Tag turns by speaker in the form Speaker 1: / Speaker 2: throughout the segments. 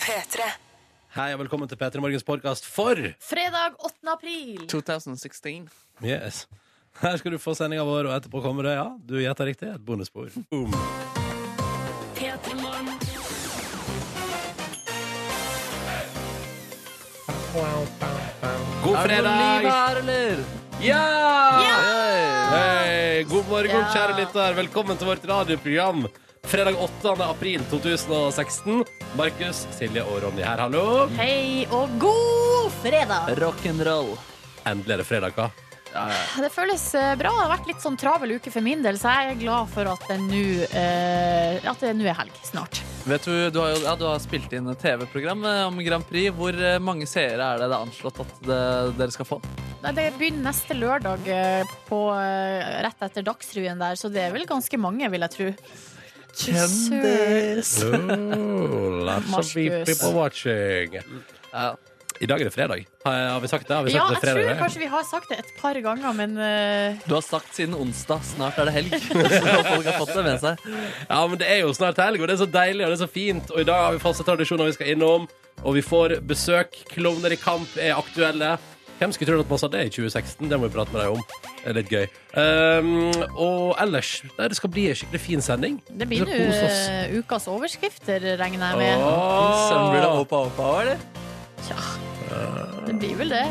Speaker 1: P3.
Speaker 2: Hei og velkommen til P3 Morgens podkast for
Speaker 3: Fredag 8. april.
Speaker 4: 2016.
Speaker 2: Yes. Her skal du få sendinga vår, og etterpå kommer det, ja, du gjetta riktig, et bonusspor. Boom. God fredag!
Speaker 4: her, eller?
Speaker 2: Ja!
Speaker 3: Ja!
Speaker 2: Hei, god morgen,
Speaker 3: Ja.
Speaker 2: kjære lytter. Velkommen til vårt radioprogram. Fredag 8. april 2016. Markus, Silje og Ronny her, hallo.
Speaker 3: Hei og god fredag.
Speaker 4: Rock'n'roll.
Speaker 2: Endelig er det fredag, hva?
Speaker 3: Det føles eh, bra. Det har vært litt sånn travel uke for min del, så jeg er glad for at det nå eh, At det nå er helg snart.
Speaker 4: Vet du, du har, jo, ja, du har spilt inn et TV-program eh, om Grand Prix. Hvor eh, mange seere er det det er anslått at det, dere skal få?
Speaker 3: Nei, Det begynner neste lørdag eh, på, eh, rett etter Dagsrevyen der, så det er vel ganske mange, vil jeg tro. Kjendis.
Speaker 2: Oh,
Speaker 3: Markus.
Speaker 2: lots of people watching.
Speaker 4: Ja.
Speaker 2: I dag er det fredag. Har har vi sagt det? Har vi sagt
Speaker 3: Ja,
Speaker 2: det
Speaker 3: jeg
Speaker 2: er fredag,
Speaker 3: tror
Speaker 2: det?
Speaker 3: kanskje vi har sagt det et par ganger, men eh,
Speaker 4: Du har sagt siden onsdag. Snart er det helg. Så folk har fått det med seg.
Speaker 2: Ja, men det er jo snart helg, og det er så deilig, og det er så fint. Og i dag har vi faste tradisjoner vi skal innom, og vi får besøk. Klovner i kamp er aktuelle. Hvem skulle trodd at man sa det i 2016? Det må vi prate med deg om. Det er litt gøy. Ehm, og ellers nei, Det skal bli en skikkelig fin sending.
Speaker 3: det blir nå eh, ukas overskrifter, regner jeg med.
Speaker 4: Sønn blir det
Speaker 2: Åh,
Speaker 4: opa opa, eller?
Speaker 3: Tja, det blir vel det.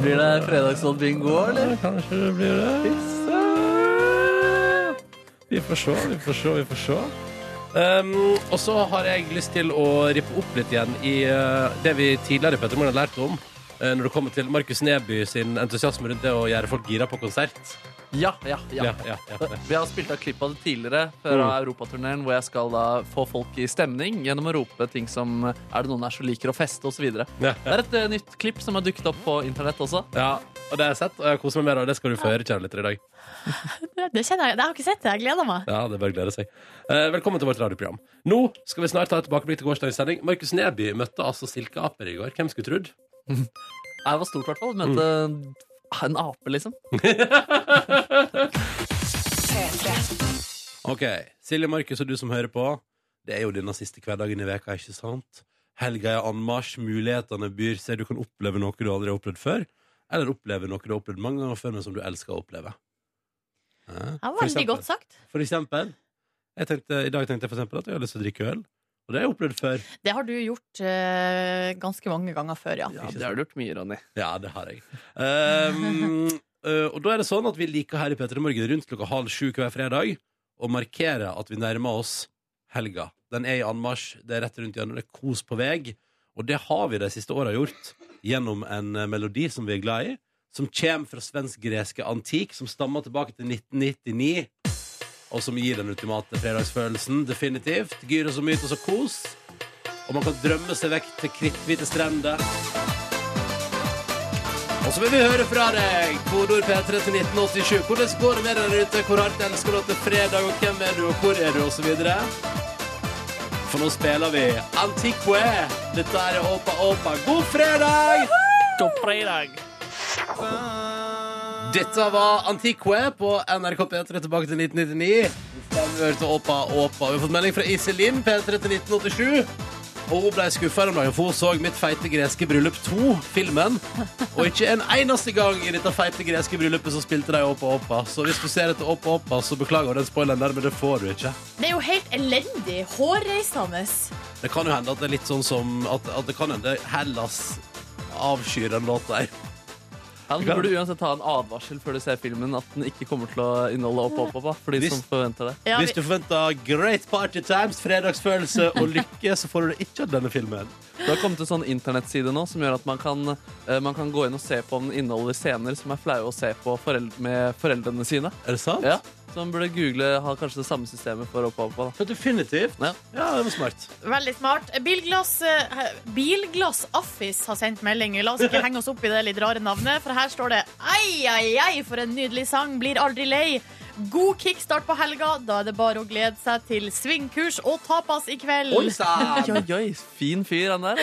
Speaker 4: Blir det fredagsrådbingo, eller?
Speaker 2: Kanskje det blir det. Vi får se, vi får se, vi får se. Ehm, og så har jeg lyst til å rippe opp litt igjen i eh, det vi tidligere Petter Morgen har lært om. eh, når det kommer til Markus Neby sin entusiasme rundt det å gjøre folk gira på konsert.
Speaker 4: Ja, ja, ja.
Speaker 2: Ja, ja, ja, ja.
Speaker 4: Vi har spilt av klipp av det tidligere fra Europaturneren, hvor jeg skal da få folk i stemning gjennom å rope ting som Er det noen her som liker å feste, osv. Det
Speaker 2: Ja, ja.
Speaker 4: er et eh, nytt klipp som har dukket opp på internett også.
Speaker 2: ja, og det har jeg sett, og jeg koser meg med det, og det skal du få høre, kjære lytter, i dag.
Speaker 3: Det kjenner jeg. Jeg har ikke sett det. Jeg gleder meg.
Speaker 2: Ja, det bør glede seg. Eh, velkommen til vårt radioprogram. Nå skal vi snart ta et tilbakeblikk til gårsdagens sending. Markus Neby møtte altså silkeaper i går. Hvem skulle trodd?
Speaker 4: Det var stort, i hvert fall. Mente en ape, liksom.
Speaker 2: Ok, Silje Markus og du som hører på Det er jo denne siste hverdagen i veka, ikke sant? Helga er anmarsj, mulighetene byr seg Du kan oppleve noe du aldri har opplevd før Eller oppleve noe du har opplevd mange ganger før Men som du elsker å oppleve eh?
Speaker 3: Det var
Speaker 2: For
Speaker 3: veldig
Speaker 2: eksempel-
Speaker 3: godt sagt.
Speaker 2: For eksempel jeg tenkte, I dag tenkte jeg for eksempel at jeg har lyst til å drikke øl Og det har jeg opplevd før
Speaker 3: Det har du gjort eh, ganske mange ganger før, ja.
Speaker 4: Ja, det har du gjort mye, Ronny.
Speaker 2: Ja, det har jeg. Ehm, eh, og da er det sånn at vi liker her i Petter i Morgen rundt klokka halv sju hver fredag å markere at vi nærmer oss helga. Den er i anmarsj, det er rett rundt hjørnet, det er kos på vei. Og det har vi de siste åra gjort gjennom en eh, melodi som vi er glad i, som kommer fra svensk-greske antikk, som stammer tilbake til 1999. Og som gir den ultimate fredagsfølelsen. Definitivt. Gyros og mytos og kos. Og man kan drømme seg vekk til kritthvite strender. Og så vil vi høre fra deg. Kodord P3 til 1987. Hvordan går det med deg der ute? Hvor hardt elsker du at det er fredag, og hvem er du, og hvor er du, og så videre For nå spiller vi Antiqué. Dette er Åpa Åpa. God fredag!
Speaker 4: God fredag!
Speaker 2: Dette var Antiqué på NRK P3 tilbake til 1999. Da har Vi hørte Åpa Åpa. Vi har fått melding fra Iselin P3 til 1987. Og hun ble skuffa om dagen, for hun så Mitt feite greske bryllup 2, filmen. Og ikke en eneste gang i dette feite greske bryllupet så spilte de Åpa Åpa. Så hvis du ser etter Åpa Åpa, så beklager den spoileren der, men det får du ikke.
Speaker 3: Det er jo helt elendig. Hårreisende.
Speaker 2: Det kan jo hende at det er litt sånn som At, at det kan hende Hellas avskyr den låta her.
Speaker 4: Ja, du burde uansett ha en advarsel før du ser filmen at den ikke kommer til å inneholde opp, opp, opp, opp for de
Speaker 2: Hvis-
Speaker 4: som forventer det.
Speaker 3: Ja,
Speaker 2: Hvis du
Speaker 3: vi,
Speaker 2: forventer great party times, fredagsfølelse og lykke, så får du det ikke av denne filmen.
Speaker 4: Det har kommet en sånn internettside nå som gjør at man kan, eh, man kan gå inn og se på om den inneholder scener som er flaue å se på foreld med foreldrene sine.
Speaker 2: Er det sant?
Speaker 4: Ja, Så man burde google ha kanskje det samme systemet for opp, opp, opp.
Speaker 2: Ja, definitivt.
Speaker 4: Ja.
Speaker 2: det var smart.
Speaker 3: veldig smart. Bilglass, eh, bilglass Affis har sendt melding. La oss ikke henge oss opp i det litt rare navnet, for her står det Ei, ei, ei, for en nydelig sang. Blir aldri lei. God kickstart på helga. Da er det bare å glede seg til svingkurs og tapas i kveld.
Speaker 2: Oi sann!
Speaker 4: Oi, oi, fin fyr han der.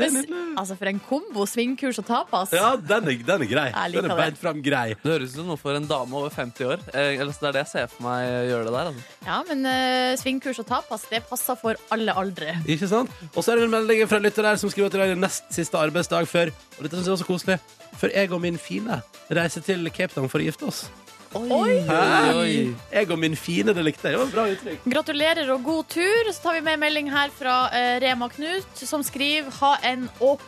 Speaker 3: Men s- altså, for en kombo svingkurs og tapas.
Speaker 2: Ja, den er, den er grei.
Speaker 3: Jeg liker
Speaker 2: Den er
Speaker 3: det.
Speaker 2: beint fram grei.
Speaker 4: Det høres ut som noe for en dame over 50 år. Eh, eller så det er det jeg ser for meg å gjøre det der. Altså.
Speaker 3: Ja, men eh, svingkurs og tapas, det passer for alle aldre.
Speaker 2: Ikke sant? Og så er det en melding fra en lytter der som skriver at det er nest siste arbeidsdag før Og dette synes jeg var så koselig Før jeg og min fine reiser til Cape Town for å gifte oss
Speaker 3: Oi!
Speaker 2: Hæ?
Speaker 4: Oi.
Speaker 2: Jeg og min fine, det likte jeg, det var et bra uttrykk
Speaker 3: Gratulerer og god tur. Så tar vi med en melding her fra eh, Rema Knut, som skriver Ha en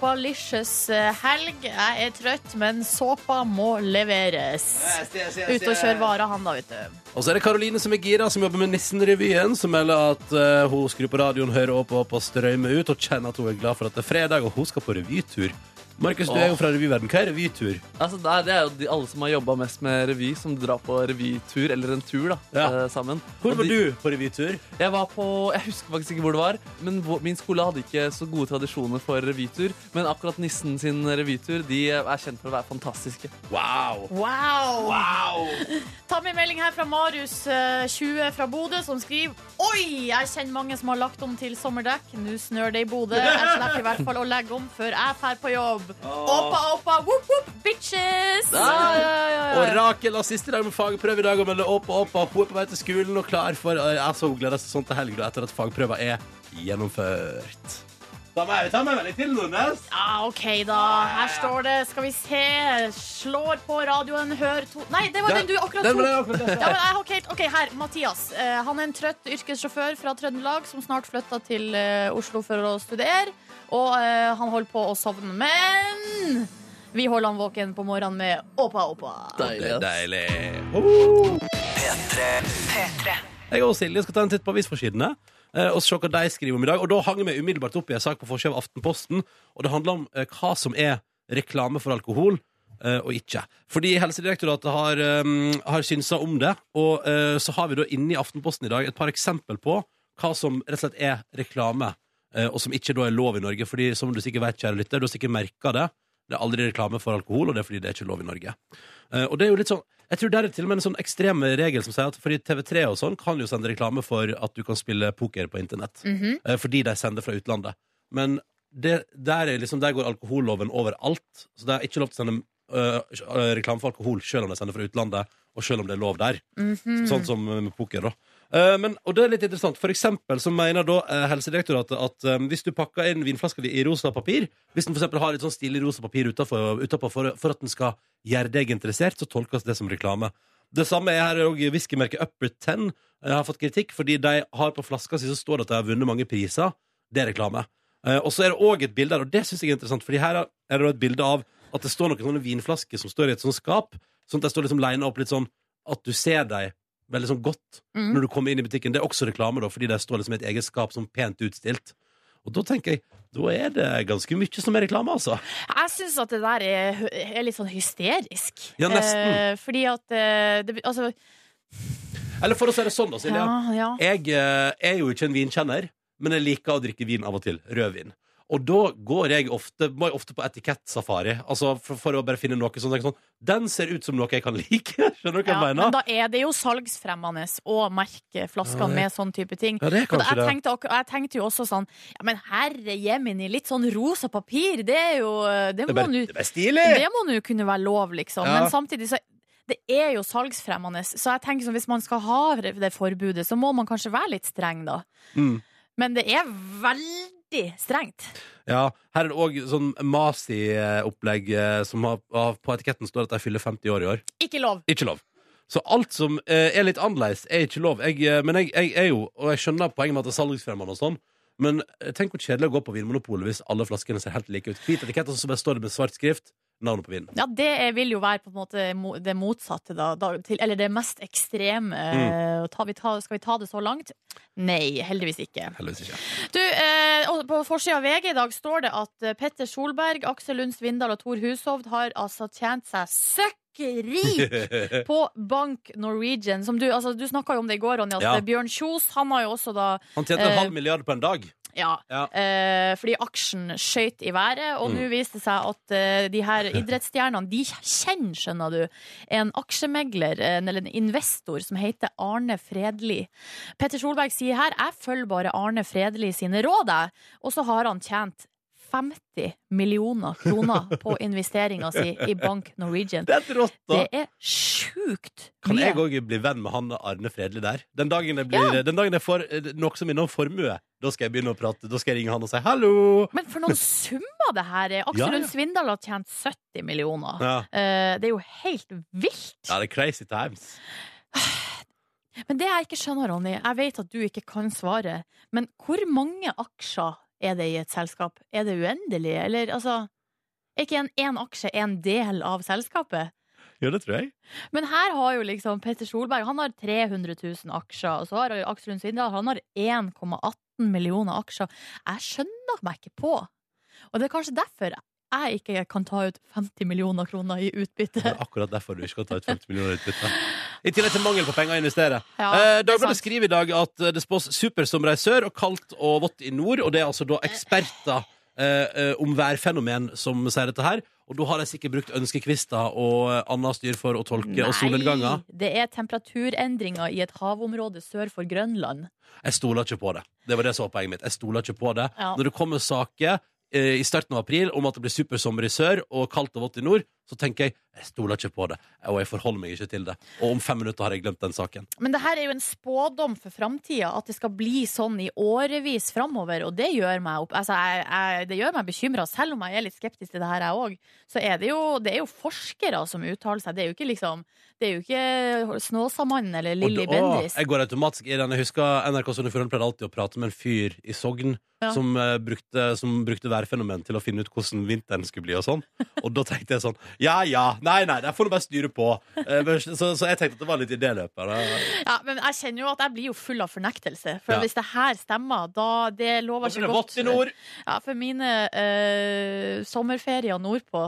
Speaker 3: åpalicious eh, helg. Jeg er trøtt, men såpa må leveres. Ute og kjøre varer, han da, vet du.
Speaker 2: Og så er det Karoline som er gira, som jobber med Nissen-revyen Som melder at eh, hun skrur på radioen, hører opp og opp og strømmer ut Og kjenner at hun er glad for at det er fredag, og hun skal på revytur Markus, du er jo fra revyverden, hva er revytur?
Speaker 4: Altså, det, er, det er jo de, alle som har jobba mest med revy, som drar på revytur eller en tur da,
Speaker 2: Ja.
Speaker 4: eh, sammen.
Speaker 2: Hvor
Speaker 4: Og
Speaker 2: var
Speaker 4: de-
Speaker 2: du på revytur?
Speaker 4: Jeg var på, jeg husker faktisk ikke hvor det var, men hvor- min skole hadde ikke så gode tradisjoner for revytur. Men akkurat Nissen sin revytur de er kjent for å være fantastiske.
Speaker 2: Wow!
Speaker 3: Wow!
Speaker 2: Wow!
Speaker 3: Ta med en melding her fra Marius, eh, 20 fra Bodø, som skriver Oi, jeg kjenner mange som har lagt om til sommerdekk. Nå snør det i Bodø. Jeg slipper i hvert fall å legge om før jeg drar på jobb. Oppa, oppa, whoop, whoop, bitches!
Speaker 4: Ja, ja, ja, ja.
Speaker 2: Og Rakel har siste dag med fagprøve i dag og melder opp og opp. og Hun er på vei til skolen og klar for altså, Hun gleder seg sånn til helg da, etter at fagprøven er gjennomført. Da må jeg ta med meg litt til, Nordnes.
Speaker 3: Ja, OK, da. Her står det. Skal vi se. Slår på radioen, hør to Nei, det var den du akkurat
Speaker 2: Den
Speaker 3: tok.
Speaker 2: ble jeg akkurat lest.
Speaker 3: Ja, men, jeg har ikke helt- OK, her. Mathias. Eh, han er en trøtt yrkessjåfør fra Trøndelag som snart flytta til eh, Oslo for å studere. Og eh, han holder på å sovne. Men vi holder han våken på morgenen med Åpa Åpa.
Speaker 2: Det er
Speaker 4: Deilig. ass.
Speaker 2: deilig. Oh. Jeg og Silje skal ta en titt på avisforsidene eh, og se hva de skriver om i dag. Og Da hang jeg meg umiddelbart opp i en sak på forsida av Aftenposten, og det handler om eh, hva som er reklame for alkohol. eh, Og ikke. Fordi Helsedirektoratet har, eh, har synsa om det. Og eh, så har vi da inne i Aftenposten i dag et par eksempel på hva som rett og slett er reklame, eh, og som ikke da er lov i Norge. Fordi som du sikkert vet, kjære lytter, du har sikkert merka det. Det er aldri reklame for alkohol, og det er fordi det er ikke lov i Norge. Eh, og det er jo litt sånn Jeg tror det er til og med en sånn ekstrem regel som sier at fordi TV3 og sånn kan jo sende reklame for at du kan spille poker på internett. eh, fordi de sender fra utlandet. Men det, der, er liksom, der går alkoholloven overalt. Så det er ikke lov til å sende eh, eh, reklame for alkohol selv om de sender fra utlandet, og selv om det er lov der. Sånn som eh, med poker, da. Eh, Men, og det er litt interessant. For eksempel så mener da eh, Helsedirektoratet at eh, hvis du pakker inn vinflaska di i rosa papir, hvis den for eksempel har litt sånn stilig rosa papir utenfor, utenpå for, for at den skal gjøre deg interessert, så tolkes det som reklame. Det samme er her òg whiskymerket Upper Ten. eh, har fått kritikk fordi de har på flaska si så står det at de har vunnet mange priser. Det er reklame. Eh, Og så er det òg et bilde her, og det syns jeg er interessant, fordi her er er det da et bilde av at det står noen sånne vinflasker som står i et sånt skap, sånn at de står liksom lina opp litt sånn at du ser dem veldig sånn godt
Speaker 3: Mm.
Speaker 2: når du kommer inn i butikken. Det er også reklame, da, fordi det står liksom et eget skap som pent utstilt. Og da tenker jeg da er det ganske mye som er reklame, altså.
Speaker 3: Jeg syns at det der er, er litt sånn hysterisk.
Speaker 2: Ja, nesten.
Speaker 3: Eh, fordi at eh, det, Altså,
Speaker 2: Eller for å si det sånn, da, Silja.
Speaker 3: ja, ja.
Speaker 2: Jeg eh, er jo ikke en vinkjenner, men jeg liker å drikke vin av og til. Rødvin. Og da går jeg ofte, må jeg ofte på etikettsafari, altså for, for å bare finne noe som tenker sånn Den ser ut som noe jeg kan like. Skjønner du
Speaker 3: Ja,
Speaker 2: hva jeg
Speaker 3: men
Speaker 2: mener?
Speaker 3: da er det jo salgsfremmende å merke flaskene
Speaker 2: Ja, det-
Speaker 3: med sånn type ting.
Speaker 2: Ja, det er
Speaker 3: Og
Speaker 2: kanskje
Speaker 3: jeg,
Speaker 2: det.
Speaker 3: tenkte, akkur- jeg tenkte jo også sånn Ja, men herre jemini, litt sånn rosa papir, det er jo Det
Speaker 2: Det er
Speaker 3: må
Speaker 2: bare,
Speaker 3: nå
Speaker 2: det er bare stilig!
Speaker 3: det må nå kunne være lov, liksom.
Speaker 2: Ja.
Speaker 3: Men samtidig så det er jo salgsfremmende, så jeg tenker sånn, hvis man skal ha det forbudet, så må man kanskje være litt streng, da.
Speaker 2: Mm.
Speaker 3: Men det er veldig strengt.
Speaker 2: Ja, Her er det òg sånn Masi-opplegg eh, som har, har, på etiketten står at de fyller 50 år i år.
Speaker 3: Ikke lov.
Speaker 2: Ikke lov. Så alt som eh, er litt annerledes, er ikke lov. Jeg, eh, men jeg, jeg er jo, og jeg skjønner poenget med at det er salgsfremmende og sånn, men eh, tenk hvor kjedelig å gå på Vinmonopolet hvis alle flaskene ser helt like ut. Hvit etikett, og så bare står det med svart skrift navnet på vinen.
Speaker 3: Ja, det er- vil jo være på en måte mo- det motsatte, da. da til, eller det mest ekstreme. Eh, Ta, vi ta, skal vi ta det så langt? Nei, heldigvis ikke.
Speaker 2: Heldigvis ikke.
Speaker 3: Du, eh, og På forsida av VG i dag står det at eh, Petter Solberg, Aksel Lund Svindal og Thor Hushovd har altså tjent seg søkkrik på Bank Norwegian. Som du altså, du snakka jo om det i går, Ronny. At
Speaker 2: Ja.
Speaker 3: Bjørn Kjos han har jo også da
Speaker 2: Han tjente
Speaker 3: Eh,
Speaker 2: en halv milliard på en dag.
Speaker 3: Ja.
Speaker 2: Ja.
Speaker 3: Eh, fordi aksjen skøyt i været, og
Speaker 2: Mm.
Speaker 3: nå viste det seg at eh, de her idrettsstjernene De kjenner, skjønner du, en aksjemegler, en, eller en investor, som heter Arne Fredli. Petter Solberg sier her jeg følger bare Arne Fredli sine råd, jeg. Og så har han tjent 50 millioner kroner på investeringa si i Bank Norwegian.
Speaker 2: Det er helt rått, da.
Speaker 3: Det er sjukt
Speaker 2: Kan
Speaker 3: mye.
Speaker 2: jeg òg bli venn med han Arne Fredli der? Den dagen jeg, blir, den dagen jeg får eh, noe som minner om formue, da skal jeg begynne å prate. Da skal jeg ringe han og si hallo.
Speaker 3: Men for noen summer det her er! Aksel
Speaker 2: Ja, ja.
Speaker 3: Lund Svindal har tjent 70 millioner.
Speaker 2: Ja,
Speaker 3: Eh, det er jo helt vilt.
Speaker 2: ja det er crazy times.
Speaker 3: Men det jeg ikke skjønner, Ronny, jeg vet at du ikke kan svaret, men hvor mange aksjer er det i et selskap? Er det uendelig, eller altså Er ikke en, en aksje en del av selskapet?
Speaker 2: Jo, det tror jeg.
Speaker 3: Men her har jo liksom Petter Solberg Han har 300 000 aksjer, og så har Aksel Lund Svindal Han har 1,18 millioner aksjer. Jeg skjønner meg ikke på. Og det er kanskje derfor jeg ikke kan ta ut 50 millioner kroner i
Speaker 2: Det
Speaker 3: utbytte.
Speaker 2: er akkurat derfor du ikke kan ta ut 50 millioner i utbytte. I tillegg til mangel på penger å investere.
Speaker 3: Ja,
Speaker 2: eh,
Speaker 3: det er
Speaker 2: Dagbladet
Speaker 3: sant.
Speaker 2: skriver i dag at eh, det spås supersommer i sør og kaldt og vått i nord. Og det er altså da eksperter eh, eh, om værfenomen som sier dette her. Og da har de sikkert brukt ønskekvister og eh, annet styr for å tolke, og solnedganger.
Speaker 3: det er temperaturendringer i et havområde sør for Grønland.
Speaker 2: Jeg stoler ikke på det. Det var det som var poenget mitt. Jeg stoler ikke på det.
Speaker 3: Ja.
Speaker 2: Når det kommer saker eh, i starten av april om at det blir supersommer i sør og kaldt og vått i nord, så tenker jeg jeg stoler ikke på det, og jeg forholder meg ikke til det. Og om fem minutter har jeg glemt den saken.
Speaker 3: Men det her er jo en spådom for framtida, at det skal bli sånn i årevis framover. Og det gjør meg, opp- altså, jeg, jeg, det gjør meg bekymra, selv om jeg er litt skeptisk til det her, jeg òg. Så er det, jo, det er jo forskere som uttaler seg. Det er jo ikke liksom Det er jo ikke Snåsamannen eller
Speaker 2: Og
Speaker 3: Lilly
Speaker 2: da- å,
Speaker 3: Bendriss.
Speaker 2: jeg går automatisk i den. Jeg husker NRK Sogn og Fjordane pleide alltid å prate med en fyr i Sogn
Speaker 3: Ja.
Speaker 2: som, eh, brukte, som brukte værfenomen til å finne ut hvordan vinteren skulle bli og sånn. Og da tenkte jeg sånn Ja ja, nei nei, det får du bare styre på. Eh, men- Så, så jeg tenkte at det var litt idéløp her.
Speaker 3: Ja, men jeg kjenner jo at jeg blir jo full av fornektelse. For
Speaker 2: Ja.
Speaker 3: hvis det her stemmer, da Det lover
Speaker 2: Det
Speaker 3: ikke
Speaker 2: er
Speaker 3: godt.
Speaker 2: vått i nord.
Speaker 3: Ja, for mine eh, sommerferier nordpå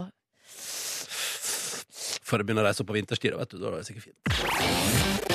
Speaker 2: For å begynne å reise opp på vinterstid, da, vet du. Da er det sikkert fint.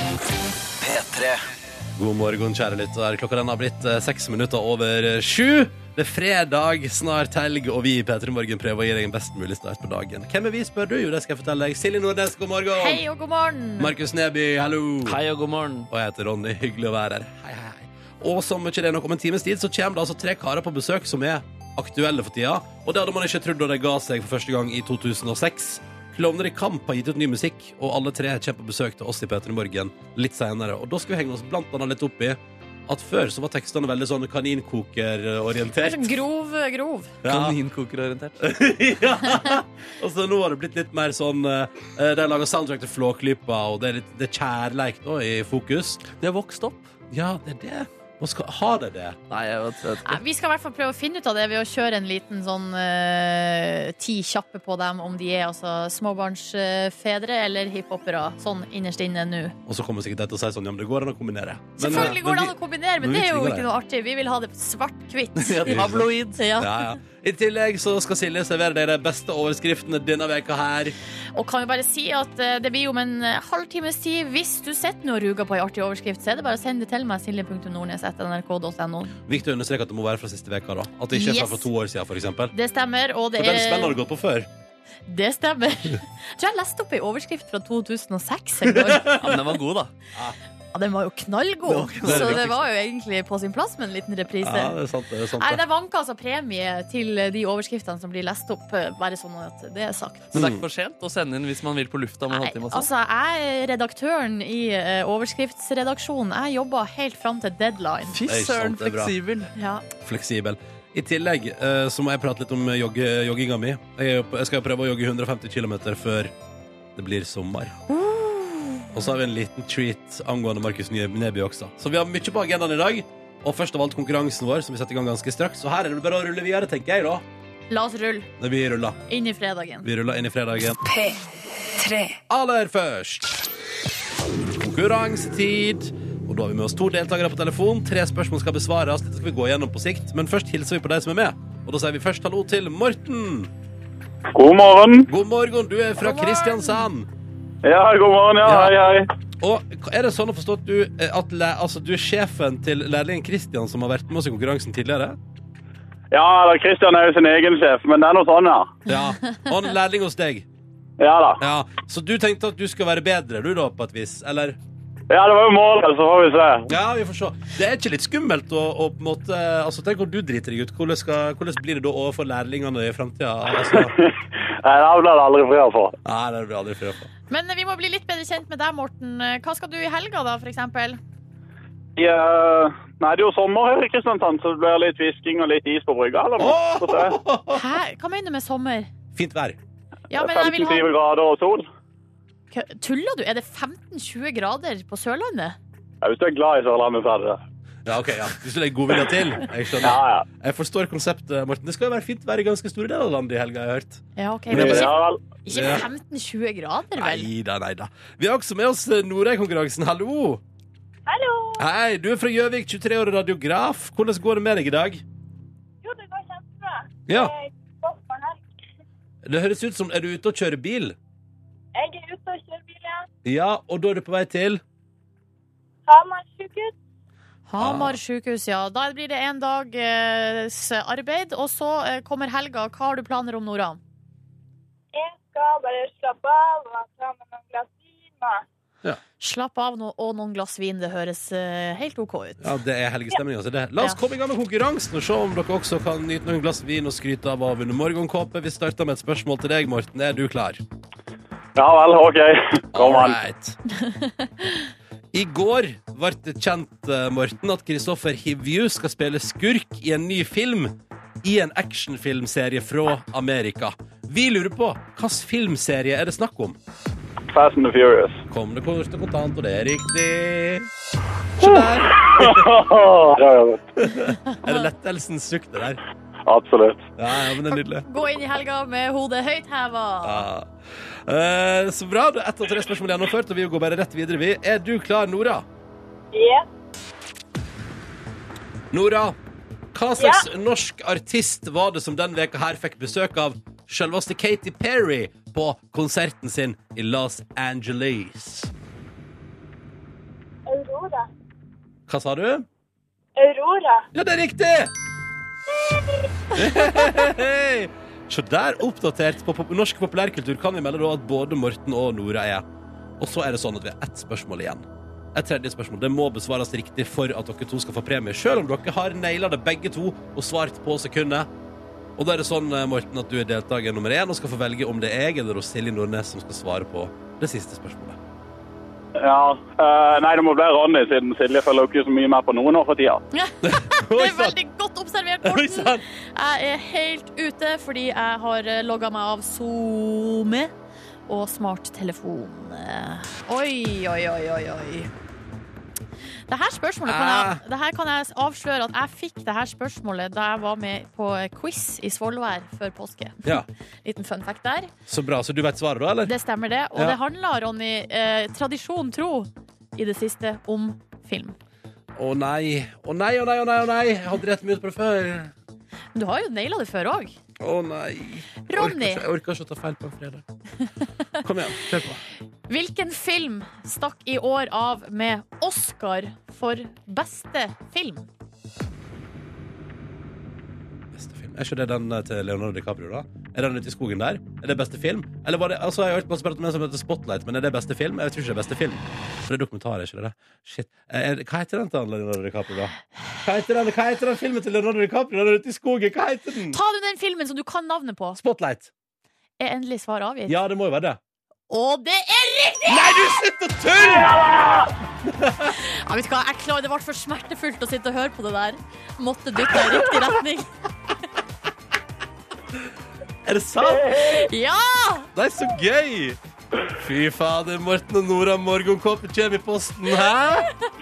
Speaker 2: God morgen, kjære lytter. Klokka den har blitt eh, seks minutter over eh, sju. Det er fredag, snart helg, og vi i P3 Morgen prøver å gi deg en best mulig start på dagen. Hvem er vi, spør du? Jo, det skal jeg fortelle deg. Silje Nordnes, god morgen.
Speaker 3: Hei og god morgen!
Speaker 2: Markus Neby, hallo.
Speaker 4: Hei og god morgen.
Speaker 2: Og jeg heter Ronny. Hyggelig å være her. Hei, hei, hei. Og som ikke det er nok om en times tid, så kommer det altså tre karer på besøk som er aktuelle for tida. Og det hadde man ikke trodd da de ga seg for første gang i 2006. Klovner i kamp har gitt ut ny musikk, og alle tre kommer på besøk til oss i P3 Morgen litt senere. Og da skal vi henge oss blant annet litt opp i at før så var tekstene veldig sånn
Speaker 3: Det er
Speaker 2: kaninkokerorientert.
Speaker 3: sånn grov, grov.
Speaker 2: Ja.
Speaker 4: Kaninkokerorientert.
Speaker 2: ja. Og så nå har det blitt litt mer sånn eh, De lager soundtrack til Flåklypa, og det er, litt, det er kjærleik nå i fokus.
Speaker 4: De har vokst opp.
Speaker 2: Ja, det er det. Og skal, har de det?
Speaker 4: Mm. Nei, jeg vet, jeg vet
Speaker 3: Nei,
Speaker 4: ikke.
Speaker 3: vi skal i hvert fall prøve å finne ut av det ved å kjøre en liten sånn eh, ti kjappe på dem, om de er altså småbarnsfedre eller hiphopere. Sånn innerst inne nå.
Speaker 2: Og så kommer sikkert de til å si sånn, ja, men det går an å kombinere. eh, Men,
Speaker 3: Selvfølgelig går det an å kombinere, men
Speaker 2: men vi
Speaker 3: det er jo
Speaker 2: tvinger
Speaker 3: ikke
Speaker 2: det.
Speaker 3: noe artig. Vi vil ha det svart-hvitt.
Speaker 4: Ja, Tabloid.
Speaker 3: Ja.
Speaker 2: Ja, ja. I tillegg så skal Silje servere deg de beste overskriftene denne veka her.
Speaker 3: Og kan jo bare si at eh, det blir om en eh, halvtimes tid. Hvis du sitter nå og ruger på ei artig overskrift, så er det bare å sende det til meg. Silje.nordnes.nrk.no.
Speaker 2: Viktig å understreke at det må være fra siste veka da. At det ikke er fra
Speaker 3: Yes. Eh,
Speaker 2: for to år siden, for eksempel.
Speaker 3: Det stemmer, og det
Speaker 2: For den spennende har
Speaker 3: er
Speaker 2: du gått på før.
Speaker 3: Det stemmer. Jeg tror jeg leste opp ei overskrift fra 2006 en gang.
Speaker 4: Ja, men den var god, da.
Speaker 3: Ja, den var jo knallgod,
Speaker 4: Det var knallgod.
Speaker 3: så det var jo egentlig på sin plass med en liten reprise.
Speaker 2: Ja, det er sant, det er sant.
Speaker 3: Nei,
Speaker 2: det.
Speaker 3: Det vanker altså premie til de overskriftene som blir lest opp, bare sånn at det er sagt.
Speaker 4: Men det er ikke for sent å sende inn hvis man vil på lufta om en
Speaker 3: Nei,
Speaker 4: halvtime. og sånn.
Speaker 3: altså, jeg er redaktøren i eh, overskriftsredaksjonen. Jeg jobba helt fram til deadline.
Speaker 4: Fy
Speaker 2: Det er ikke
Speaker 4: søren,
Speaker 2: sant, det er bra.
Speaker 4: fleksibel.
Speaker 3: Ja.
Speaker 2: Fleksibel. I tillegg eh, så må jeg prate litt om jogge, jogginga mi. Jeg, er jo på- jeg skal jo prøve å jogge 150 kilometer før det blir sommer. Og så har vi en liten treat angående Markus Nye- Neby også. Så vi har mye på agendaen i dag. Og først av alt konkurransen vår, som vi setter i gang ganske straks. Så her er det bare å rulle videre, tenker jeg, da.
Speaker 3: La oss rulle
Speaker 2: Nei, Vi ruller.
Speaker 3: inn i fredagen.
Speaker 2: Vi ruller inn i fredagen. Aller først konkurransetid. Og da har vi med oss to deltakere på telefon. Tre spørsmål skal besvares. Dette skal vi gå gjennom på sikt. Men først hilser vi på de som er med. Og da sier vi først hallo til Morten.
Speaker 1: God morgen.
Speaker 2: God morgen, du er fra
Speaker 3: God morgen.
Speaker 2: Kristiansand.
Speaker 1: Ja, god morgen. Ja,
Speaker 2: Ja.
Speaker 1: hei, hei.
Speaker 2: Og er det sånn å forstå at du, eh, at læ- altså, du er sjefen til lærlingen Kristian som har vært med oss i konkurransen tidligere?
Speaker 1: Ja, eller Kristian er jo sin egen sjef, men det er noe sånn, ja.
Speaker 2: Ja. Og han er lærling hos deg.
Speaker 1: Ja da.
Speaker 2: Ja. Så du tenkte at du skal være bedre, du da, på et vis? Eller?
Speaker 1: Ja, det var jo målet, så får vi se.
Speaker 2: Ja, vi får se. Det er ikke litt skummelt å, å på en måte Altså, tenk om du driter deg ut. Hvordan, skal, hvordan blir det da overfor lærlingene i framtida? Altså,
Speaker 1: Nei, det blir det aldri fri av for.
Speaker 2: nei, det blir aldri fyra på.
Speaker 3: Men eh, vi må bli litt bedre kjent med deg, Morten. Eh, Hva skal du i helga, da, for eksempel?
Speaker 1: I, eh, nei, det er jo sommer her i Kristiansand, så det blir litt hvisking og litt is på brygga. eller noe. Så det
Speaker 3: Hæ? Hva mener du med sommer?
Speaker 2: Fint vær.
Speaker 3: Ja,
Speaker 1: er
Speaker 3: men jeg vil ha
Speaker 1: 15-20 grader og sol.
Speaker 3: Kø- Tuller du? Er det 15-20 grader på Sørlandet?
Speaker 1: Ja, hvis du er glad i Sørlandet, så er det det.
Speaker 2: Ja, ok, ja. Hvis du legger godvilje til. Jeg
Speaker 1: Ja,
Speaker 2: skjønner.
Speaker 1: ja.
Speaker 2: Jeg forstår konseptet, Morten. Det skal jo være fint vær i ganske store deler av landet i helga, har jeg hørt.
Speaker 3: Ja, OK. Men
Speaker 1: ja
Speaker 3: ikke,
Speaker 1: vel.
Speaker 3: ikke 15-20 grader, vel?
Speaker 2: Nei da, nei da. Vi har også med oss Norøy-konkurransen. Hallo!
Speaker 5: Hallo!
Speaker 2: Hei, du er fra Gjøvik, 23 år og radiograf. Hvordan går det med deg i dag?
Speaker 5: Jo, det går kjempebra.
Speaker 2: Ja,
Speaker 5: Jeg er stopperen her.
Speaker 2: Det høres ut som er du ute og kjører bil?
Speaker 5: Jeg er ute og kjører bil, ja.
Speaker 2: Ja, og da er du på vei til?
Speaker 5: Hamar sykehus.
Speaker 3: Hamar sykehus, ja. Da blir det en dags arbeid, og så eh, kommer helga. Hva har du planer om, Nora?
Speaker 5: Jeg skal bare slappe av og ta med noen glass vin. og-
Speaker 3: Slapp av nå, og noen glass vin. Det høres eh, helt OK ut.
Speaker 2: Ja, det er helgestemning, altså. Det. La oss
Speaker 3: Ja.
Speaker 2: komme i gang med konkurransen og se om dere også kan nyte noen glass vin og skryte av å ha vunnet morgenkåpe. Vi starter med et spørsmål til deg, Morten. Er du klar?
Speaker 1: Ja vel, OK. Kom an.
Speaker 2: Alright. I går ble det kjent, eh, Morten, at Kristoffer Hivju skal spille skurk i en ny film. I en actionfilmserie fra Amerika. Vi lurer på hvilken filmserie er det snakk om?
Speaker 1: Fast and the Furious.
Speaker 2: Kom det kort og kontant, og det er riktig. Se der.
Speaker 1: Ja, ja,
Speaker 2: Er det lettelsens sukk, det der?
Speaker 1: Absolutt.
Speaker 2: Ja, ja, men det er nydelig.
Speaker 3: Gå inn i helga med hodet høyt heva.
Speaker 2: Ja. Eh, så bra. da er Ett av tre spørsmål gjennomført, og vi går bare rett videre. Vi. Er du klar, Nora?
Speaker 5: Ja.
Speaker 2: Nora, hva slags norsk artist var det som den veka her fikk besøk av selveste Katy Perry på konserten sin i Los Angeles?
Speaker 5: Aurora.
Speaker 2: Hva sa du?
Speaker 5: Aurora.
Speaker 2: Ja, det er riktig! Hei! Så der, oppdatert på pop norsk populærkultur, kan vi melde da at både Morten og Nora er. Og så er det sånn at vi har ett spørsmål igjen. Et tredje spørsmål. Det må besvares riktig for at dere to skal få premie, selv om dere har naila det begge to og svart på sekundet. Og da er det sånn, eh, Morten, at du er deltaker nummer én og skal få velge om det er jeg eller hos Silje Nordnes som skal svare på det siste spørsmålet.
Speaker 1: Ja. eh, nei, det må bli Ronny, siden Silje følger jo ikke så mye med på noen år for tida.
Speaker 3: Det er
Speaker 2: Oi, sant.
Speaker 3: veldig godt observert,
Speaker 2: Oi,
Speaker 3: Morten.
Speaker 2: sant.
Speaker 3: Jeg er helt ute fordi jeg har logga meg av SoMe og smarttelefon. Eh, Oi, oi, oi, oi, oi. Det her spørsmålet kan jeg, det her kan jeg avsløre at jeg fikk det her spørsmålet da jeg var med på quiz i Svolvær før påske.
Speaker 2: Ja,
Speaker 3: Liten fun fact der.
Speaker 2: Så bra. Så du vet svaret, da? eller?
Speaker 3: Det stemmer det. Og
Speaker 2: Ja.
Speaker 3: det handla, Ronny, eh, tradisjon tro, i det siste om film.
Speaker 2: Å nei, å nei, å nei, å nei, å nei. Jeg hadde rett mye på det før.
Speaker 3: Men du har jo naila det før òg.
Speaker 2: Å nei. Jeg orker
Speaker 3: Ronny,
Speaker 2: ikke- Jeg orker ikke å ta feil på en fredag. Kom igjen, kjør på.
Speaker 3: hvilken film stakk i år av med Oscar for beste film?
Speaker 2: Beste film. Er ikke det den eh, til Leonardo DiCaprio, da? Er den ute i skogen der? Er det beste film? Eller var det, altså, jeg har hørt masse prat om en som heter Spotlight, men er det beste film? Jeg tror ikke det er beste film. For det er dokumentar, er ikke det? det? Shit. Eh, Er, hva heter den til han Leonardo DiCaprio, da? Hva heter den, hva heter den filmen til Leonardo DiCaprio? Den er ute i skogen, hva heter den?
Speaker 3: Ta du den filmen som du kan navnet på?
Speaker 2: Spotlight.
Speaker 3: Er endelig svar avgitt?
Speaker 2: Ja, det må jo være det.
Speaker 3: Og det er riktig!
Speaker 2: Nei, du sitter og tuller!
Speaker 3: Ja, vet du hva? Jeg klarer, det ble for smertefullt å sitte og høre på det der. Måtte dytte deg i riktig retning.
Speaker 2: Er det sant?
Speaker 3: Ja!
Speaker 2: Det er så gøy! Fy fader, Morten og Nora Morgenkåpe kommer i posten, hæ?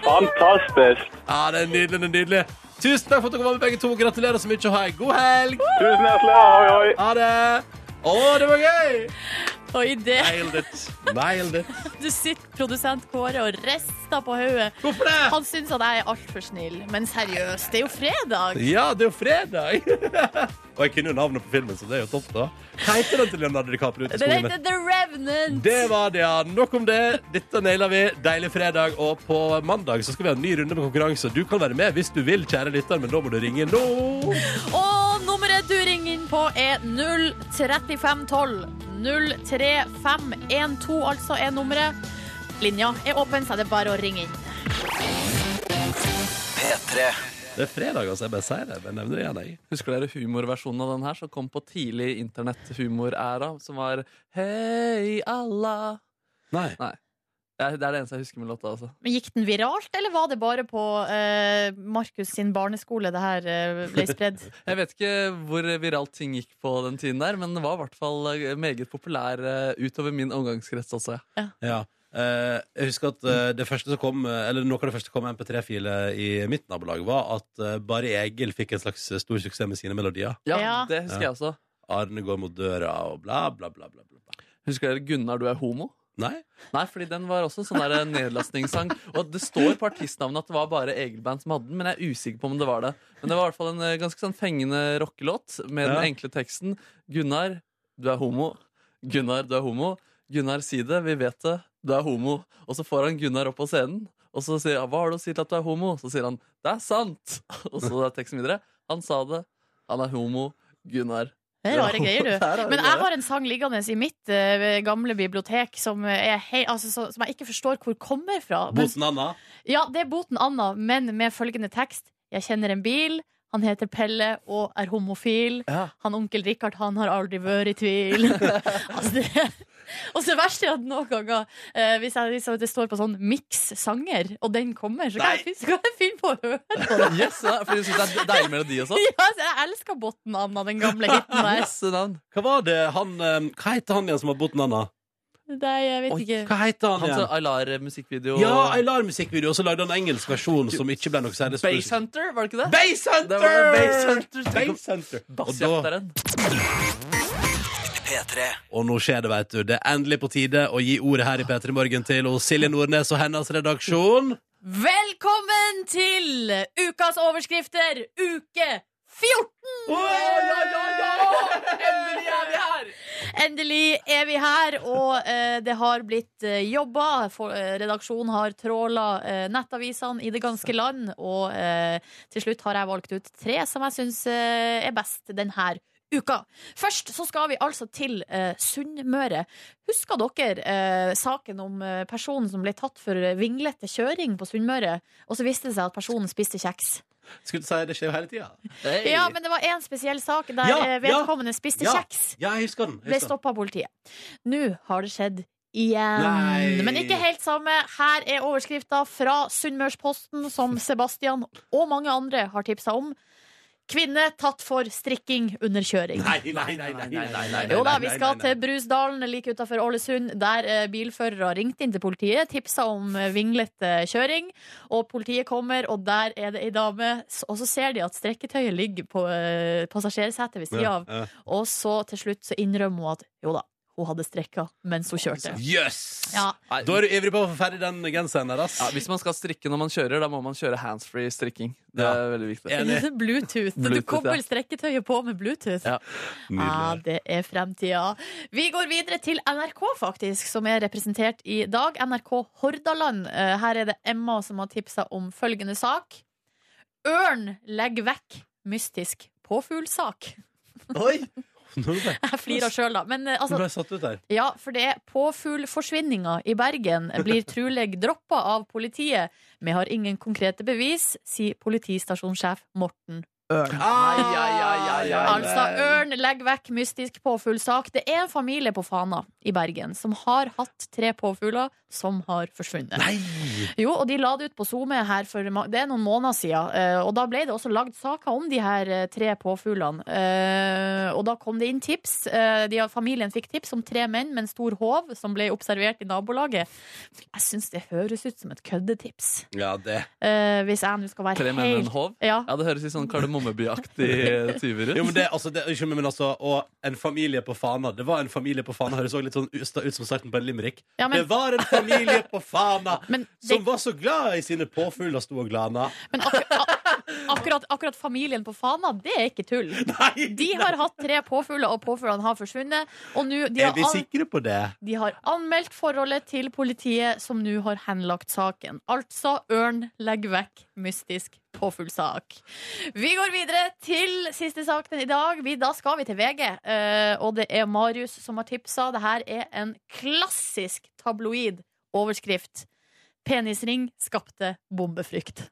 Speaker 1: Fantastisk.
Speaker 2: Ja, det er nydelig, det er nydelig. Tusen takk for at dere var med begge to. Gratulerer så mye og ha en god helg.
Speaker 1: Tusen hjertelig. Oi, oi.
Speaker 2: Ha det! Å, det var gøy!
Speaker 3: Og idet
Speaker 2: Nailed it. Nailed it.
Speaker 3: du sitter produsent Kåre og rister på hodet
Speaker 2: Hvorfor det?
Speaker 3: Han syns at jeg er altfor snill. Men seriøst, det er jo fredag.
Speaker 2: Ja, det er jo fredag. Og jeg kunne jo navnet på filmen, så det er jo topp, da. Hva heter den til Leonardo DiCaprio ute i
Speaker 3: Det
Speaker 2: skogen?
Speaker 3: heter The Revenant.
Speaker 2: Det var det, ja. Nok om det. Dette naila vi. Deilig fredag. Og på mandag så skal vi ha en ny runde med konkurranse. Du kan være med hvis du vil, kjære lytter, men da må du ringe nå.
Speaker 3: Og nummeret du ringer inn på er 03512. 03512 altså er nummeret. Linja er åpen, så det er bare å ringe inn.
Speaker 2: Det er fredag, altså. Jeg bare sier det. Men jeg nevner det igjen, jeg.
Speaker 4: Husker dere humorversjonen av den her som kom på tidlig internett-humoræra? Som var Hei, Allah.
Speaker 2: Nei.
Speaker 4: Det er det er det eneste jeg husker med låta. altså
Speaker 3: Men Gikk den viralt, eller var det bare på eh, Markus sin barneskole det her eh, ble spredd?
Speaker 4: Jeg vet ikke hvor viralt ting gikk på den tiden der, men den var i hvert fall eh, meget populær eh, utover min omgangskrets også. ja.
Speaker 2: Ja. Eh, jeg husker at eh, det første som kom eh, Eller noe av det første som kom MP3-file i mitt nabolag, var at eh, bare Egil fikk en slags eh, stor suksess med sine melodier.
Speaker 4: Ja,
Speaker 3: Ja.
Speaker 4: det husker
Speaker 2: Ja.
Speaker 4: jeg også.
Speaker 2: Arne går mot døra og bla, bla, bla. bla, bla. bla.
Speaker 4: Husker dere Gunnar, du er homo?
Speaker 2: Nei?
Speaker 4: Nei, fordi den var også en sånn der nedlastningssang. Og det står på artistnavnet at det var bare Egil-band som hadde den, men jeg er usikker på om det var det. Men det var i hvert fall en eh, ganske sånn fengende rockelåt med
Speaker 2: Ja.
Speaker 4: den enkle teksten. Gunnar, du er homo. Gunnar, du er homo. Gunnar, si det. Vi vet det. Du er homo. Og så får han Gunnar opp på scenen, og så sier han 'Hva har du å si til at du er homo?' Så sier han 'Det er sant'. Og så er teksten videre. Han sa det. Han er homo. Gunnar.
Speaker 3: Det er rare greier, du.
Speaker 4: Det er rare
Speaker 3: Men jeg
Speaker 4: greier.
Speaker 3: har en sang liggende i mitt eh, gamle bibliotek som, er hei, altså, så, som jeg ikke forstår hvor kommer fra. Men
Speaker 2: Boten Anna?
Speaker 3: Ja, det er boten Anna, men med følgende tekst. Jeg kjenner en bil, han heter Pelle og er homofil.
Speaker 4: Ja.
Speaker 3: Han onkel Richard, han har aldri vært i tvil. altså, det og så verst er at noen ganger, eh, hvis, jeg, hvis det står på sånn miks sanger, og den kommer, så kan, jeg, fin- så kan jeg finne på å høre på det.
Speaker 4: Yes, ja, fordi du syns det er en deilig melodi og sånn?
Speaker 3: Ja, altså, jeg elsker botten Anna, den gamle hiten der.
Speaker 4: Yes, navn.
Speaker 2: Hva var det han eh, Hva heter han igjen som har Boten Anna?
Speaker 3: Nei, jeg vet
Speaker 4: Oi,
Speaker 3: ikke.
Speaker 2: Hva heter han
Speaker 4: Han som
Speaker 2: igjen?
Speaker 4: Aylar musikkvideo
Speaker 2: Ja, Aylar-musikkvideo, og så lagde han en engelsk versjon som ikke ble noe særlig stor-
Speaker 4: Base Hunter, var det ikke det?
Speaker 2: Base Hunter!
Speaker 4: Det var det, Base Hunter.
Speaker 2: Base Hunter. Og da,
Speaker 4: Bassjakteren.
Speaker 2: og nå skjer det, vet du. Det er endelig på tide å gi ordet her i P3 Morgen til og Silje Nordnes og hennes redaksjon.
Speaker 3: Velkommen til ukas overskrifter, uke 14!
Speaker 4: Endelig er vi her!
Speaker 3: Endelig er vi her, og eh, det har blitt eh, jobba. For, eh, redaksjonen har tråla eh, nettavisene i det ganske land, og eh, til slutt har jeg valgt ut tre som jeg syns eh, er best denne uka. Først så skal vi altså til eh, Sunnmøre. Husker dere eh, saken om eh, personen som ble tatt for eh, vinglete kjøring på Sunnmøre, og så viste det seg at personen spiste kjeks?
Speaker 2: Skulle du si det skjer jo hele tida?
Speaker 4: Hey.
Speaker 3: Ja, men det var én spesiell sak der
Speaker 2: Ja,
Speaker 3: eh,
Speaker 2: ja,
Speaker 3: vedkommende spiste
Speaker 2: ja.
Speaker 3: kjeks
Speaker 2: Ja, jeg husker den.
Speaker 3: ble
Speaker 2: Jeg husker den.
Speaker 3: stoppa av politiet. Nå har det skjedd igjen.
Speaker 2: Nei.
Speaker 3: Men ikke helt samme. Her er overskrifta fra Sunnmørsposten, som Sebastian og mange andre har tipsa om. Kvinne tatt for strikking under kjøring.
Speaker 2: Nei, nei, nei, nei, nei, nei, nei.
Speaker 3: Jo da,
Speaker 2: nei,
Speaker 3: vi
Speaker 2: nei,
Speaker 3: skal
Speaker 2: nei,
Speaker 3: til
Speaker 2: nei.
Speaker 3: Brusdalen like utafor Ålesund, der eh, bilførere ringte inn til politiet, tipsa om eh, vinglete kjøring, og politiet kommer, og der er det ei dame, s- og så ser de at strekketøyet ligger på eh, passasjersetet ved sida
Speaker 2: Ja,
Speaker 3: av, og så til slutt så innrømmer hun at jo da, hun hadde strekka mens hun kjørte.
Speaker 2: ja. Jøs!
Speaker 3: Ja.
Speaker 4: Nei,
Speaker 2: Da er du ivrig på å få ferdig den genseren der, ass.
Speaker 4: ja, hvis man skal strikke når man kjører, da må man kjøre handsfree strikking. Det er veldig viktig.
Speaker 2: Enig.
Speaker 3: Bluetooth. Du
Speaker 4: Bluetooth,
Speaker 3: kobler
Speaker 4: ja.
Speaker 3: strekketøyet på med Bluetooth.
Speaker 4: Ja.
Speaker 3: Ah, det er fremtida. Vi går videre til NRK, faktisk, som er representert i dag. NRK Hordaland. Eh, Her er det Emma som har tipsa om følgende sak. Ørn legger vekk mystisk påfuglsak.
Speaker 2: Oi! Nå ble
Speaker 3: Jeg flirer sjøl, da. Men eh,
Speaker 2: nå
Speaker 3: altså,
Speaker 2: ble jeg satt ut der.
Speaker 3: ja, for det er påfuglforsvinninga i Bergen blir trolig droppa av politiet. Vi har ingen konkrete bevis, sier politistasjonssjef Morten
Speaker 4: Ai, ai, ai, ai, ai.
Speaker 3: Altså, ørn, legg vekk mystisk påfuglsak. Det er en familie på Fana i Bergen som har hatt tre påfugler som har forsvunnet. Jo, og de la det ut på SoMe her for ma- Det er noen måneder siden, eh, og da ble det også lagd saker om de her eh, tre påfuglene. Eh, Og da kom det inn tips. Eh, De, familien fikk tips om tre menn med en stor håv som ble observert i nabolaget. Jeg syns det høres ut som et køddetips.
Speaker 2: Ja, det.
Speaker 3: Eh, Hvis jeg nå skal være
Speaker 4: Tre menn og en
Speaker 3: helt
Speaker 4: håv?
Speaker 3: ja,
Speaker 4: Ja, det høres litt sånn Kardemommeby-aktig tyver ut.
Speaker 2: Jo, men det, altså, det, unnskyld meg, men altså Og en familie på Fana. Det var en familie på Fana. Høres også litt sånn ut ut som starten på en limerick.
Speaker 3: Ja, men-
Speaker 2: Det var en familie på Fana
Speaker 3: Men,
Speaker 2: som
Speaker 3: det,
Speaker 2: var så glad i sine påfugler, sto og glana.
Speaker 3: men akkur, ak- akkurat, akkurat familien på Fana, det er ikke tull.
Speaker 2: Nei!
Speaker 3: De har hatt tre påfugler, og påfuglene har forsvunnet. Og nå de,
Speaker 2: Er
Speaker 3: har
Speaker 2: vi
Speaker 3: an,
Speaker 2: sikre på det?
Speaker 3: de har anmeldt forholdet til politiet, som nå har henlagt saken. Altså ørn, legg vekk mystisk påfuglsak. Vi går videre til siste saken i dag. Vi, da skal vi til VG, eh, og det er Marius som har tipsa. Det her er en klassisk tabloid overskrift. Penisring skapte bombefrykt.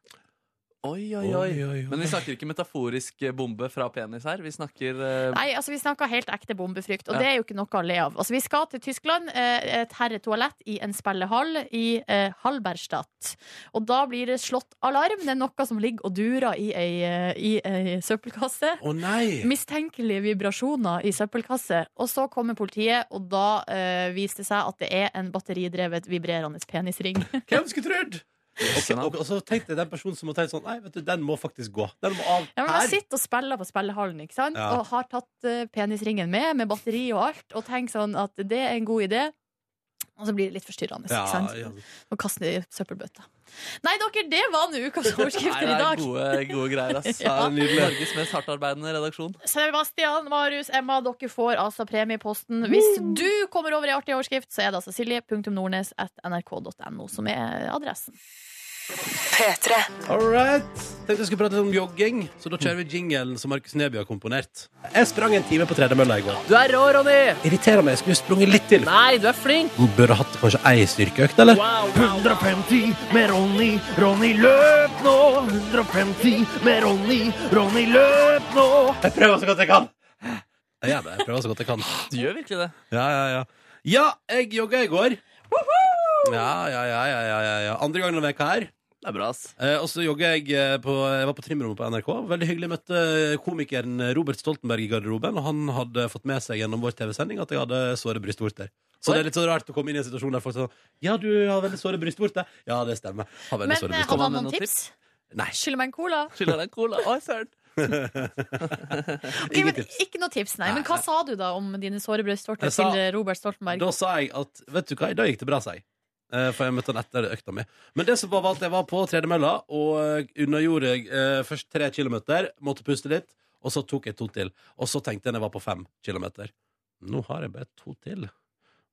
Speaker 4: Oi, oi, oi. Men vi snakker ikke metaforisk eh, bombe fra penis her. Vi snakker eh,
Speaker 3: Nei, altså vi snakker helt ekte bombefrykt, og
Speaker 4: Ja.
Speaker 3: det er jo ikke noe å le av. Altså, vi skal til Tyskland, eh, et herretoalett i en spillehall i eh, Halberstadt. Og da blir det slått alarm. Det er noe som ligger og durer i ei, eh, i ei søppelkasse.
Speaker 2: Å nei!
Speaker 3: Mistenkelige vibrasjoner i søppelkasse. Og så kommer politiet, og da eh, viser det seg at det er en batteridrevet vibrerende penisring.
Speaker 2: Hvem skulle trodd?
Speaker 4: Jøsse navn.
Speaker 2: Og, og så tenkte jeg den personen som har tenkt sånn Nei, vet du, den må faktisk gå. Den må av
Speaker 3: Ja, men man
Speaker 2: her.
Speaker 3: sitter og spiller på spillehallen ikke sant?
Speaker 2: Ja.
Speaker 3: og har tatt eh, penisringen med, med batteri og alt, og tenker sånn at det er en god idé. Og så blir det litt forstyrrende.
Speaker 2: Ja,
Speaker 3: ikke sant?
Speaker 2: ja.
Speaker 3: Og kaster det i søppelbøtta. Nei, dere, det var nå ukas
Speaker 4: Nei,
Speaker 3: overskrifter
Speaker 4: det
Speaker 3: i
Speaker 4: er
Speaker 3: dag.
Speaker 4: gode, gode greier, ass.
Speaker 3: Ja.
Speaker 4: Det er nydelig. Norges mest hardtarbeidende redaksjon.
Speaker 3: Sebastian, Marius, Emma, dere får altså premieposten. Hvis du kommer over i artig overskrift, så er det altså silje.nordnes.nrk.no som er adressen.
Speaker 2: All right. Tenkte jeg skulle prate litt om jogging, så da kjører vi jingelen som Markus Neby har komponert. Jeg sprang en time på tredemølla i går.
Speaker 6: Du er rå, Ronny!
Speaker 2: Irriterer meg. Jeg skulle sprunget litt til.
Speaker 6: Nei, du er flink!
Speaker 2: Burde hatt kanskje ei styrkeøkt, eller?
Speaker 7: 150 med Ronny, Ronny løp nå! 150 med Ronny, Ronny løp nå!
Speaker 2: Jeg prøver så godt jeg kan. Jeg gjør det. Jeg prøver så godt jeg kan.
Speaker 4: Du gjør virkelig det.
Speaker 2: Ja, ja, ja. Ja, jeg jogga i går. Ja, ja, ja, ja, ja, ja, ja. Andre gangen denne veka her.
Speaker 4: Det er bra, ass.
Speaker 2: Eh, og så jogga jeg eh, på Jeg var på trimrommet på NRK. Veldig hyggelig. Møtte eh, komikeren Robert Stoltenberg i garderoben, og han hadde fått med seg gjennom vår TV-sending at jeg hadde såre brystvorter. Så det er litt så rart å komme inn i en situasjon der folk sier sånn Ja, du har veldig såre brystvorter. Ja, det stemmer. Har veldig
Speaker 3: Men
Speaker 2: såre
Speaker 3: eh, hadde han
Speaker 2: brystvorter.
Speaker 4: Kom
Speaker 3: noen
Speaker 4: med noen
Speaker 3: tips?
Speaker 2: Nei.
Speaker 3: Skylder meg en cola?
Speaker 4: Skylder deg en cola. Oi, søren.
Speaker 3: Ok,
Speaker 2: Ingen
Speaker 3: men
Speaker 2: tips.
Speaker 3: Ikke noe tips, nei.
Speaker 2: Nei,
Speaker 3: Men hva
Speaker 2: nei.
Speaker 3: sa du da om dine såre brystvorter
Speaker 2: Jeg sa-
Speaker 3: til eh, Robert Stoltenberg?
Speaker 2: Da sa jeg at Vet du hva, i dag gikk det bra, sa jeg. Eh, For jeg møtte han etter økta mi. Men det som var, var at jeg var på tredemølla, og unnagjorde jeg eh, først tre kilometer, måtte puste litt, og så tok jeg to til. Og så tenkte jeg når jeg var på fem kilometer. Nå har jeg bare to til.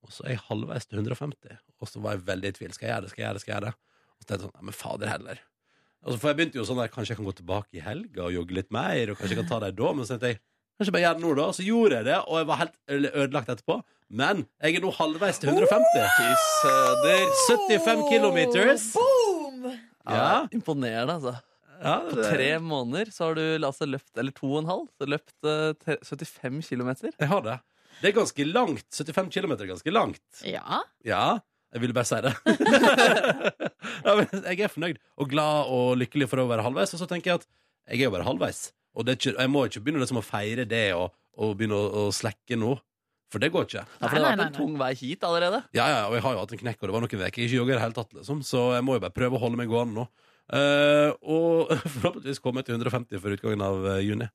Speaker 2: Og så er jeg halvveis til 150. Og så var jeg veldig i tvil. Skal jeg gjøre det? Skal jeg gjøre det? Skal jeg gjøre det? Og så tenkte jeg sånn, nei, men fader heller. Og så for jeg begynte jo sånn der, kanskje jeg kan gå tilbake i helga og jogge litt mer, og kanskje jeg kan ta det da, men så tenkte jeg, kanskje jeg bare gjør det nå da, og så gjorde jeg det, og jeg var helt øde- ødelagt etterpå. Men jeg er nå halvveis til 150. Fy
Speaker 4: eh,
Speaker 2: søder. 75 kilometers.
Speaker 3: Boom!
Speaker 2: Ja.
Speaker 4: Imponerende, altså.
Speaker 2: Ja,
Speaker 4: På
Speaker 2: det-
Speaker 4: tre måneder så har du altså løpt, eller to og en halv, så løpt eh, tre- 75 kilometer.
Speaker 2: Jeg har det. Det er ganske langt. 75 kilometer er ganske langt.
Speaker 3: Ja.
Speaker 2: Ja, jeg ville bare si det. ja, men jeg er fornøyd og glad og lykkelig for å være halvveis. Og så tenker jeg at jeg er jo bare halvveis. Og det er ikke, jeg må ikke begynne liksom å feire det og, og begynne å, å slekke nå. For det går ikke.
Speaker 4: Ja,
Speaker 3: Nei,
Speaker 4: for det har
Speaker 3: nei,
Speaker 4: vært en
Speaker 3: nei, nei.
Speaker 4: tung vei hit allerede.
Speaker 2: Ja, ja, og jeg har jo hatt en knekk, og det var noen uker jeg ikke jogger i det hele tatt, liksom. Så jeg må jo bare prøve å holde meg gående nå. Eh, og forhåpentligvis komme til 150 før utgangen av eh, juni.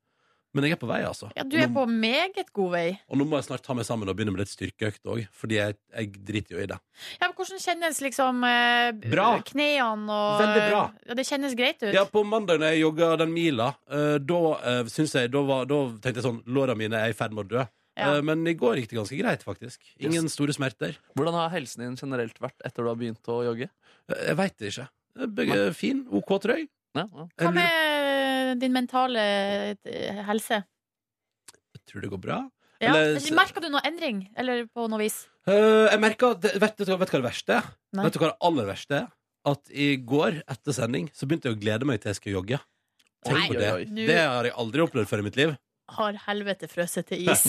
Speaker 2: Men jeg er på vei, altså.
Speaker 3: ja, du er på meget god vei.
Speaker 2: Og nå må jeg snart ta meg sammen og begynne med litt styrkeøkt òg, fordi jeg, jeg driter jo i det.
Speaker 3: Ja, men hvordan kjennes liksom eh,
Speaker 2: Bra.
Speaker 3: knærne og eh,
Speaker 2: Veldig bra.
Speaker 3: Ja, det kjennes greit ut.
Speaker 2: Ja, på mandag når jeg jogga den mila, eh, da, eh, syns jeg, da, var, da tenkte jeg sånn Låra mine er i ferd med å dø.
Speaker 3: Ja.
Speaker 2: Eh, men i går gikk det ganske greit, faktisk. Ingen store smerter.
Speaker 4: Hvordan har helsen din generelt vært etter du har begynt å jogge?
Speaker 2: Eh, jeg veit det ikke. Eh, Begge er fin. OK trøy.
Speaker 4: Ja, ja.
Speaker 2: Jeg,
Speaker 3: Hva
Speaker 2: lurer,
Speaker 3: med din mentale eh, helse?
Speaker 2: jeg tror det går bra.
Speaker 3: Ja.
Speaker 2: Eller-
Speaker 3: Merker du noe endring, eller på noe vis?
Speaker 2: Eh, jeg merker at, vet, du hva- vet du hva det verste er?
Speaker 3: Nei.
Speaker 2: Vet du hva det aller verste er? At i går, etter sending, så begynte jeg å glede meg til jeg skulle jogge.
Speaker 4: Oi,
Speaker 2: Tenk på
Speaker 4: oi,
Speaker 2: det.
Speaker 4: oi.
Speaker 3: Nå
Speaker 2: Det har jeg aldri opplevd før i mitt liv.
Speaker 3: har helvete frøset til is.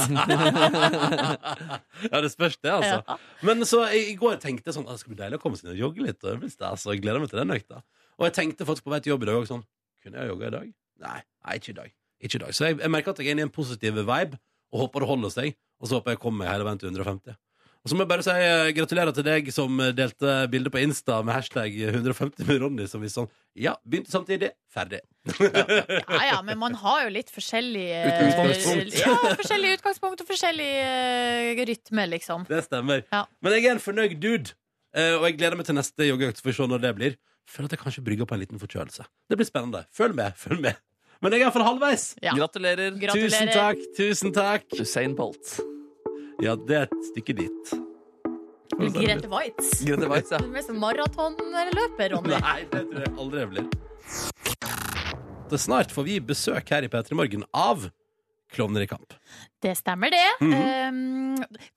Speaker 2: ja, det spørs det, altså.
Speaker 3: Ja.
Speaker 2: Men så i, i går tenkte jeg sånn «Ah, Det skal bli deilig å komme seg inn og jogge litt. Og det blir stas, og jeg gleder meg til den økta. Og jeg tenkte faktisk på vei til jobb i dag òg sånn Kunne jeg jogga i dag? Nei, nei ikke i dag. Ikke i dag. Så jeg, jeg merker at jeg er inne i en positiv vibe, og håper det holder seg. Og så håper jeg kommer meg hele veien til 150. Og så må jeg bare si eh, gratulerer til deg som eh, delte bildet på Insta med hashtag 150 med Ronny, som visste sånn Ja, begynte samtidig, ferdig.
Speaker 3: Ja, ja, men man har jo litt forskjellig eh,
Speaker 2: Utgangspunkt.
Speaker 3: Ja, forskjellig utgangspunkt og forskjellig eh, rytme, liksom.
Speaker 2: Det stemmer.
Speaker 3: Ja.
Speaker 2: Men jeg er en fornøyd dude, eh, og jeg gleder meg til neste joggeøkt. Så får vi se når det blir. Føler at jeg kanskje brygger på en liten forkjølelse. Det blir spennende. Følg med. følg med Men jeg er iallfall halvveis.
Speaker 3: Ja.
Speaker 4: Gratulerer,
Speaker 3: Gratulerer.
Speaker 2: Tusen takk. Tusen takk.
Speaker 4: Usain Bolt.
Speaker 2: Ja, det er et stykke dit.
Speaker 3: Grete Waitz.
Speaker 4: Grete Waitz, ja.
Speaker 3: Du er mest en maratonløper, Ronny.
Speaker 2: Nei, det tror jeg aldri jeg blir. Det er snart får vi besøk her i P3 Morgen av Klovner i kamp.
Speaker 3: Det stemmer, det.
Speaker 2: Mhm.
Speaker 3: um,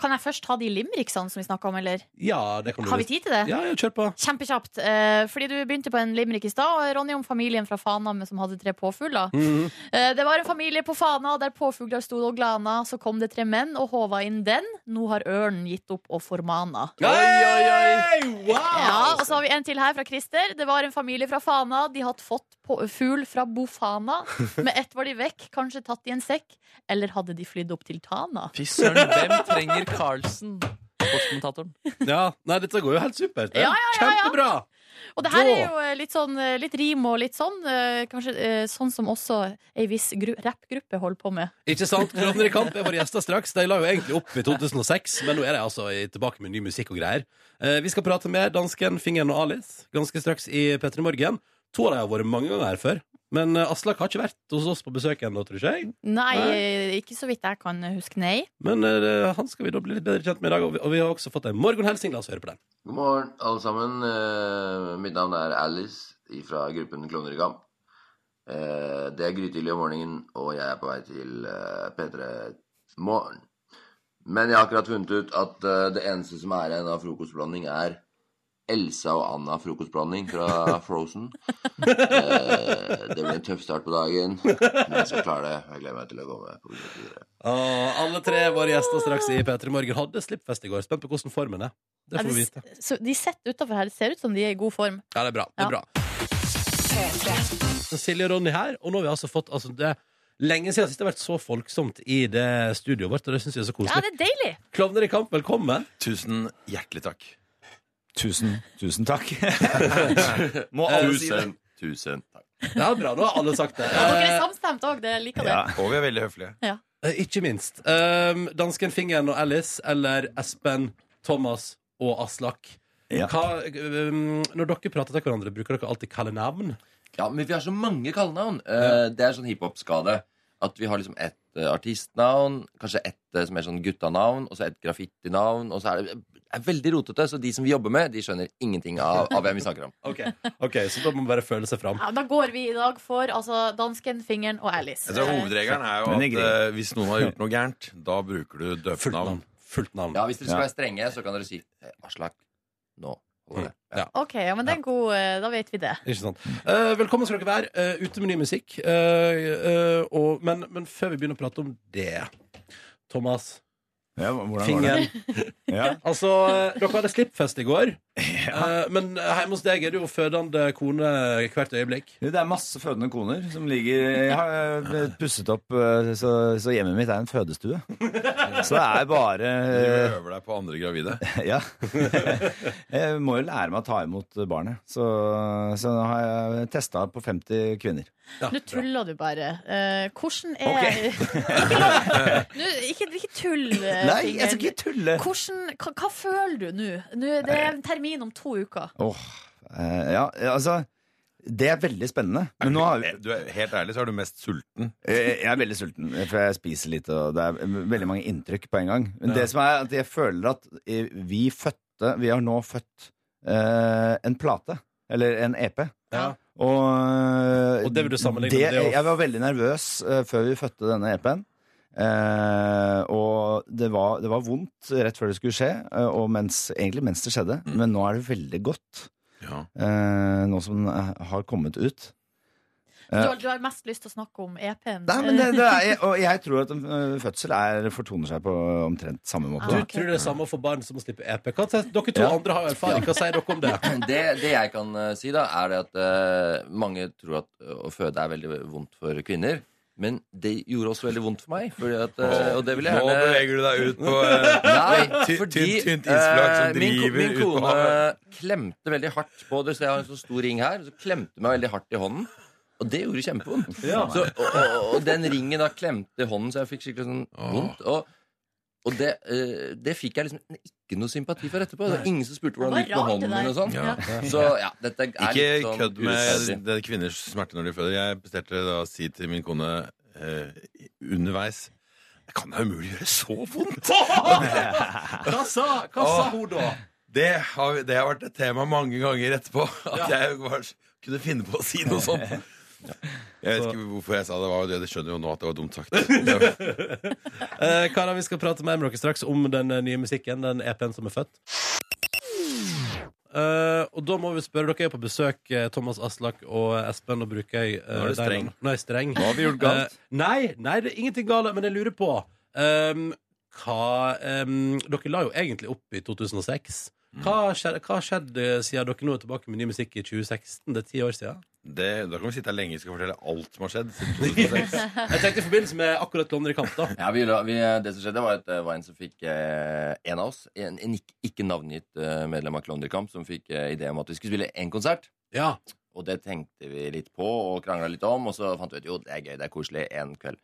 Speaker 3: kan jeg først ta de limericksene som vi snakka om, eller?
Speaker 2: Ja, det kan du
Speaker 3: Har vi
Speaker 2: visst.
Speaker 3: tid til det?
Speaker 2: Ja, ja, kjør på.
Speaker 3: Kjempekjapt. eh, fordi du begynte på en limerick i stad, Ronny, om familien fra Fana med- som hadde tre påfugler.
Speaker 2: Mhm.
Speaker 3: Eh, det var en familie på Fana der påfugler sto og glana. Så kom det tre menn og håva inn den. Nå har ørnen gitt opp og formana.
Speaker 2: Oi, oi, oi! Wow!
Speaker 3: Ja, og så har vi en til her fra Christer. Det var en familie fra Fana. De hadde fått på- fugl fra Bofana. Med ett var de vekk, kanskje tatt i en sekk. Eller hadde de flydd opp til Tana?
Speaker 4: Fy søren, hvem trenger Carlsen? Sportskommentatoren.
Speaker 2: Ja, nei, dette går jo helt supert. det.
Speaker 3: Ja, ja, ja, ja.
Speaker 2: Kjempebra!
Speaker 3: Og det her
Speaker 2: Da-
Speaker 3: er jo eh, litt sånn eh, Litt rim og litt sånn. eh, Kanskje eh, sånn som også ei viss gru- rappgruppe holder på med.
Speaker 2: Ikke sant? Klovner i kamp er våre gjester straks. De la jo egentlig opp i 2006, men nå er de altså i- tilbake med ny musikk og greier. Eh, vi skal prate med dansken Fingeren og Alice ganske straks i P3 Morgen. To av dem har vært mange ganger her før, men eh, Aslak har ikke vært hos oss på besøk ennå, tror ikke jeg.
Speaker 3: Nei,
Speaker 2: Nei.
Speaker 3: eh, ikke så vidt jeg kan huske, nei.
Speaker 2: Men eh, han skal vi da bli litt bedre kjent med i dag, og vi, og vi har også fått en morgenhelsing. La oss høre på den.
Speaker 8: God morgen, alle sammen. Eh, mitt navn er Alice fra gruppen Klovner i kamp. Eh, det er grytidlig om morgenen, og jeg er på vei til eh, P3 Morgen. Men jeg har akkurat funnet ut at eh, det eneste som er igjen av frokostblanding, er Elsa og Anna frokostblanding fra Frozen. Eh, det blir en tøff start på dagen, men jeg skal klare det. Jeg gleder meg til å komme på besøk videre.
Speaker 2: Og alle tre våre gjester straks i P3 Morgen hadde slippfest i går. Spent på hvordan formen er. Det får vi vite.
Speaker 3: Ja, de, så de sitter utafor her. Det ser ut som de er i god form.
Speaker 2: Ja, det er bra. Det er
Speaker 3: Ja.
Speaker 2: bra. Så Silje og Ronny her, og nå har vi altså fått altså det, er Lenge siden sist det har vært så folksomt i det studioet vårt, og det syns jeg er så
Speaker 3: Ja,
Speaker 2: koselig.
Speaker 3: det er deilig!
Speaker 2: Klovner i kamp, velkommen.
Speaker 9: Tusen hjertelig takk. Tusen, tusen takk. Må
Speaker 2: alle
Speaker 9: si det. Tusen takk.
Speaker 2: Ja, bra, nå har alle sagt det.
Speaker 3: Ja, dere er samstemt òg. Jeg liker det.
Speaker 9: Ja. Og vi er veldig høflige.
Speaker 2: Eh, eh, ikke minst. Um, dansken Fingeren og Alice, eller Espen, Thomas og Aslak.
Speaker 9: Ja.
Speaker 2: Hva, um, når dere prater til hverandre, bruker dere alltid kalle navn?
Speaker 8: Ja, men vi har så mange kallenavn. Eh, Det er sånn hiphop-skade. At vi har liksom ett eh, artistnavn, kanskje ett eh, som er sånn guttanavn, og så ett graffitinavn, og så er det er veldig rotete. Så de som vi jobber med, de skjønner ingenting av, av hvem vi snakker om.
Speaker 2: Ok, ok, Så da må man bare føle seg fram.
Speaker 3: Ja, da går vi i dag for altså, dansken, fingeren og Alice.
Speaker 10: Jeg tror Hovedregelen er jo
Speaker 9: Men
Speaker 10: at
Speaker 9: ikke
Speaker 10: eh, hvis noen har gjort noe gærent, da bruker du
Speaker 2: Fullt
Speaker 10: døpenavn.
Speaker 2: navn. Fullt navn.
Speaker 8: Ja, Hvis dere
Speaker 9: Ja.
Speaker 8: skal være strenge, så kan dere si eh, Aslak nå. holder det.
Speaker 2: Mm. Ja.
Speaker 3: OK, ja, men det er en god eh, Da vet vi det.
Speaker 2: Ikke sant. Eh, velkommen skal dere være, eh, ute med ny musikk. Eh, eh, og, men, men før vi begynner å prate om det Thomas,
Speaker 9: Ja, hvordan går det?
Speaker 2: fingeren
Speaker 9: Ja.
Speaker 2: Altså, eh, dere hadde slippfest i går. Eh, men hjemme hos deg er det jo fødende kone hvert øyeblikk.
Speaker 9: Det er masse fødende koner som ligger Jeg har eh, pusset opp, eh, så, så hjemmet mitt er en fødestue. Så det er bare
Speaker 10: Du
Speaker 9: eh,
Speaker 10: øver deg på andre gravide.
Speaker 9: Ja. Jeg må jo lære meg å ta imot barnet. Så, så har jeg testa på 50 kvinner.
Speaker 2: Ja,
Speaker 3: Nå
Speaker 2: bra.
Speaker 3: tuller du bare. Eh, hvordan er Nå, ikke, ikke tull. eh,
Speaker 9: Nei, jeg skal
Speaker 3: fingeren.
Speaker 9: ikke tulle!
Speaker 3: Hvordan, hva, hva føler du nå? nå? Det er en termin om to uker.
Speaker 9: Åh, eh, ja, altså Det er veldig spennende. Men nå har vi
Speaker 10: Du er, helt ærlig så er du mest sulten.
Speaker 9: Eh, Jeg er veldig sulten, for jeg spiser litt, og det er veldig mange inntrykk på en gang. Men
Speaker 2: Ja.
Speaker 9: det som er at jeg føler at eh, vi fødte Vi har nå født eh, en plate. Eller en E EP.
Speaker 2: Ja.
Speaker 9: Og, eh,
Speaker 2: Og det vil du sammenligne
Speaker 9: det,
Speaker 2: med det å-
Speaker 9: Jeg var veldig nervøs eh, før vi fødte denne EP-en. Eh, og det var, det var vondt rett før det skulle skje, eh, og mens, egentlig mens det skjedde.
Speaker 2: Mm.
Speaker 9: Men nå er det veldig godt,
Speaker 10: Ja.
Speaker 9: eh, nå som den eh, har kommet ut.
Speaker 3: Du,
Speaker 9: Ja.
Speaker 3: har- du har mest lyst til å snakke om E EP-en.
Speaker 9: Nei, men det, det er, og jeg tror at øh, fødsel er, fortoner seg på omtrent samme måte.
Speaker 2: Du
Speaker 3: Ah, ok.
Speaker 2: tror det er det samme for barn som å slippe EP. Hva, sier- dere to
Speaker 9: Ja.
Speaker 2: andre har jo erfaring. Hva sier dere om det?
Speaker 8: Det, det jeg kan eh, si, da, er det at eh, mange tror at eh, å føde er veldig vondt for kvinner. Men det gjorde også veldig vondt for meg. Fordi at, eh, og det vil jeg
Speaker 10: Nå
Speaker 8: gjerne
Speaker 10: beveger du deg ut på eh,
Speaker 8: Nei,
Speaker 10: tynt-
Speaker 8: fordi
Speaker 10: tynt, tynt isflak
Speaker 8: eh,
Speaker 10: som
Speaker 8: min, ko-
Speaker 10: driver
Speaker 8: min
Speaker 10: ut på
Speaker 8: kone
Speaker 10: havet.
Speaker 8: klemte veldig hardt på det, så jeg har en så stor ring her. Så klemte meg veldig hardt i hånden. Og det gjorde kjempevondt. Så, og, og, og den ringen da klemte i hånden, så jeg fikk skikkelig sånn vondt. Og, og det, eh, det fikk jeg liksom ikke noe sympati for etterpå. Det var ingen som spurte hvordan det
Speaker 3: Det
Speaker 8: gikk
Speaker 3: var
Speaker 8: med
Speaker 3: rart, det
Speaker 8: hånden min og
Speaker 3: der.
Speaker 8: sånn.
Speaker 3: Ja.
Speaker 8: Så ja, dette er litt
Speaker 10: Ikke
Speaker 8: sånn
Speaker 10: kødd
Speaker 8: urettferdig.
Speaker 10: med det er kvinners smerte når de føder. Jeg presterte da å si til min kone eh, underveis Det kan da umulig gjøre så vondt!
Speaker 2: Hva sa, hva sa hun da?
Speaker 10: Det har, det har vært et tema mange ganger etterpå. At jeg var, kunne finne på å si noe sånt. Jeg vet ikke hvorfor jeg sa det. var jo det, De skjønner jo nå at det var dumt sagt. Det var-
Speaker 2: Eh, Karer, vi skal prate mer med dere straks om den eh, nye musikken, den EP-en som er født. Eh, og da må vi spørre dere er på besøk, eh, Thomas Aslak og Espen, og bruker jeg eh,
Speaker 10: Nå er du
Speaker 2: deg
Speaker 10: streng.
Speaker 2: nå. Nå er jeg streng.
Speaker 8: har vi gjort galt?
Speaker 2: Eh, nei, nei, det er ingenting galt, men jeg lurer på ehm, hva ehm, Dere la jo egentlig opp i 2006. Hva skjedde, hva skjedde siden dere nå er tilbake med ny musikk i 2016? Det er ti år siden.
Speaker 10: Det, da kan vi sitte her lenge og skal fortelle alt som har skjedd siden 2006.
Speaker 2: Jeg tenkte i forbindelse med akkurat London i kamp, da.
Speaker 8: Ja, vi, la- vi, det som skjedde var at det var en som fikk eh, En av oss, en, en ikke, ikke navngitt eh, medlem av Klondykamp, som fikk eh, idé om at vi skulle spille én konsert.
Speaker 2: Ja.
Speaker 8: Og det tenkte vi litt på og krangla litt om, og så fant vi ut jo, det er gøy, det er koselig, én kveld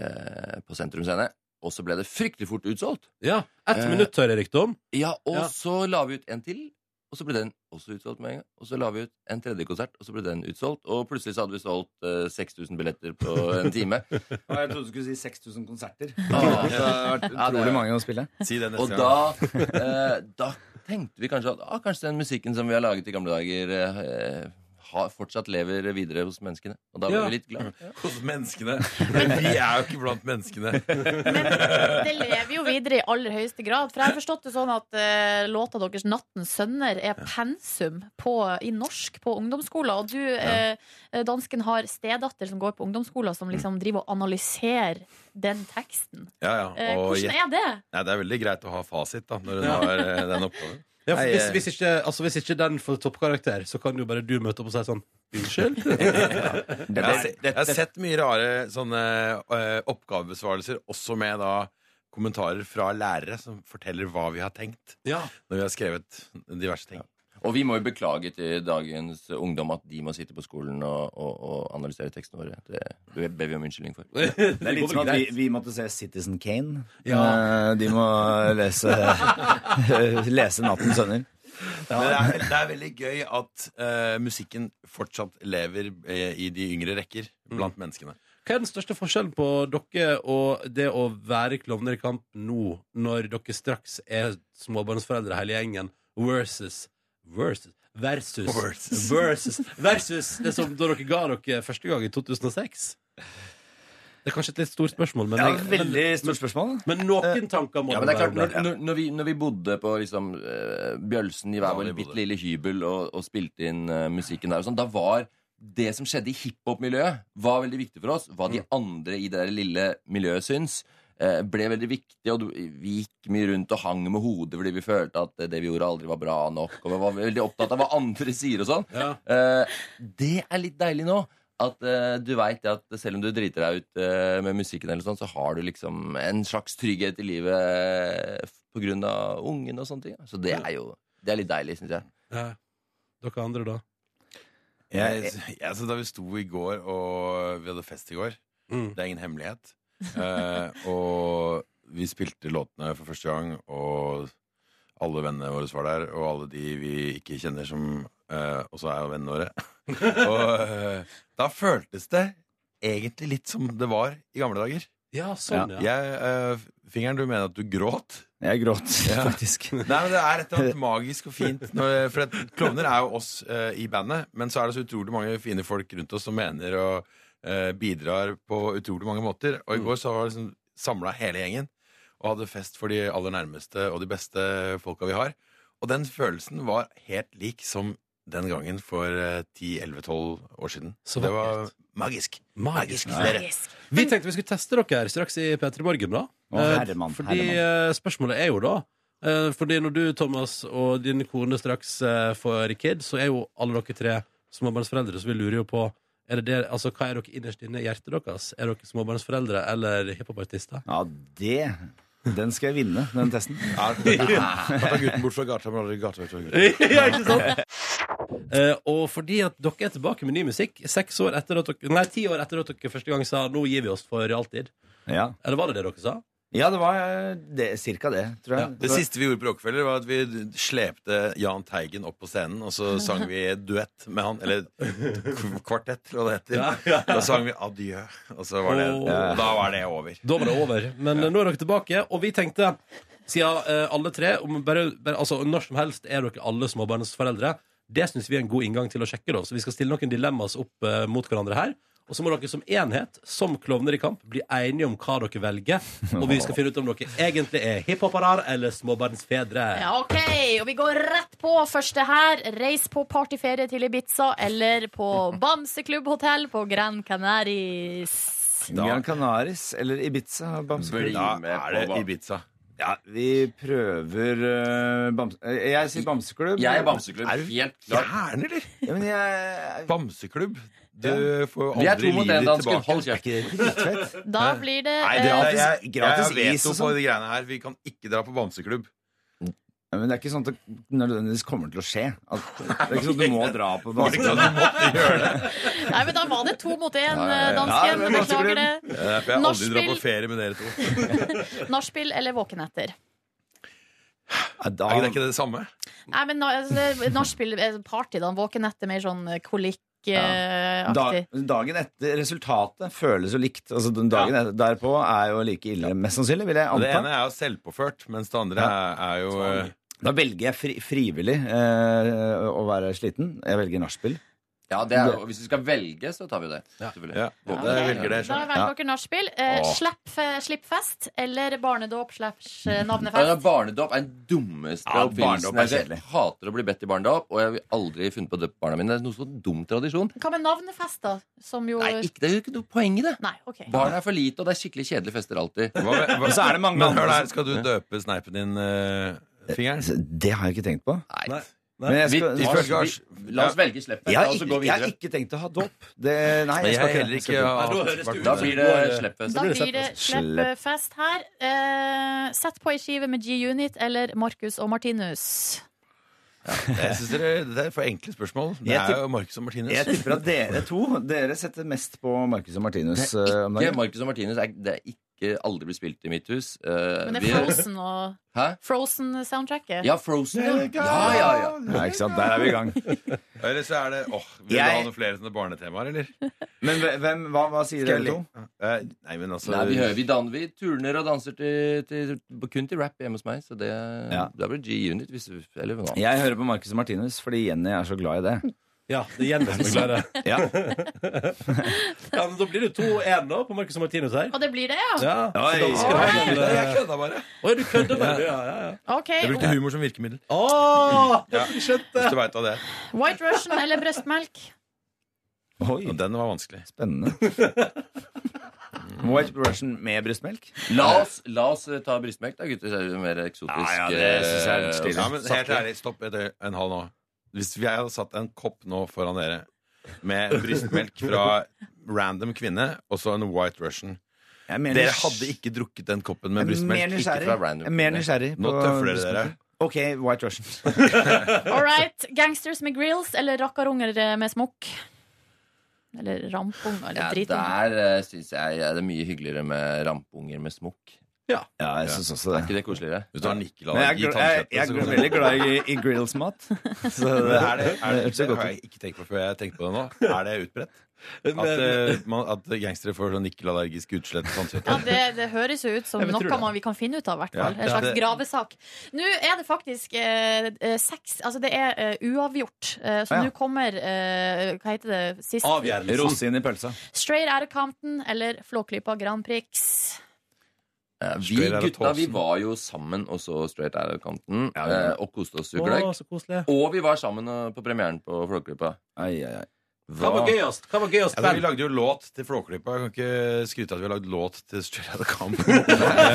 Speaker 8: eh, på Sentrum Scene. Og så ble det fryktelig fort utsolgt.
Speaker 2: ja. Ett
Speaker 8: Eh,
Speaker 2: minutt hører jeg riktig om.
Speaker 8: Ja, og
Speaker 2: Ja.
Speaker 8: så la vi ut en til, og så ble den også utsolgt med en gang. Og så la vi ut en tredje konsert, og så ble den utsolgt. Og plutselig så hadde vi solgt eh, 6000 billetter på en time.
Speaker 7: Og jeg trodde du skulle si 6000 konserter.
Speaker 8: Ah.
Speaker 7: Det har vært
Speaker 8: Ja, det-
Speaker 7: utrolig mange.
Speaker 11: å spille.
Speaker 10: Si det
Speaker 8: Og
Speaker 10: neste gang.
Speaker 8: da, eh, da tenkte vi kanskje at ah, kanskje den musikken som vi har laget i gamle dager, eh, har, fortsatt lever videre hos menneskene. Og da ble
Speaker 2: Ja.
Speaker 8: vi litt glad.
Speaker 10: Hos menneskene. Men vi er jo ikke blant menneskene.
Speaker 3: Eh, Men det lever jo videre i aller høyeste grad. For jeg har forstått det sånn at eh, låta deres 'Nattens sønner' er pensum på, i norsk på ungdomsskoler. Og du, eh, dansken, har stedatter som går på ungdomsskoler, som
Speaker 9: Mm.
Speaker 3: liksom driver og analyserer den teksten.
Speaker 10: Ja, ja.
Speaker 3: Eh,
Speaker 10: Og,
Speaker 3: hvordan
Speaker 10: ja.
Speaker 3: er det?
Speaker 10: Nei, det er veldig greit å ha fasit da, når hun har eh, den oppgaven.
Speaker 2: Ja, for
Speaker 10: Nei,
Speaker 2: hvis,
Speaker 10: eh,
Speaker 2: hvis, ikke, altså hvis ikke den får toppkarakter, så kan jo bare du møte opp og si sånn Unnskyld?
Speaker 10: Jeg har, se- jeg har sett mye rare sånne eh, oppgavebesvarelser, også med da kommentarer fra lærere som forteller hva vi har tenkt
Speaker 2: Ja.
Speaker 10: når vi har skrevet diverse ting.
Speaker 8: Og vi må jo beklage til dagens ungdom at de må sitte på skolen og, og, og analysere tekstene våre. Det, det ber vi om unnskyldning for.
Speaker 2: Det sånn
Speaker 7: Det er
Speaker 2: går
Speaker 7: litt
Speaker 2: vel
Speaker 9: sånn
Speaker 7: som at vi,
Speaker 2: greit.
Speaker 7: vi måtte se Citizen Kane.
Speaker 2: Ja.
Speaker 11: Eh, De må lese Lese 'Nattens sønner'.
Speaker 10: Men det er, det er veldig gøy at eh, musikken fortsatt lever eh, i de yngre rekker blant menneskene.
Speaker 2: Hva er den største forskjellen på dere og det å være klovner i kamp nå, når dere straks er småbarnsforeldre hele gjengen, versus versus versus versus,
Speaker 10: Versus.
Speaker 2: versus, det som da dere ga dere første gang i 2006? Det er kanskje et litt stort spørsmål, men,
Speaker 11: Ja,
Speaker 2: men,
Speaker 11: veldig stort spørsmål.
Speaker 2: men noen tanker må
Speaker 8: Ja, men
Speaker 2: det
Speaker 8: det er
Speaker 2: være.
Speaker 8: klart,
Speaker 2: om det.
Speaker 8: når, når, når, vi, når vi bodde på liksom, eh, Bjølsen i hver
Speaker 10: Ja,
Speaker 8: vår
Speaker 10: vi bodde.
Speaker 8: bitte lille hybel og, og spilte inn eh, musikken der, og sånn, da var det som skjedde i hiphop-miljøet, var veldig viktig for oss. Hva de
Speaker 10: Mm.
Speaker 8: andre i det der lille miljøet syns, eh, ble veldig viktig. Og du, vi gikk mye rundt og hang med hodet fordi vi følte at det vi gjorde, aldri var bra nok. Og vi var veldig opptatt av hva andre sier og sånn.
Speaker 2: Ja.
Speaker 8: Eh, det er litt deilig nå. At eh, du veit at selv om du driter deg ut eh, med musikken, eller sånn, så har du liksom en slags trygghet i livet eh, på grunn av ungen og sånne ting. Så det er jo det er litt deilig, syns jeg.
Speaker 2: Ja. Dere andre, da?
Speaker 10: Jeg, jeg, så da vi sto i går, og vi hadde fest i går
Speaker 2: Mm.
Speaker 10: Det er ingen hemmelighet. Eh, og vi spilte låtene for første gang, og alle vennene våre var der, og alle de vi ikke kjenner som eh, også er vennene våre. og eh, da føltes det egentlig litt som det var i gamle dager.
Speaker 2: Ja, sånn, ja.
Speaker 10: Jeg, eh, fingeren, du mener at du gråt?
Speaker 11: Jeg gråt, faktisk.
Speaker 10: Nei, men Det er et eller annet magisk og fint. Når, for at Klovner er jo oss eh, i bandet, men så er det så utrolig mange fine folk rundt oss som mener og eh, bidrar på utrolig mange måter. Og i
Speaker 2: Mm.
Speaker 10: går så var det liksom samla hele gjengen og hadde fest for de aller nærmeste og de beste folka vi har. Og den følelsen var helt lik som den gangen for eh, 10-11-12 år siden.
Speaker 2: Så
Speaker 10: det var
Speaker 2: vakkert.
Speaker 10: magisk.
Speaker 2: Magisk.
Speaker 10: Dere.
Speaker 2: Vi tenkte vi skulle teste dere her straks i P3 Morgen, da.
Speaker 11: Å,
Speaker 2: Eh,
Speaker 11: herremann,
Speaker 2: fordi eh, spørsmålet er jo da eh, Fordi når du, Thomas, og din kone straks eh, får kid, så er jo alle dere tre småbarnsforeldre, så vi lurer jo på Er det det, altså, hva er dere innerst inne i hjertet deres? Er dere småbarnsforeldre eller hiphopartister?
Speaker 9: Ja, det Den skal jeg vinne, den testen.
Speaker 10: Ja, Da tar gutten bort fra gata, men aldri gata. vet du.
Speaker 2: ja, ikke sant? Eh, og fordi at dere er tilbake med ny musikk seks år etter at dere, nei, ti år etter at dere første gang sa 'nå gir vi oss for alltid'.
Speaker 9: Ja.
Speaker 2: Eller var det det dere sa?
Speaker 9: Ja, det var eh, det, cirka det, tror jeg.
Speaker 10: Det siste vi gjorde på Rockefeller, var at vi slepte Jahn Teigen opp på scenen, og så sang vi duett med han, eller k- kvartett, eller hva det heter.
Speaker 2: Ja, ja.
Speaker 10: Da sang vi adjø, og så var det,
Speaker 2: Åh.
Speaker 10: da var det over.
Speaker 2: Da var det over. Men eh, nå er dere tilbake, og vi tenkte, siden eh, alle tre om bare, bare, altså, Når som helst er dere alle småbarnsforeldre. Det syns vi er en god inngang til å sjekke. Da. Så vi skal stille noen dilemmaer opp eh, mot hverandre her. Og så må dere som enhet, som klovner i kamp, bli enige om hva dere velger. Og vi skal finne ut om dere egentlig er hiphopere eller småbarnsfedre.
Speaker 3: Ja, OK. Og vi går rett på første her. Reis på partyferie til Ibiza eller på Bamseklubbhotell på Gran Canaris.
Speaker 9: Gran Canaris eller Ibiza? Bamseklubb?
Speaker 10: Da er det Ibiza.
Speaker 9: Ja, vi prøver eh, bams... eh, Jeg sier bamseklubb.
Speaker 8: Jeg er bamseklubb.
Speaker 10: Er du
Speaker 8: Helt klart.
Speaker 10: gæren, eller?
Speaker 9: Ja, men jeg
Speaker 10: Bamseklubb? Du får jo
Speaker 8: Vi er
Speaker 10: aldri
Speaker 8: to mot én,
Speaker 10: livet ditt
Speaker 8: dansken.
Speaker 10: tilbake.
Speaker 8: Hold kjeft.
Speaker 9: Dritfett.
Speaker 3: Da blir det
Speaker 10: Nei, det
Speaker 3: eh,
Speaker 10: er,
Speaker 9: Gratis-
Speaker 10: jeg,
Speaker 9: gratis
Speaker 10: jeg
Speaker 9: is
Speaker 10: veto
Speaker 9: og
Speaker 10: på
Speaker 9: sånn.
Speaker 10: de greiene her. Vi kan ikke dra på bamseklubb.
Speaker 9: Ja, men det er ikke sånn at det nødvendigvis kommer til å skje. At, det er ikke sånn at du må dra på
Speaker 10: Var det ikke sånn du måtte gjøre det?
Speaker 3: Nei, men da var det to mot én,
Speaker 8: Ja, ja, ja.
Speaker 9: Ja,
Speaker 3: dansken.
Speaker 9: men
Speaker 3: Beklager
Speaker 9: Bamseklubb.
Speaker 3: det.
Speaker 10: Det er derfor Eh, jeg aldri drar på
Speaker 3: Nachspiel.
Speaker 10: ferie med dere to.
Speaker 3: Nachspiel eller våkenetter?
Speaker 9: Ja, da,
Speaker 10: Er det ikke det samme?
Speaker 3: Nei, men na- altså, nachspiel er party, da. Våkenetter mer sånn eh,
Speaker 9: da,
Speaker 3: kolikk-aktig.
Speaker 9: dagen etter Resultatet føles jo likt. Altså, den dagen etter, derpå er jo like ille, mest sannsynlig, vil jeg
Speaker 10: Og Det
Speaker 9: anta.
Speaker 10: ene er jo selvpåført, mens det andre er, er jo eh,
Speaker 9: Da velger jeg fri, frivillig eh, å være sliten. Jeg velger nachspiel.
Speaker 8: Ja, det er, og hvis vi skal velge, så tar vi det. selvfølgelig.
Speaker 10: Ja,
Speaker 8: Våpen.
Speaker 10: det velger det
Speaker 3: Da
Speaker 10: selv.
Speaker 3: velger dere nachspiel. Eh,
Speaker 10: Åh.
Speaker 3: slipp, fe- slipp fest eller barnedåp slash eh,
Speaker 8: Ja, det er
Speaker 3: navnefest.
Speaker 8: Barnedåp er den dummeste
Speaker 10: Ja,
Speaker 8: oppfinnelsen.
Speaker 10: barnedåp er
Speaker 8: Jeg hater å bli bedt i barnedåp, og jeg vil aldri funnet på å døpe barna mine. Det er noe så dum tradisjon.
Speaker 3: Hva med navnefest, da? Som jo
Speaker 8: Nei, ikke, det er jo ikke noe poeng i det.
Speaker 3: Nei, OK.
Speaker 8: Barn er for lite, og det er skikkelig kjedelige fester alltid.
Speaker 10: Hva, med- hva,
Speaker 9: Og så er det mange
Speaker 10: men hør
Speaker 9: andre
Speaker 10: der, skal du døpe sneipen din, eh, fingeren?
Speaker 9: Det har jeg ikke tenkt på.
Speaker 8: Nei.
Speaker 9: Men jeg
Speaker 8: Vi,
Speaker 9: skal,
Speaker 8: vi,
Speaker 10: ifølge Lars-
Speaker 8: vi, la oss velge sleppet,
Speaker 9: Jeg har,
Speaker 8: og så gå
Speaker 9: ikke, jeg har
Speaker 8: videre.
Speaker 9: ikke tenkt å ha dåp. Det- Nei,
Speaker 10: Nei,
Speaker 9: jeg
Speaker 10: jeg
Speaker 9: skal
Speaker 10: har heller ikke
Speaker 2: Nei, da
Speaker 10: hatt
Speaker 2: høres det ut
Speaker 8: Da
Speaker 10: barnedåp.
Speaker 8: blir det sleppfest.
Speaker 3: Da blir det
Speaker 9: Slipp.
Speaker 3: sleppfest her. Eh, sett på ei skive med G-Unit eller Marcus og Martinus.
Speaker 10: Jeg synes dere, det er for enkle spørsmål. Det
Speaker 9: Jeg
Speaker 10: er
Speaker 9: tipper-
Speaker 10: jo Marcus og
Speaker 9: Jeg
Speaker 10: Martinus.
Speaker 9: tipper at dere to Dere setter mest på Marcus og Martinus eh, om
Speaker 8: Ikke
Speaker 9: dagen.
Speaker 8: Marcus og Martinus er, det er ikke aldri blitt spilt i mitt hus. Eh,
Speaker 3: Men det
Speaker 8: vi-
Speaker 3: er Frozen og
Speaker 8: Hæ?
Speaker 3: Frozen-soundtracket.
Speaker 8: Ja, Frozen, ja. Ja, ja, ja.
Speaker 9: Ja, ikke sant? Der er vi i gang.
Speaker 10: Eller så er det åh, Vil du
Speaker 9: Jeg-
Speaker 10: ha noen flere sånne barnetemaer, eller?
Speaker 9: Men hve- hvem, hva, hva sier dere to?
Speaker 10: Eh, Nei, men altså
Speaker 8: Nei, vi, hører, vi, dan, vi turner og danser til, til, kun til rap hjemme hos meg, så det,
Speaker 9: Ja.
Speaker 8: da blir det G-unit. Hvis, eller noe annet.
Speaker 9: Jeg hører på Marcus og Martinus fordi Jenny er så glad i det.
Speaker 2: Ja, det gjelder som klarer det.
Speaker 9: Ja,
Speaker 2: Ja, men da blir det 2-1 nå på Marcus og Martinus her.
Speaker 3: Og det blir det, ja?
Speaker 2: Ja, så
Speaker 9: Oi.
Speaker 2: da skal vi ha en,
Speaker 10: Jeg
Speaker 2: eh,
Speaker 10: kødda bare.
Speaker 2: Oi, du kødder bare, du. Ja, ja, ja.
Speaker 3: OK.
Speaker 10: Jeg brukte humor som virkemiddel.
Speaker 2: Åh,
Speaker 10: Ja.
Speaker 2: skjønte.
Speaker 10: Hvis du vet hva det er.
Speaker 3: White Russian eller brøstmelk?
Speaker 9: Oi,
Speaker 10: Og den var vanskelig.
Speaker 9: spennende. White Russian med brystmelk?
Speaker 8: La oss, la oss eh, ta brystmelk, da, gutter. så er Det jo mer eksotisk.
Speaker 9: Ja, ja, det synes jeg er litt
Speaker 8: eh,
Speaker 9: stilig.
Speaker 10: Ja, men helt
Speaker 8: saklig.
Speaker 10: ærlig, stopp et øy- en halv nå. Hvis jeg hadde satt en kopp nå foran dere med brystmelk fra random kvinne og så en white russian
Speaker 9: Jeg er mer
Speaker 10: Dere
Speaker 9: nysg-
Speaker 10: hadde ikke drukket den koppen
Speaker 9: Jeg
Speaker 10: med
Speaker 9: er mer
Speaker 10: brystmelk.
Speaker 9: nysgjerrig.
Speaker 8: fra random
Speaker 9: Jeg er mer nysgjerrig
Speaker 10: Nå
Speaker 9: på
Speaker 10: tøffer dere dere.
Speaker 9: brystmelk. OK, White Russian.
Speaker 3: All right. Gangsters med grills eller rakkarunger eh, med smokk? Eller rampunger
Speaker 8: Ja,
Speaker 3: eller dritunger?
Speaker 8: der uh, syns jeg eh, det er mye hyggeligere med rampunger med smokk.
Speaker 9: Ja, jeg synes også det.
Speaker 8: Er ikke det koseligere?
Speaker 10: Hvis du har
Speaker 9: Men jeg, er
Speaker 10: nikkelallergi i
Speaker 9: gl- jeg, jeg
Speaker 10: tannkjøttet, så
Speaker 9: er
Speaker 10: kan
Speaker 9: gl-
Speaker 10: du-
Speaker 9: veldig glad i, i grillsmat. Så det
Speaker 10: er det, er det,
Speaker 9: hørtes jo
Speaker 10: det
Speaker 9: godt
Speaker 10: har
Speaker 9: ut.
Speaker 10: jeg ikke tenkt på før jeg tenkte på det nå. Er det utbredt? At, eh, man, at gangstere får sånn nikkelallergisk utslett i tannkjøttet?
Speaker 3: Ja, det, det høres jo ut som
Speaker 2: Jeg vil tro
Speaker 3: noe
Speaker 2: det.
Speaker 3: man vi kan finne ut av, i hvert
Speaker 10: Ja,
Speaker 3: fall. En
Speaker 10: ja,
Speaker 3: slags
Speaker 10: det-
Speaker 3: gravesak. Nå er det faktisk eh, eh, seks Altså, det er eh, uavgjort. Eh, så
Speaker 9: Ah, ja.
Speaker 3: nå kommer eh, Hva heter det sist?
Speaker 2: Avgjørelsen.
Speaker 9: Rosin i pølsa.
Speaker 3: Straight Out of Compton eller Flåklypa Grand Prix.
Speaker 8: Eh, vi
Speaker 10: Straight Outta
Speaker 8: gutta vi
Speaker 10: Tåsen.
Speaker 8: var jo sammen og så Straight Out of Compton
Speaker 9: Ja, ja.
Speaker 8: eh, og koste oss jo
Speaker 2: Å,
Speaker 8: gløgg.
Speaker 2: så koselig.
Speaker 8: Og vi var sammen eh, på premieren på Flåklypa.
Speaker 9: Ai, ai, ai.
Speaker 2: Hva var gøyest? Hva var gøyest
Speaker 10: Ja, da,
Speaker 2: band?
Speaker 10: Altså, vi lagde jo låt til Flåklypa. Jeg kan ikke skryte av at vi har lagd låt til Straight Outta Compton.
Speaker 2: Det
Speaker 10: Eh, men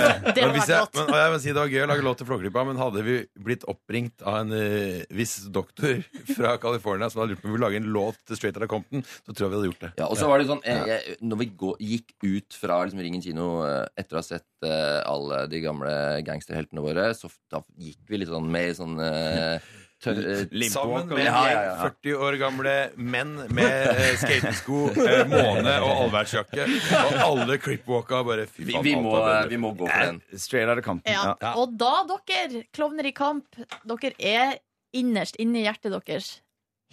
Speaker 2: var
Speaker 10: hvis jeg,
Speaker 2: godt.
Speaker 10: men, og jeg vil si det var gøy å lage låt til Flåklypa, men hadde vi blitt oppringt av en eh, viss doktor fra California som hadde lurt på om vi ville lage en låt til Straight Outta Compton, så tror jeg vi hadde gjort det.
Speaker 8: Ja, og så var det sånn jeg, jeg, Når vi gå, gikk ut fra liksom, Ringen kino eh, etter å ha sett eh, alle de gamle gangsterheltene våre, så f- da gikk vi litt sånn mer i sånn eh, tørr- eh,
Speaker 10: Sammen med
Speaker 8: ja, ja, ja.
Speaker 10: 40 år gamle menn med eh, skatesko, eh, måne og allværsjakke. Og alle clipwalka bare fy
Speaker 8: Vi-
Speaker 10: faen,
Speaker 8: vi
Speaker 10: alt
Speaker 8: må- eh,
Speaker 10: er bedre.
Speaker 8: vi må gå for den.
Speaker 11: Straight out of Compton.
Speaker 3: Ja. Og da, dere, klovner i kamp, dere er innerst inni hjertet deres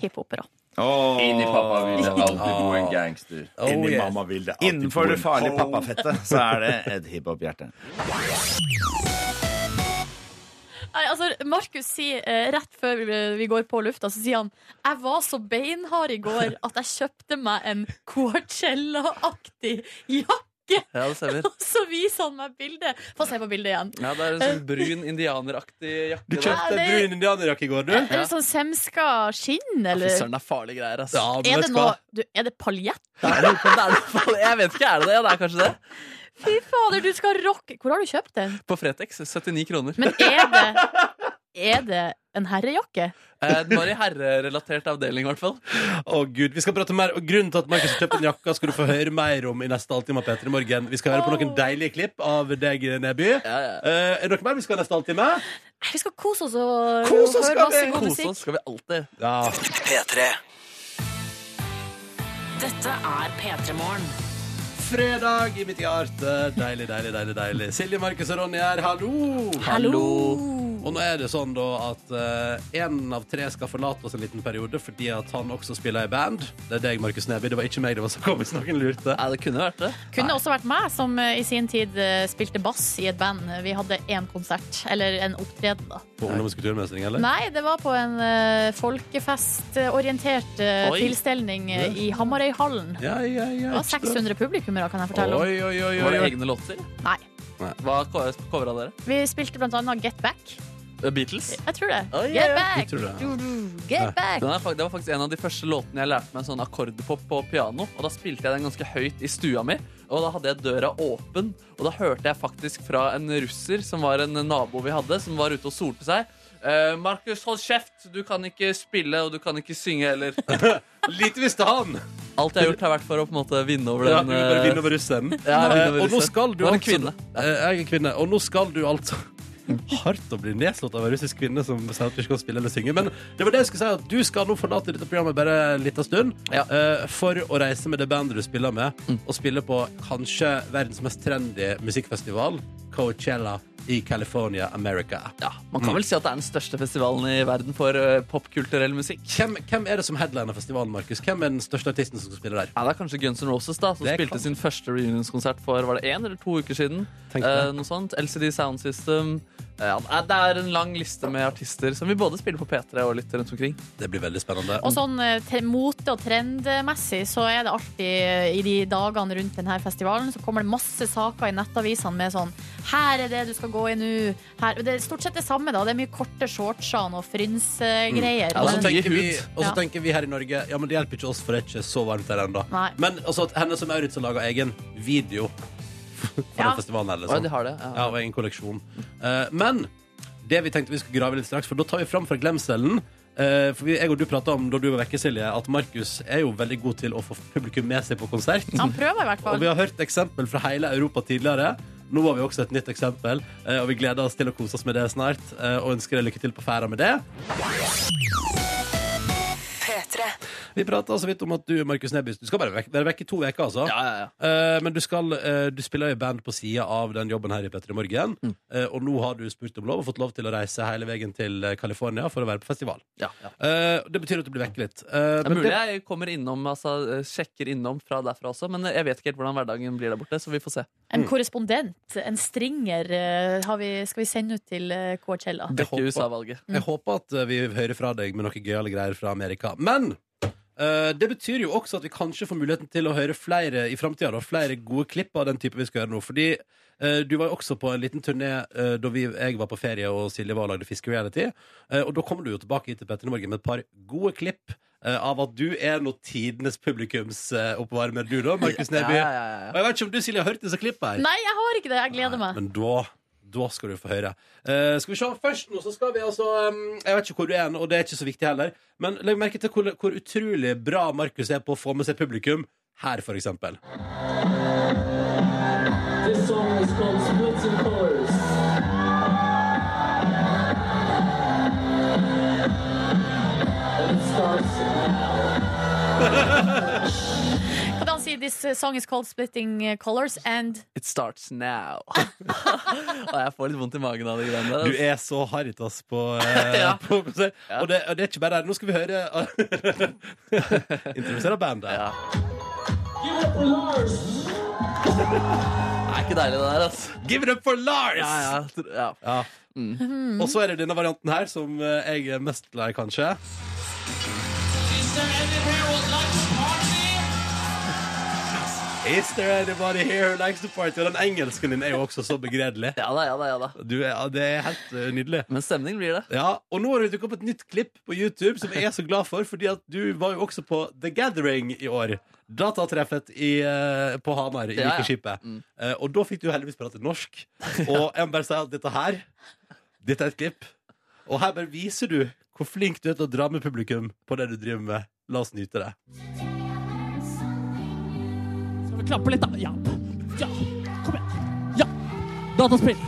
Speaker 3: hiphopere.
Speaker 11: Åh.
Speaker 8: Inni pappa vil det alltid bo en gangster.
Speaker 11: Oh, Inni yes. mamma
Speaker 10: vil det
Speaker 11: Innenfor det farlige pappafettet så er det et hiphop-hjerte.
Speaker 3: Nei, altså, Markus sier eh, rett før vi, vi går på lufta, så sier han Jeg var så beinhard i går at jeg kjøpte meg en Coachella-aktig jakke.
Speaker 4: Ja, det stemmer.
Speaker 3: Og så viser han meg bildet. Få se på bildet igjen.
Speaker 4: Ja, det er en sånn brun indianeraktig jakke.
Speaker 3: Du kjøpte
Speaker 4: der.
Speaker 3: en brun
Speaker 2: indianerjakke i går, du?
Speaker 3: Er det sånn semska skinn, eller?
Speaker 4: Søren, det er farlige greier, ass.
Speaker 3: er det noe du, Er det paljett?
Speaker 4: Er det, det er det, farlig? jeg vet ikke, er det det? Ja, det er kanskje det.
Speaker 3: Fy fader, du skal rocke Hvor har du kjøpt den?
Speaker 4: På Fretex. 79 kroner.
Speaker 3: Men er det Er det en herrejakke?
Speaker 4: Eh, det var i herrerelatert avdeling, i hvert fall.
Speaker 2: Å gud, vi skal prate mer Og grunnen til at Markus har kjøpt den jakka Skal du få høre mer om i neste halvtime av Peter i morgen Vi skal høre på noen deilige klipp av deg, Neby Eh, Er det noe mer vi skal ha neste halvtime?
Speaker 3: Nei, Vi skal kose oss og
Speaker 2: Kos oss
Speaker 3: høre
Speaker 2: skal
Speaker 3: masse
Speaker 2: vi!
Speaker 3: god
Speaker 2: Kos
Speaker 3: musikk.
Speaker 4: oss skal vi alltid
Speaker 2: Ja
Speaker 12: P3. Dette er P3 Morgen.
Speaker 2: Fredag i mitt hjerte Deilig, deilig, deilig, deilig Silje, Markus og Ronny her, hallo
Speaker 12: Hallo.
Speaker 2: Og nå er det sånn da at eh, En av tre skal forlate oss en liten periode Fordi at han også spiller i band Det er deg, Markus Neby, det var ikke meg det var som kom hvis noen lurte
Speaker 4: Nei, det kunne vært det
Speaker 3: Kunne også vært meg, som eh, i sin tid eh, spilte bass i et band. Vi hadde én konsert, eller en opptreden, da.
Speaker 2: På ungdomskulturmestring, eller?
Speaker 3: Nei, det var på en eh, folkefestorientert eh,
Speaker 2: Oi.
Speaker 3: tilstelning eh, i Hamarøyhallen.
Speaker 2: Ja, ja, ja,
Speaker 3: det var 600 publikummere, kan jeg fortelle om.
Speaker 2: Oi, oi, oi,
Speaker 4: Var det
Speaker 2: oi.
Speaker 4: egne låter?
Speaker 3: Nei.
Speaker 4: Hva covra dere?
Speaker 3: Vi spilte blant annet Get Back.
Speaker 4: The Beatles?
Speaker 3: Jeg tror det.
Speaker 4: Oi,
Speaker 3: Get
Speaker 4: ja, ja.
Speaker 3: back!
Speaker 4: Jeg tror det, ja.
Speaker 3: Du, du, Get back!
Speaker 4: Den er, fak- det var faktisk en av de første låtene jeg lærte meg sånn akkordpop på piano. Og da spilte jeg den ganske høyt i stua mi, og da hadde jeg døra åpen. Og da hørte jeg faktisk fra en russer, som var en nabo vi hadde, som var ute og solte seg. Eh, Markus, hold kjeft! Du kan ikke spille, og du kan ikke synge heller.
Speaker 2: Lite visste han!
Speaker 4: Alt jeg har gjort, har vært for å på en måte vinne over
Speaker 2: Ja, du
Speaker 4: den
Speaker 2: vil bare
Speaker 4: eh,
Speaker 2: vinne over russeren.
Speaker 4: Ja, jeg vil vinne
Speaker 2: Eh, og
Speaker 4: over
Speaker 2: nå
Speaker 4: russeren.
Speaker 2: skal du
Speaker 4: Nå er det
Speaker 2: altså
Speaker 4: kvinne.
Speaker 2: Eh, Jeg er kvinne. Og nå skal du altså Hardt å bli nedslått av en russisk kvinne som sier at du ikke kan spille eller synge. Men det var det jeg skulle si, at du skal nå forlate dette programmet bare en liten stund eh, for å reise med det bandet du spiller med,
Speaker 4: Mm.
Speaker 2: og spille på kanskje verdens mest trendy musikkfestival, Coachella i California, America.
Speaker 4: Man
Speaker 2: Mm.
Speaker 4: kan vel si at det er den største festivalen i verden for eh, popkulturell musikk.
Speaker 2: Hvem, hvem er det som headliner festivalen, Markus? Hvem er den største artisten som skal spille der?
Speaker 4: Ja, det er kanskje Guns N' Roses da, som
Speaker 2: Det
Speaker 4: spilte
Speaker 2: kan-
Speaker 4: sin første reunionskonsert for var det en eller to uker siden.
Speaker 2: Tenk på
Speaker 4: Eh,
Speaker 2: det.
Speaker 4: noe sånt. LCD Sound System. Eh, Ja, det er- det er en lang liste med artister som vi både spiller på P3 og litt rundt omkring.
Speaker 2: Det blir veldig spennende.
Speaker 3: Og sånn eh, tre, mote- og trendmessig så er det alltid eh, i de dagene rundt denne festivalen så kommer det masse saker i nettavisene med sånn Her er det du skal gå i nå. Her Det er stort sett det samme, da. Det er mye korte shortser og frynsegreier.
Speaker 2: Og så
Speaker 3: Men-
Speaker 2: tenker, vi, og så
Speaker 3: Ja.
Speaker 2: tenker vi her i Norge Ja, men det hjelper ikke oss, for det er ikke så varmt her ennå.
Speaker 3: Nei.
Speaker 2: Men altså at henne som Maurits har laga egen video for
Speaker 4: Ja.
Speaker 2: den festivalen her, liksom.
Speaker 4: Å, de har det, ja.
Speaker 2: og egen kolleksjon. Eh, men det vi tenkte vi skulle grave litt straks, for da tar vi fram fra glemselen. eh, for vi, jeg og du prata om da du var vekke, Silje, at Markus er jo veldig god til å få publikum med seg på konsert.
Speaker 3: Han prøver i hvert
Speaker 2: Og vi
Speaker 3: fall.
Speaker 2: har hørt eksempel fra hele Europa tidligere. Nå har vi også et nytt eksempel, eh, og vi gleder oss til å kose oss med det snart. eh, Og ønsker deg lykke til på ferda med det. Vi prata så vidt om at du Markus Nebys, du skal bare vekk, være vekk i to uker, altså. Eh, men du, skal, eh, du spiller jo i band på sida av den jobben her i Petter i morgen.
Speaker 4: Mm.
Speaker 2: Eh, og nå har du spurt om lov og fått lov til å reise hele veien til eh, California for å være på festival. Eh, det betyr at du blir vekk litt. Eh,
Speaker 4: Det er
Speaker 2: men
Speaker 4: mulig
Speaker 2: det-
Speaker 4: jeg kommer innom, altså eh, sjekker innom fra derfra også, men eh, jeg vet ikke helt hvordan hverdagen blir der borte, så vi får se.
Speaker 3: En korrespondent, en stringer, eh, har vi, skal vi sende ut til eh, Coachella.
Speaker 2: Jeg håper-
Speaker 4: Mm.
Speaker 2: Jeg håper at eh, vi hører fra deg med noe gøyale greier fra Amerika. Men eh, det betyr jo også at vi kanskje får muligheten til å høre flere i framtida. Flere gode klipp av den type vi skal høre nå. Fordi eh, du var jo også på en liten turné eh, da vi, jeg var på Eh, ferie og Silje var og lagde Fiskereality. Uh, og da kommer du jo tilbake hit til Petter i Morgen med et par gode klipp. eh, av at du er nå tidenes publikumsoppvarmer, du da, Markus
Speaker 4: Ja,
Speaker 2: Neby.
Speaker 4: ja, ja, ja.
Speaker 2: Og jeg vet ikke om du, Silje, har hørt disse klippene her?
Speaker 3: Nei, jeg har ikke det. Jeg gleder meg.
Speaker 2: Men da, da skal du få høre. Eh, skal vi se, Først nå så skal vi altså ehm, Jeg vet ikke hvor du er, nå, og det er ikke så viktig heller. Men legg merke til hvor, hvor utrolig bra Markus er på å få med seg publikum her, for eksempel.
Speaker 12: This song is called Splits and Colors. And it starts
Speaker 3: Hva kan han si? This eh, song is called Splitting eh, Colors and
Speaker 4: It starts now. og jeg får litt vondt i magen av de greiene der. altså.
Speaker 2: Du er så harritas på, eh,
Speaker 4: Ja.
Speaker 2: på på- og, det, og det er ikke bare det. Nå skal vi høre Introdusere bandet.
Speaker 12: Give it up for Lars!
Speaker 4: Det er ikke deilig, det der, altså. ass.
Speaker 2: Give it up for Lars!
Speaker 4: Ja, ja, jeg tror- ja.
Speaker 2: Ja. Og så er det denne varianten her, som eh, jeg er mest glad i, kanskje. Is there anybody here who likes to party? Og den engelsken din er jo også så begredelig.
Speaker 4: ja da, ja da, ja da.
Speaker 2: Du er, ja, det er helt eh, nydelig.
Speaker 4: Men stemning blir det.
Speaker 2: Ja, Og nå har det dukket opp et nytt klipp på YouTube som jeg er så glad for, fordi at du var jo også på The Gathering i år. Datatreffet i, eh, på Hamar i
Speaker 4: Ja, ja.
Speaker 2: Vikeskipet. Eh, og da fikk du heldigvis prate norsk. Og jeg må bare si at dette her Dette er et klipp. Og her bare viser du hvor flink du er til å dra med publikum på det du driver med. La oss nyte det.
Speaker 12: Skal vi klappe litt, da? Ja. ja. Kom igjen. Ja. Dataspill.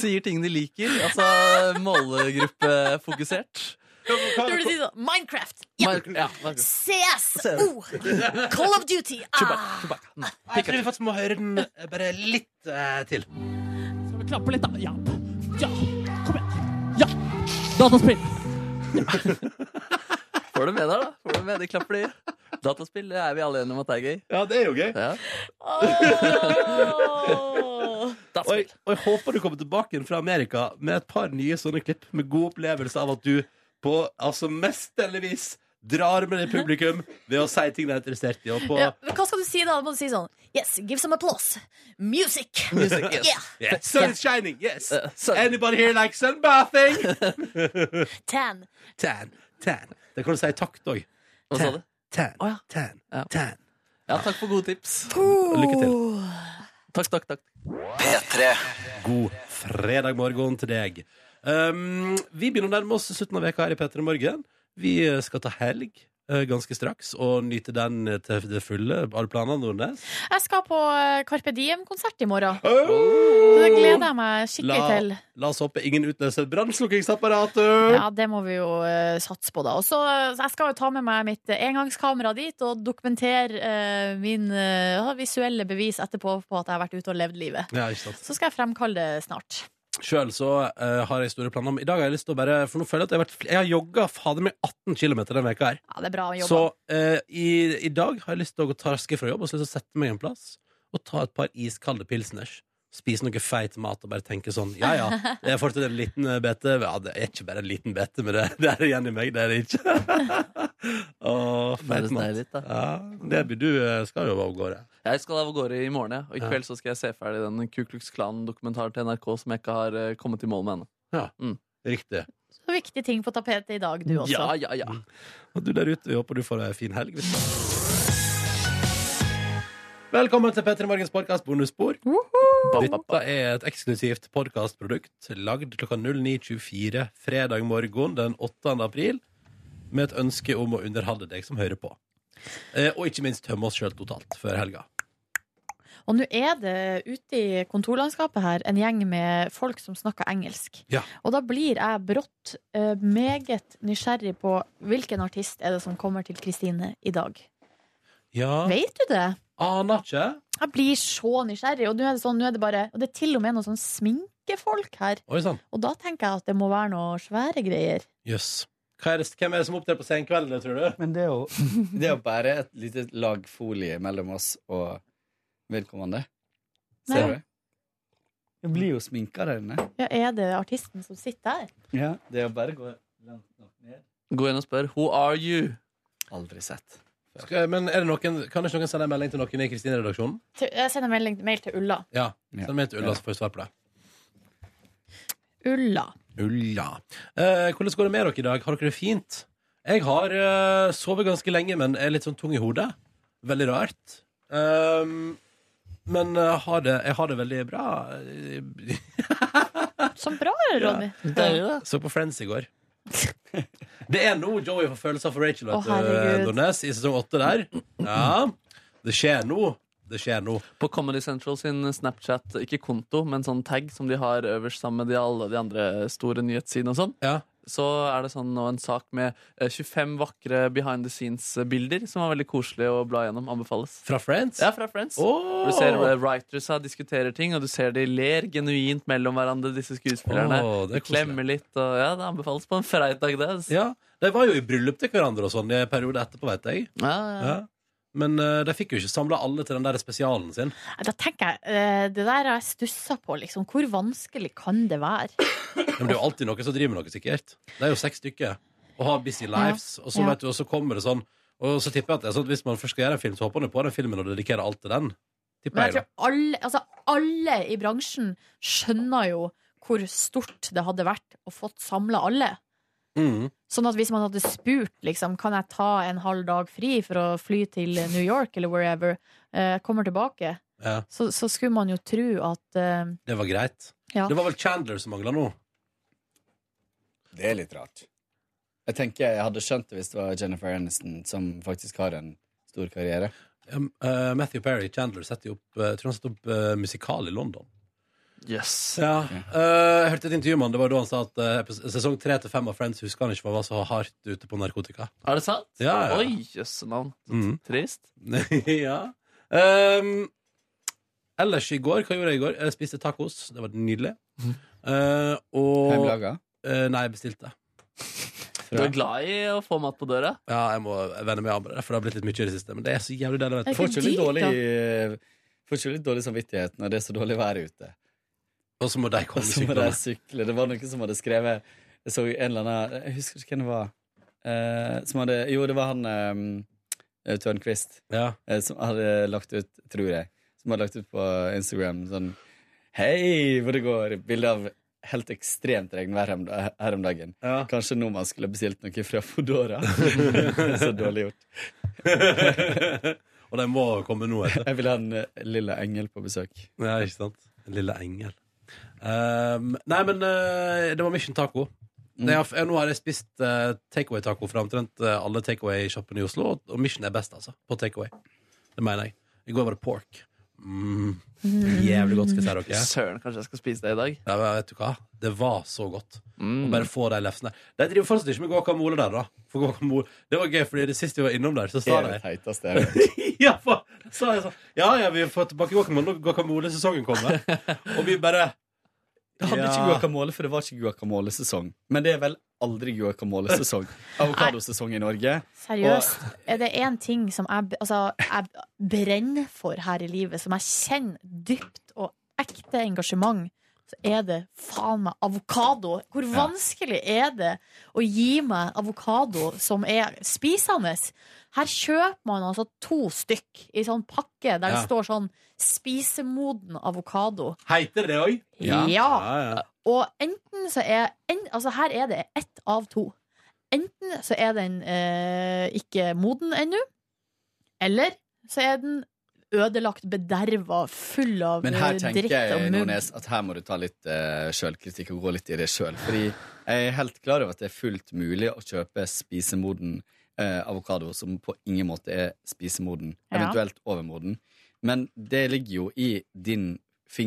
Speaker 4: Sier ting de liker. Altså målegruppefokusert.
Speaker 3: Du burde si sånn Minecraft. Ja.
Speaker 4: Mar- Ja, Markus.
Speaker 3: CSO. Call of Duty. Ah.
Speaker 2: Jeg tror vi faktisk må høre den bare litt til.
Speaker 12: Skal vi klappe litt, da? Ja. ja. Kom igjen. Ja. Dataspill.
Speaker 4: Får du med der, da? Får du med? De klapper, de. Dataspill det er vi alle enige om at det er gøy.
Speaker 2: Ja, det er jo gøy.
Speaker 4: Ja.
Speaker 3: Åh.
Speaker 2: Og jeg,
Speaker 4: Dataspill.
Speaker 2: og jeg håper du kommer tilbake igjen fra Amerika med et par nye sånne klipp med god opplevelse av at du på altså mesterligvis drar med det publikum ved å si ting de er interessert i. Og på
Speaker 3: Ja, men hva skal du si da? Da Må du si sånn Yes, give some applause. Music.
Speaker 4: Music, yes.
Speaker 3: Yeah.
Speaker 2: yeah, Sun is shining, yes!
Speaker 4: Eh, så-
Speaker 2: Anybody here like sunbathing?
Speaker 3: Tan.
Speaker 2: Tan, tan. Det kan du si i takt òg.
Speaker 4: Hva sa du?
Speaker 2: Tan,
Speaker 4: Å, ja.
Speaker 2: tan,
Speaker 4: Ja.
Speaker 2: tan.
Speaker 4: Ja, takk for gode tips.
Speaker 2: Lykke til.
Speaker 4: Takk, takk, takk.
Speaker 2: God fredag morgen til deg. Um, vi begynner å nærme oss slutten av veka her i P3 Morgen. Vi eh, skal ta helg eh, ganske straks og nyte den til det fulle. Har du planer, Nordnes?
Speaker 3: Jeg skal på eh, Carpe Diem-konsert i morgen. Så det gleder jeg meg skikkelig
Speaker 2: La-
Speaker 3: til.
Speaker 2: La oss håpe ingen utløser brannslukkingsapparatet.
Speaker 3: Ja, det må vi jo eh, satse på, da. Og så eh, jeg skal jo ta med meg mitt eh, engangskamera dit og dokumentere eh, min eh, visuelle bevis etterpå på at jeg har vært ute og levd livet.
Speaker 2: Ja, ikke sant.
Speaker 3: Så skal jeg fremkalle det snart.
Speaker 2: Sjøl så eh, har jeg store planer om I dag har jeg lyst til å bare For nå føler jeg at jeg har, vært, fl- jeg har jogga fader meg 18 km denne veka her.
Speaker 3: Ja, det er bra jobba.
Speaker 2: Så eh, i, i dag har jeg lyst til å gå tarske fra jobb og så har jeg lyst til å sette meg en plass og ta et par iskalde pilsners. Spise noe feit mat og bare tenke sånn Ja ja, det er fortsatt en liten eh, bete. Ja, det er ikke bare en liten bete, men det, det er igjen i meg. Det er det ikke. Å,
Speaker 4: Bare
Speaker 2: feit
Speaker 4: sneie
Speaker 2: mat.
Speaker 4: litt, da.
Speaker 2: Ja, Neby, du eh, skal jo av gårde.
Speaker 4: Jeg skal av av gårde i morgen, ja. og i
Speaker 2: Ja.
Speaker 4: kveld så skal jeg se ferdig den Ku Klux Klan-dokumentaren til NRK som jeg ikke har eh, kommet i mål med ennå.
Speaker 2: Riktig.
Speaker 3: Så viktig ting på tapetet i dag, du også.
Speaker 4: Ja, ja, ja.
Speaker 2: Og du der ute, vi håper du får ei en fin helg. Velkommen til P3 Morgens podkast bonusspor. Dette er et eksklusivt podkastprodukt lagd klokka 09.24 fredag morgen den 8. april med et ønske om å underholde deg som hører på. Eh, og ikke minst tømme oss sjøl totalt før helga.
Speaker 3: Og nå er det ute i kontorlandskapet her en gjeng med folk som snakker engelsk.
Speaker 2: Ja.
Speaker 3: Og da blir jeg brått eh, meget nysgjerrig på hvilken artist er det som kommer til Kristine i dag.
Speaker 2: Ja,
Speaker 3: Vet du det?
Speaker 2: aner ikke.
Speaker 3: Jeg blir så nysgjerrig, og nå er det sånn, nå er det bare Og det er til og med noen sånn sminkefolk her.
Speaker 2: Oi sann.
Speaker 3: Og da tenker jeg at det må være noe svære greier.
Speaker 2: Jøss. Hva er det- Hvem er det som opptrer på Senkveldene, tror du?
Speaker 9: Men det er jo, det er jo bare et lite lag folie mellom oss og vedkommende. Ser
Speaker 3: Nei.
Speaker 9: du? Jeg blir jo sminka der inne.
Speaker 3: Ja, er det artisten som sitter der?
Speaker 9: Ja, det er jo bare å gå langt nok ned.
Speaker 4: Gå inn og spør 'Who are you?'
Speaker 9: Aldri sett.
Speaker 2: Skal, men er det noen, Kan ikke noen sende en melding til noen i Kristine-redaksjonen?
Speaker 3: Til- Jeg sender melding, mail til Ulla.
Speaker 2: Ja.
Speaker 9: Ja.
Speaker 2: Send en melding til Ulla, så får vi svar på det.
Speaker 3: Ulla.
Speaker 2: Ulla. Eh, hvordan går det med dere i dag? Har dere det fint? Jeg har eh, sovet ganske lenge, men er litt sånn tung i hodet. Veldig rart. Ehm, men eh, har det, jeg har det veldig bra.
Speaker 3: Så bra, Ronny.
Speaker 2: Så på Friends i går. Det er nå Joey får følelser for Rachel
Speaker 3: Å,
Speaker 2: vet du,
Speaker 3: herregud.
Speaker 2: Nordnes, i sesong åtte der. Ja, det skjer nå. Det skjer nå.
Speaker 4: På Comedy Central sin Snapchat, ikke konto, men sånn tag som de har øverst sammen med de, alle de andre store nyhetssidene og sånn, så er det sånn nå en sak med eh, 25 vakre behind the scenes-bilder som var veldig koselig å bla gjennom. Anbefales.
Speaker 2: Fra Friends?
Speaker 4: Ja, fra Friends.
Speaker 2: Åh!
Speaker 4: Hvor du ser eh, writersa diskuterer ting, og du ser de ler genuint mellom hverandre, disse skuespillerne.
Speaker 2: Åh, det er
Speaker 4: de klemmer litt, og ja, det anbefales på en fredag, det. altså.
Speaker 2: Ja, De var jo i bryllup til hverandre og sånn i en periode etterpå, vet jeg.
Speaker 4: ja, ja.
Speaker 2: Men eh, de fikk jo ikke samla alle til den der spesialen sin.
Speaker 3: Da tenker jeg, eh, Det der har jeg stussa på. Liksom. Hvor vanskelig kan det være?
Speaker 2: Men det er jo alltid noen som driver med noe, sikkert. Det er jo seks stykker. Og har busy lives. Og så
Speaker 3: Ja.
Speaker 2: vet du, og så kommer det sånn. Og så tipper jeg at det er sånn at hvis man først skal gjøre en film, så håper man jo på den filmen og dedikerer alt til den. Tipper
Speaker 3: Men jeg
Speaker 2: jeg, da.
Speaker 3: tror alle, altså, alle i bransjen skjønner jo hvor stort det hadde vært å fått samla alle.
Speaker 2: Mm.
Speaker 3: Sånn at hvis man hadde spurt liksom, Kan jeg ta en halv dag fri for å fly til New York eller wherever eh, Kommer tilbake
Speaker 2: Ja.
Speaker 3: så, så skulle man jo tro at eh,
Speaker 2: Det var greit.
Speaker 3: Ja.
Speaker 2: Det var vel Chandler som mangla nå.
Speaker 9: Det er litt rart. Jeg tenker jeg hadde skjønt det hvis det var Jennifer Aniston som faktisk har en stor karriere.
Speaker 2: Um, eh, Matthew Perry, Chandler, setter jo opp, eh, tror han setter opp eh, musikal i London. Ja. eh, jeg hørte et intervju med han. Det var da han sa at eh, epis- sesong tre til fem av Friends husker han ikke for han var så hardt ute på narkotika.
Speaker 4: Er det sant?
Speaker 2: Ja, ja.
Speaker 4: Oi, jøsse navn.
Speaker 2: Mm.
Speaker 4: Trist.
Speaker 2: ja. Ehm, ellers i går, hva gjorde jeg i går? Jeg spiste tacos. Det var nydelig. Eh, og
Speaker 9: Hjemmelaga?
Speaker 2: Eh, nei, jeg bestilte.
Speaker 4: Du er glad i å få mat på døra?
Speaker 2: Ja, jeg må vende meg av med det, for det har blitt litt mye i det siste. Men det er så jævlig deilig. vet du.
Speaker 9: Får ikke litt dårlig, eh, får ikke litt dårlig samvittighet når det er så dårlig vær ute.
Speaker 2: Og så må de komme
Speaker 9: så må
Speaker 2: syklende.
Speaker 9: de sykle. Det var noen som hadde skrevet Jeg så en eller annen Jeg husker ikke hvem det var. eh, som hadde Jo, det var han eh, Tørnquist. eh, som hadde lagt ut, tror jeg, som hadde lagt ut på Instagram sånn Hei, hvor det går! Bilde av helt ekstremt regnvær her om- her om dagen. Kanskje nå man skulle bestilt noe fra Foodora. så dårlig gjort.
Speaker 2: Og de må komme nå etter.
Speaker 9: Jeg vil ha en eh, lilla engel på besøk.
Speaker 2: Ja, ikke sant? En lille engel. Ehm, nei, men eh, det var Mission Taco. Nei, jeg, har- nå har jeg spist eh, takeaway-taco fra omtrent eh, alle takeaway-sjappene i Oslo, og- og Mission er best, altså, på takeaway. Det mener jeg. I går var det pork. Mm. Jævlig godt, skal jeg si dere.
Speaker 4: Søren, kanskje jeg skal spise det i dag.
Speaker 2: Ja, men vet du hva? Det var så godt. Å bare få de lefsene. De driver fortsatt ikke med guacamole der, da. For guacamole, det var gøy, fordi det sist vi var innom der, så sa
Speaker 9: Det er
Speaker 2: de
Speaker 9: det teiteste jeg har hørt.
Speaker 2: ja, for, så jeg sånn Ja, ja, vi får tilbake guacamole når guacamole-sesongen kommer. Og vi bare
Speaker 9: Jeg hadde
Speaker 2: Ja.
Speaker 9: ikke guacamole, for det var ikke guacamolesesong. Men det er vel aldri guacamolesesong. Avokadosesong i Norge.
Speaker 3: Seriøst, er det én ting som jeg, b- altså, jeg brenner for her i livet, som jeg kjenner dypt og ekte engasjement, så er det faen meg avokado. Hvor
Speaker 13: Ja.
Speaker 3: vanskelig er det å gi meg avokado som er spisende? Her kjøper man altså to stykk i sånn pakke der det
Speaker 2: Ja.
Speaker 3: står sånn 'spisemoden avokado'.
Speaker 2: Heiter det òg?
Speaker 3: Ja.
Speaker 2: ja.
Speaker 3: Og enten så er en, Altså her er det ett av to. Enten så er den eh, ikke moden ennå, eller så er den ødelagt, bederva, full av
Speaker 9: Men her
Speaker 3: eh,
Speaker 9: tenker
Speaker 3: dritt og
Speaker 9: jeg
Speaker 3: mugg.
Speaker 9: Nordnes, at her må du ta litt uh, sjølkritikk og gå litt i det sjøl. Fordi jeg er helt klar over at det er fullt mulig å kjøpe spisemoden eh, avokado som på ingen måte er spisemoden,
Speaker 3: Ja.
Speaker 9: eventuelt overmoden. Men det ligger jo i din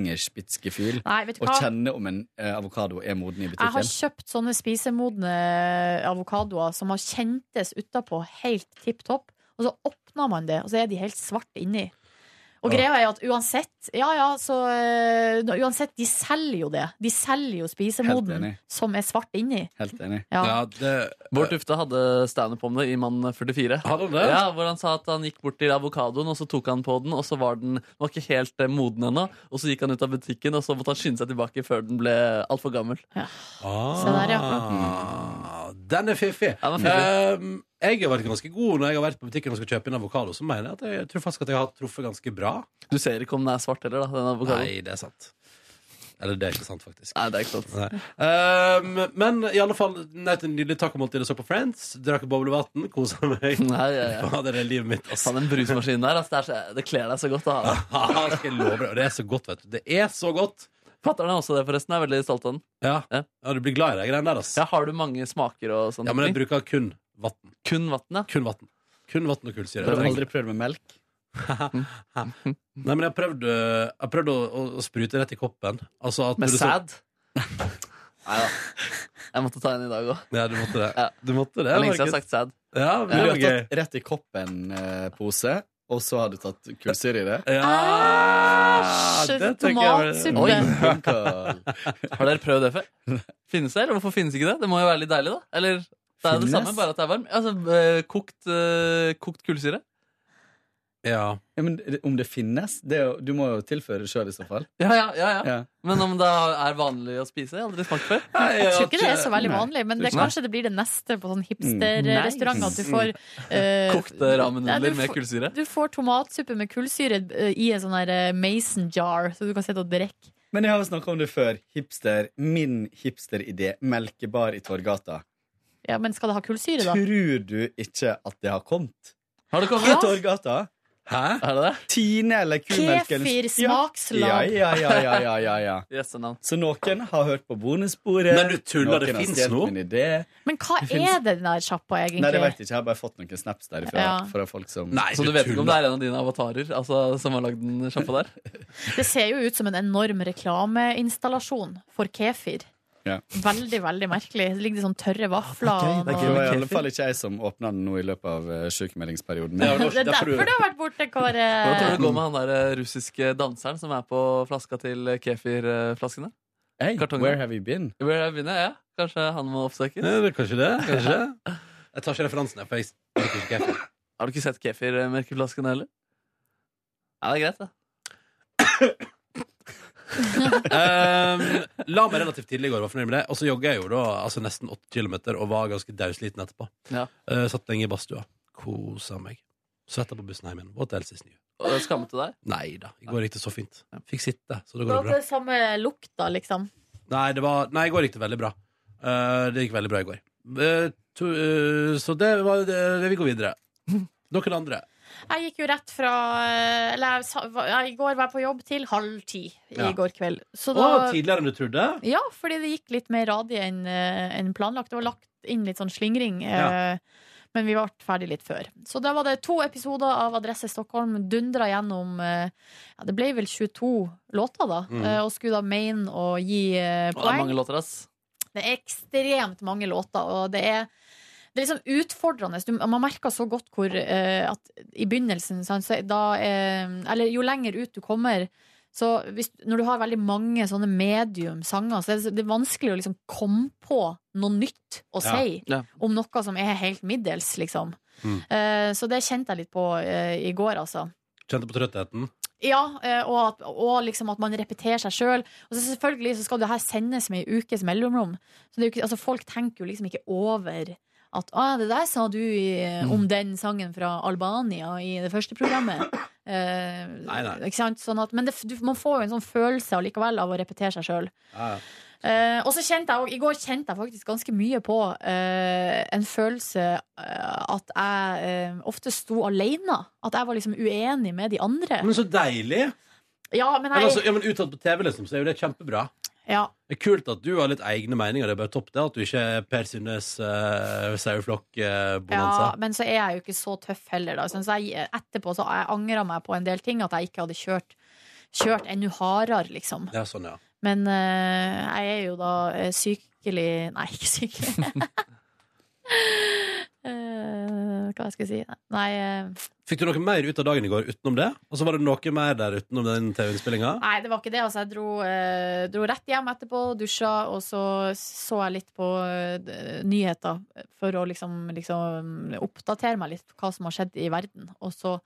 Speaker 9: fingerspitzgefühl
Speaker 3: Nei, vet du
Speaker 9: å
Speaker 3: hva?
Speaker 9: kjenne om en eh, avokado er moden i
Speaker 3: Jeg har
Speaker 9: butikken.
Speaker 3: kjøpt sånne spisemodne eh, avokadoer som har kjentes utapå helt tipp topp, og så åpner man det, og så er de helt svarte inni. Og
Speaker 13: Ja.
Speaker 3: greia er at uansett Ja, ja, så eh, Uansett, de selger jo det. De selger jo spisemoden
Speaker 4: enig.
Speaker 3: som er svart inni.
Speaker 9: Helt enig.
Speaker 3: Ja.
Speaker 4: Bård Tufte hadde standup om det i Mann 44.
Speaker 2: Hadde
Speaker 9: det?
Speaker 4: Ja, hvor Eh. han sa at han gikk bort til avokadoen, og så tok han på den, og så var den den var ikke helt eh, moden ennå. Og så gikk han ut av butikken, og så måtte han skynde seg tilbake før den ble altfor gammel.
Speaker 2: Ah,
Speaker 4: Se der,
Speaker 2: Den er fiffig.
Speaker 4: den er fiffig.
Speaker 2: Ehm, jeg har vært ganske god når jeg har vært på butikken og skal kjøpe inn avokado. Så mener jeg at jeg, jeg tror faktisk at jeg har truffet ganske bra.
Speaker 4: Du ser ikke om den er svart heller, da, den avokadoen.
Speaker 2: Nei, det er sant. Eller det er ikke sant, faktisk.
Speaker 4: Nei, det er ikke sant.
Speaker 2: Um, men i alle fall, nøt en nydelig tacomåltid og så på Friends. Drakk boblevann, kosa meg.
Speaker 4: Nei, ja, ja.
Speaker 2: Fader, det er livet mitt, altså. ass.
Speaker 4: Faen, den brusmaskinen der, ass, det, er så, det kler deg så godt å ha.
Speaker 2: Ja, skal Ah, jeg love deg. Og det er så godt, vet du. Det er så godt.
Speaker 4: Fatter'n er også det, forresten. Jeg er veldig stolt av den.
Speaker 2: Ja. du blir glad i de greiene der, ass.
Speaker 4: Ja, har du mange smaker og sånne
Speaker 2: Ja, men jeg bruker kun vann.
Speaker 4: Kun vann, ja?
Speaker 2: Kun vann. Kun vann og kullsyre.
Speaker 9: Prøv aldri prøve med melk.
Speaker 2: Nei, men jeg har prøvd, øh, jeg har prøvd å, å, å sprute rett i koppen. Altså at
Speaker 4: Med
Speaker 2: når du så-
Speaker 4: sæd? Nei da. Jeg måtte ta en i dag òg.
Speaker 2: Ja, du måtte det. Du måtte det,
Speaker 4: Jeg er lenge siden jeg
Speaker 2: Markus.
Speaker 4: har sagt sæd.
Speaker 2: Ja, men
Speaker 9: Du
Speaker 2: det
Speaker 9: har
Speaker 2: var gøy.
Speaker 9: tatt rett i koppen-pose, og så har du tatt kullsyre i det?
Speaker 3: Ah,
Speaker 2: Æsj!
Speaker 9: det tenker jeg-
Speaker 4: Oi.
Speaker 9: Bunker.
Speaker 4: Har dere prøvd det før? Finnes det, eller hvorfor finnes ikke det? Det må jo være litt deilig, da? Eller det er jo det
Speaker 9: Finnes?
Speaker 4: samme, bare at det er varm. Altså, eh, kokt, eh, kokt kullsyre.
Speaker 2: Ja.
Speaker 9: men det- om det finnes? Det er jo, du må jo tilføre det sjøl i så fall.
Speaker 4: Ja, ja, ja, ja.
Speaker 9: Ja.
Speaker 4: Men om det er vanlig å spise? Jeg har aldri smakt før.
Speaker 3: Jeg tror ikke det er så veldig vanlig, men det, kanskje det blir det neste på sånn hipsterrestaurant. At du får eh,
Speaker 4: Kokte
Speaker 3: Nei,
Speaker 4: ramenudler
Speaker 3: du
Speaker 4: med
Speaker 3: får-
Speaker 4: kullsyre.
Speaker 3: Du får tomatsuppe med kullsyre eh, i en sånn her eh, mason jar, så du kan sitte og drikke.
Speaker 9: Men jeg har jo snakka om det før. Hipster. Min hipsteridé. Melkebar i Torgata.
Speaker 3: Ja, men skal det ha kullsyre, da?
Speaker 9: Tror du ikke at det har kommet?
Speaker 4: Har det
Speaker 3: kommet?
Speaker 9: I Torgata.
Speaker 2: Hæ?
Speaker 4: Er det det?
Speaker 9: Tine eller kumelken
Speaker 3: Kefir, smakslag.
Speaker 9: Ja, ja, ja, ja, ja, ja, ja.
Speaker 4: Gjessenavn.
Speaker 9: Så noen har hørt på bonussporet.
Speaker 2: Men du tuller, det finnes noe.
Speaker 9: Min idé.
Speaker 3: Men hva
Speaker 9: Det finnes-
Speaker 3: er det den der sjappa, egentlig?
Speaker 9: Nei, det vet jeg ikke. Jeg har bare fått noen snaps derifra
Speaker 3: Ja.
Speaker 9: fra folk som
Speaker 4: så du vet ikke om det er en av dine avatarer altså, som har lagd den sjappa der?
Speaker 3: Det ser jo ut som en enorm reklameinstallasjon for kefir.
Speaker 9: Ja. Ah,
Speaker 3: Veldig, veldig merkelig. Det ligger sånn tørre vafler
Speaker 9: Det
Speaker 3: og-
Speaker 9: var i alle fall ikke jeg som åpna den nå i løpet av eh, sykemeldingsperioden.
Speaker 3: Det er derfor du har vært borte,
Speaker 4: Hvordan tror du
Speaker 3: Kåre.
Speaker 4: det går med han der eh, russiske danseren som er på flaska til eh, kefirflaskene?
Speaker 9: Hey, where have you been?
Speaker 4: Where have you been? Ja, kanskje han må oppsøkes?
Speaker 2: Ja, det- Kanskje det? Kanskje det? Jeg tar ikke referansen, jeg, for jeg drikker ikke kefir.
Speaker 4: Har du ikke sett kefirmerkeflasken heller? Ja, det er greit, det.
Speaker 2: Um, la meg relativt tidlig i går, var fornøyd med det. Og så jogga jeg jo da altså nesten 8 km og var ganske daudsliten etterpå.
Speaker 4: Ja.
Speaker 2: Eh, satt lenge i badstua. Kosa meg. Svetta på bussen hjem igjen. What else is new?
Speaker 4: Og det skammet du deg?
Speaker 2: Nei da, i går gikk det så fint. Fikk sitte, så da går det
Speaker 3: Det
Speaker 2: bra.
Speaker 3: er samme lukta, liksom.
Speaker 2: Nei, det var, nei, i går gikk det veldig bra. Eh, det gikk veldig bra i går. Eh, to, eh, så det var det, Vi går videre. Noen andre?
Speaker 3: Jeg gikk jo rett fra eh, Eller jeg, sa- var- jeg, i går var jeg på jobb til halv ti i
Speaker 2: Ja.
Speaker 3: går kveld. Så
Speaker 2: Å, tidligere enn du trodde?
Speaker 3: Ja, fordi det gikk litt mer radie enn eh, enn planlagt. Det var lagt inn litt sånn slingring. eh, Men vi ble ferdig litt før. Så da var det to episoder av Adresse Stockholm dundra gjennom eh, ja, Det ble vel 22 låter, da.
Speaker 4: Mm.
Speaker 3: eh, Og skulle da mene å gi eh,
Speaker 4: Og det er
Speaker 3: poeng.
Speaker 4: mange låter, ass.
Speaker 3: Det er ekstremt mange låter, og det er det er liksom utfordrende. Du, man merker så godt hvor eh, at i begynnelsen sant, så da, eh, Eller jo lenger ut du kommer så hvis, Når du har veldig mange sånne medium-sanger, så er det, så- det er vanskelig å liksom komme på noe nytt å
Speaker 5: Ja.
Speaker 3: si
Speaker 5: Ja. Mm.
Speaker 3: om noe som er helt middels, liksom. Eh, så det kjente jeg litt på eh, i går, altså.
Speaker 2: Kjente på trøttheten?
Speaker 3: Ja, eh, og, at, og liksom at man repeterer seg sjøl. Og så selvfølgelig så skal det her sendes med ei ukes mellomrom. Så det er jo ikke, altså folk tenker jo liksom ikke over at ah, 'det der sa du i, eh, om den sangen fra Albania i det første programmet'. Eh, Ikke sant? Sånn at, men det, du, man får jo en sånn følelse allikevel av å repetere seg sjøl. Eh, og så kjente jeg, og I går kjente jeg faktisk ganske mye på eh, en følelse eh, at jeg eh, ofte sto alene. At jeg var liksom uenig med de andre.
Speaker 2: Men så deilig!
Speaker 3: Ja, men
Speaker 2: Men,
Speaker 3: jeg,
Speaker 2: altså, ja, men utad på TV liksom, så er jo det kjempebra.
Speaker 3: ja.
Speaker 2: Det er kult at du har litt egne meninger. Det er bare topp det at du ikke er Per Synnes uh,
Speaker 3: Ja,
Speaker 2: saueflokk-bonanza.
Speaker 3: men så er jeg jo ikke så tøff heller, da. Sånn, Så jeg, etterpå så jeg angra meg på en del ting, at jeg ikke hadde kjørt, kjørt enda hardere, liksom.
Speaker 2: ja, sånn, ja.
Speaker 3: Men eh, jeg er jo da eh, sykelig Nei, ikke sykelig. Eh, hva skal jeg si? Nei, eh,
Speaker 2: Fikk du noe mer ut av dagen i går utenom det? Og så var det noe mer der utenom den TV-innspillinga?
Speaker 3: nei, det var ikke det. Altså, jeg dro, eh, dro rett hjem etterpå, dusja, og så så jeg litt på eh, d- nyheter for å liksom, liksom oppdatere meg litt på hva som har skjedd i verden. Og så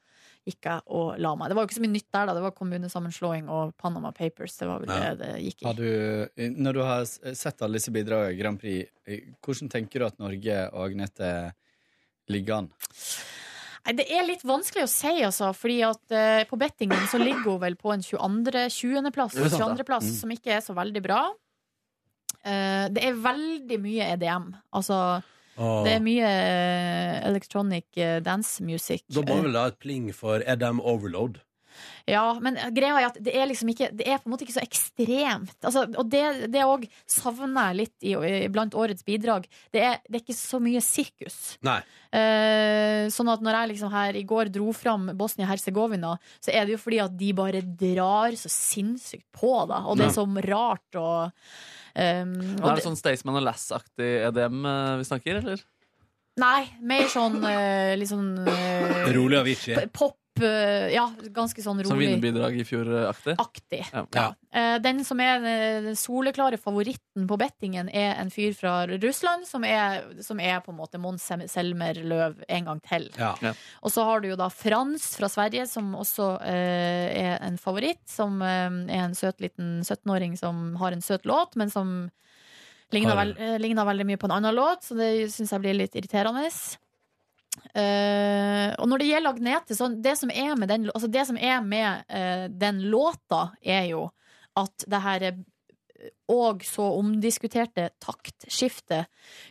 Speaker 3: gikk jeg og la meg. Det var jo ikke så mye nytt der, da. Det var kommunesammenslåing og Panama Papers. Det var vel det det gikk i.
Speaker 9: Har du, når du har s- sett alle disse bidragene i Grand Prix, eh, hvordan tenker du at Norge og Agnete ligger an?
Speaker 3: Nei, Det er litt vanskelig å si, altså. Fordi at eh, på bettingen så ligger hun vel på en 22. 20. plass,
Speaker 13: Det er sant, da.
Speaker 3: 22. plass
Speaker 13: Mm.
Speaker 3: som ikke er så veldig bra. Eh, det er veldig mye EDM. Altså,
Speaker 2: Åh.
Speaker 3: det er mye eh, electronic eh, dance music.
Speaker 2: Da må vi vel ha et pling for Edam Overload.
Speaker 3: Ja, men eh, greia er at det er liksom ikke Det er på en måte ikke så ekstremt. Altså, og det det òg savner jeg litt i, i, blant årets bidrag. Det er, det er ikke så mye sirkus.
Speaker 2: Nei.
Speaker 3: Eh, sånn at når jeg liksom her i går dro fram Bosnia-Hercegovina, så er det jo fordi at de bare drar så sinnssykt på, da. Og det er
Speaker 4: Ja.
Speaker 3: så rart og um,
Speaker 4: Er det sånn Staysman og Lass-aktig EDM eh, vi snakker, eller?
Speaker 3: Nei, mer sånn eh, litt sånn eh,
Speaker 4: Rolig Avicii.
Speaker 3: p- Pop. eh, ja, ganske sånn
Speaker 4: Som
Speaker 3: rolig.
Speaker 4: vinnerbidrag i fjor-aktig?
Speaker 3: Aktig. Eh, Den som er eh, den soleklare favoritten på bettingen, er en fyr fra Russland, som er, som er på en måte Mons Sem- Selmer Løv en gang til. Og så har du jo da Frans fra Sverige, som også eh, er en favoritt. Som eh, er en søt liten 17-åring som har en søt låt, men som ligner,
Speaker 13: Har-
Speaker 3: vel, eh, ligner veldig mye på en annen låt, så det syns jeg blir litt irriterende. Eh, og når det gjelder Agnete, så det som er med den, altså det som er med, eh, den låta, er jo at det her eh, og så omdiskuterte taktskiftet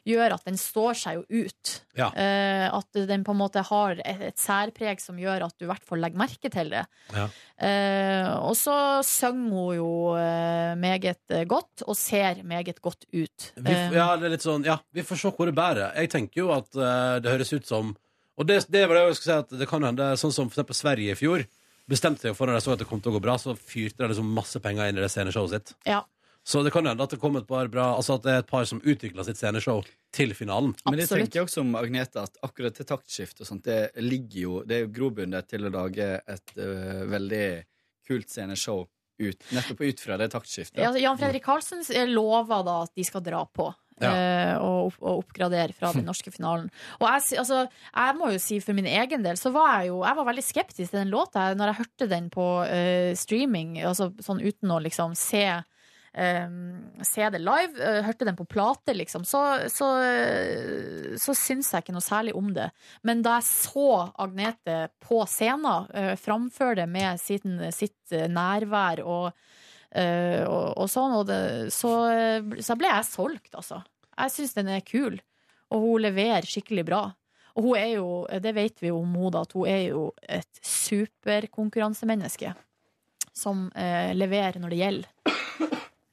Speaker 3: gjør at den står seg jo ut.
Speaker 13: Ja.
Speaker 3: Eh, at den på en måte har et, et særpreg som gjør at du i hvert fall legger merke til det.
Speaker 13: Ja.
Speaker 3: Eh, og så synger hun jo eh, meget eh, godt, og ser meget godt ut.
Speaker 2: Vi, f-
Speaker 3: Eh,
Speaker 2: ja, det er litt sånn, ja, vi får se hvor det bærer. Jeg tenker jo at eh, det høres ut som Og det, det var det jeg skulle si, at det kan hende sånn som for eksempel Sverige i fjor. Bestemte seg for når de så at det kom til å gå bra, så fyrte de liksom masse penger inn i det sceneshowet sitt.
Speaker 3: ja.
Speaker 2: Så det kan hende at det kom et par bra Altså at det er et par som utvikla sitt sceneshow til finalen.
Speaker 9: Men det tenker jeg også om Agnete, at akkurat til taktskift og sånt, det ligger jo Det er jo grobunn der til å lage et øh, veldig kult sceneshow ut, nettopp ut fra det taktskiftet.
Speaker 3: Ja, altså, Jan Fredrik Karlsen s- eh, lover da at de skal dra på.
Speaker 9: Ja.
Speaker 3: eh, Og, opp- og oppgradere fra den norske finalen. Og jeg, sy- altså, jeg må jo si for min egen del så var jeg jo Jeg var veldig skeptisk til den låta her når jeg hørte den på eh, streaming, altså sånn uten å liksom se eh, se det live. eh, hørte den på plate, liksom. Så, så, eh, så syns jeg ikke noe særlig om det. Men da jeg så Agnete på scenen, uh, framføre det med sin, sitt eh, nærvær og, eh, og, og sånn, og det, så, eh, så ble jeg solgt, altså. Jeg syns den er kul, og hun leverer skikkelig bra. Og hun er jo, det vet vi jo om hun, da, at hun er jo et superkonkurransemenneske som eh, leverer når det gjelder.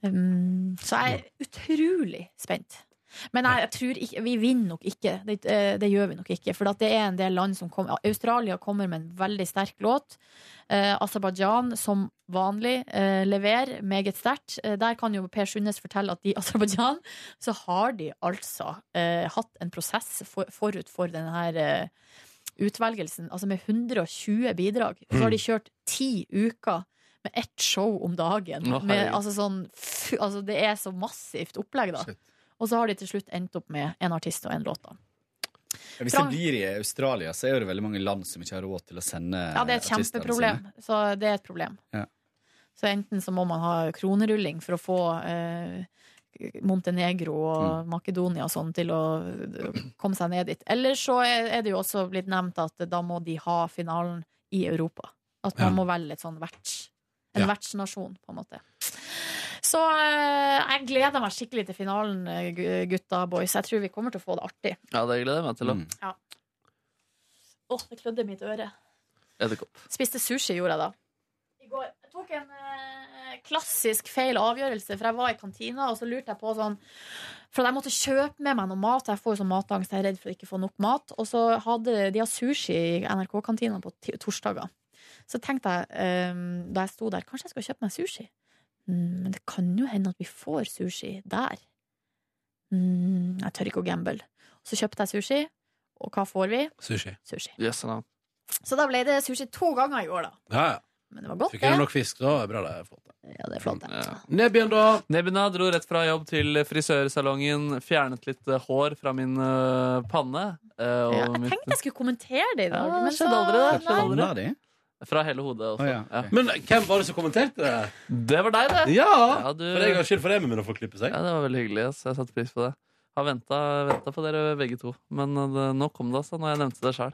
Speaker 3: Um, så jeg er utrolig spent. Men jeg, jeg tror ikke, vi vinner nok ikke. Det, eh, det gjør vi nok ikke. For at det er en del land som kommer Australia kommer med en veldig sterk låt. Eh, Aserbajdsjan, som vanlig, eh, leverer meget sterkt. Eh, der kan jo Per Sundnes fortelle at i Aserbajdsjan så har de altså eh, hatt en prosess for, forut for denne her eh, utvelgelsen, altså med 120 bidrag. Så har de
Speaker 13: Mm.
Speaker 3: kjørt ti uker med ett show om dagen.
Speaker 13: Å,
Speaker 3: med,
Speaker 13: herregud.
Speaker 3: altså sånn, f- altså det er så massivt opplegg, da. Og så har de til slutt endt opp med en artist og en låt. Da.
Speaker 9: Hvis det
Speaker 3: Frank-
Speaker 9: blir i Australia, så er det veldig mange land som ikke har råd til å sende liksom.
Speaker 3: Ja, det er et
Speaker 9: Eh, artistene
Speaker 3: kjempeproblem. Så det er et problem.
Speaker 9: sine. Ja.
Speaker 3: Så enten så må man ha kronerulling for å få eh, Montenegro og
Speaker 9: Mm.
Speaker 3: Makedonia og sånn til å eh, komme seg ned dit. Eller så er er det jo også blitt nevnt at da må de ha finalen i Europa. At man må velge et sånn verts, en
Speaker 13: Ja.
Speaker 3: vertsnasjon, på en måte. Så eh, jeg gleder meg skikkelig til finalen, eh, gu- gutta boys. Jeg tror vi kommer til å få det artig.
Speaker 4: Ja, det gleder jeg meg til. da.
Speaker 3: Ja. Å, det klødde i mitt øre.
Speaker 4: Edderkopp.
Speaker 3: Spiste sushi, gjorde jeg da. I går. Jeg tok en eh, klassisk feil avgjørelse, for jeg var i kantina, og så lurte jeg på sånn For jeg måtte kjøpe med meg noe mat. Jeg får jo sånn matangst, jeg er redd for å ikke få nok mat. Og så hadde de har sushi i NRK-kantina på ti- torsdager. Så tenkte jeg, eh, da jeg sto der, kanskje jeg skal kjøpe meg sushi. Mm, Men det kan jo hende at vi får sushi der. Mm, jeg tør ikke å gamble. Så kjøpte jeg sushi, og hva får vi?
Speaker 2: Sushi.
Speaker 3: Sushi.
Speaker 4: Yes, no.
Speaker 3: Så da ble det sushi to ganger i går, da.
Speaker 2: Ja, ja.
Speaker 3: Men det var godt,
Speaker 2: Fikk dere
Speaker 3: det.
Speaker 2: nok fisk, da? Bra, det er flott.
Speaker 3: Ja, det er flott.
Speaker 2: Nebyen, da?
Speaker 4: Nebina dro rett fra jobb til frisørsalongen, fjernet litt eh, hår fra min eh, panne. eh, og
Speaker 3: Ja, jeg
Speaker 4: mitt-
Speaker 3: tenkte jeg skulle kommentere det i dag,
Speaker 4: Ja, det
Speaker 3: men så
Speaker 4: skjedde aldri, det. Skjedde
Speaker 3: Nei.
Speaker 4: aldri. Fra hele hodet også. ja.
Speaker 2: Men hvem var det som kommenterte det?
Speaker 4: Det var deg, det.
Speaker 2: Ja!
Speaker 4: du-
Speaker 2: For jeg har skyld for det, men å få klippe seg.
Speaker 4: Ja, det var veldig hyggelig. ass. jeg satte pris på det. Har venta på dere begge to. Men eh, det, nå kom det, altså, når jeg nevnte det sjøl.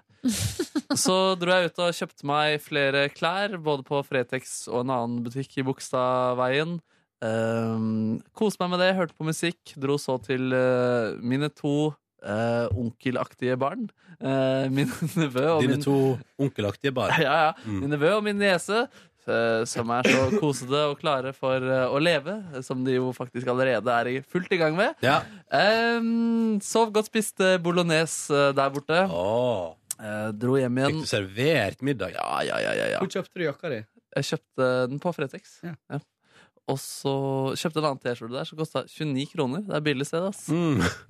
Speaker 4: Så dro jeg ut og kjøpte meg flere klær, både på Fretex og en annen butikk i Bogstadveien. Um, Koste meg med det, hørte på musikk. Dro så til eh, mine to eh, onkelaktige barn. Eh, min nevø og
Speaker 2: Dine
Speaker 4: min
Speaker 2: to onkelaktige barn.
Speaker 4: Ja, ja. Min nevø og min niese, eh, som er så kosete og klare for eh, å leve, som de jo faktisk allerede er i fullt i gang med. Ehm, sov godt, spiste bolognese eh, der borte. Eh, dro hjem igjen. Fikk
Speaker 2: du servert middag?
Speaker 4: Ja, ja, ja. ja, ja.
Speaker 9: Hvor kjøpte du jakka di?
Speaker 4: Jeg kjøpte den på Fretex. Ja. Og så kjøpte en annen T-skjorte der som kosta 29 kroner. Det er billig sted, ass.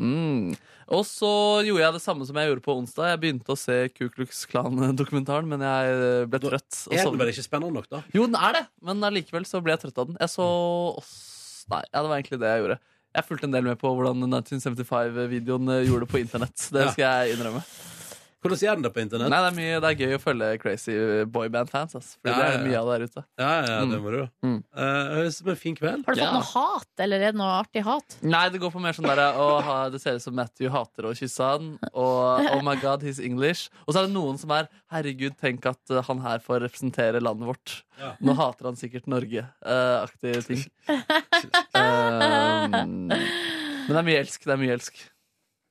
Speaker 4: Mm. Og så gjorde jeg det samme som jeg gjorde på onsdag. Jeg begynte å se Ku Klux Klan-dokumentaren, men jeg eh, ble trøtt.
Speaker 2: er den vel ikke spennende nok, da?
Speaker 4: Jo, den er det, men allikevel så ble jeg trøtt av den. Jeg så oss- Nei, ja, det var egentlig det jeg gjorde. Jeg fulgte en del med på hvordan 1975-videoen eh, gjorde det på internett. Det skal jeg innrømme.
Speaker 2: Hvordan gjør den det på internett?
Speaker 4: Nei, det er, mye, det er gøy å følge crazy boyband-fans. ass. Fordi
Speaker 2: Ja,
Speaker 4: det
Speaker 2: ja,
Speaker 4: er det mye
Speaker 2: ja.
Speaker 4: av der ute.
Speaker 2: Ja, ja, det må du. Eh, Høres ut som en fin kveld.
Speaker 3: Har du fått noe hat, eller er det noe artig hat?
Speaker 4: Nei, det går på mer sånn der å, ha- Det ser ut som Matthew hater å kysse han. Og oh my god, he's English. Og så er det noen som er herregud, tenk at uh, han her får representere landet vårt. Nå hater han sikkert Norge-aktige ting. Um, men det er mye elsk. Det er mye elsk.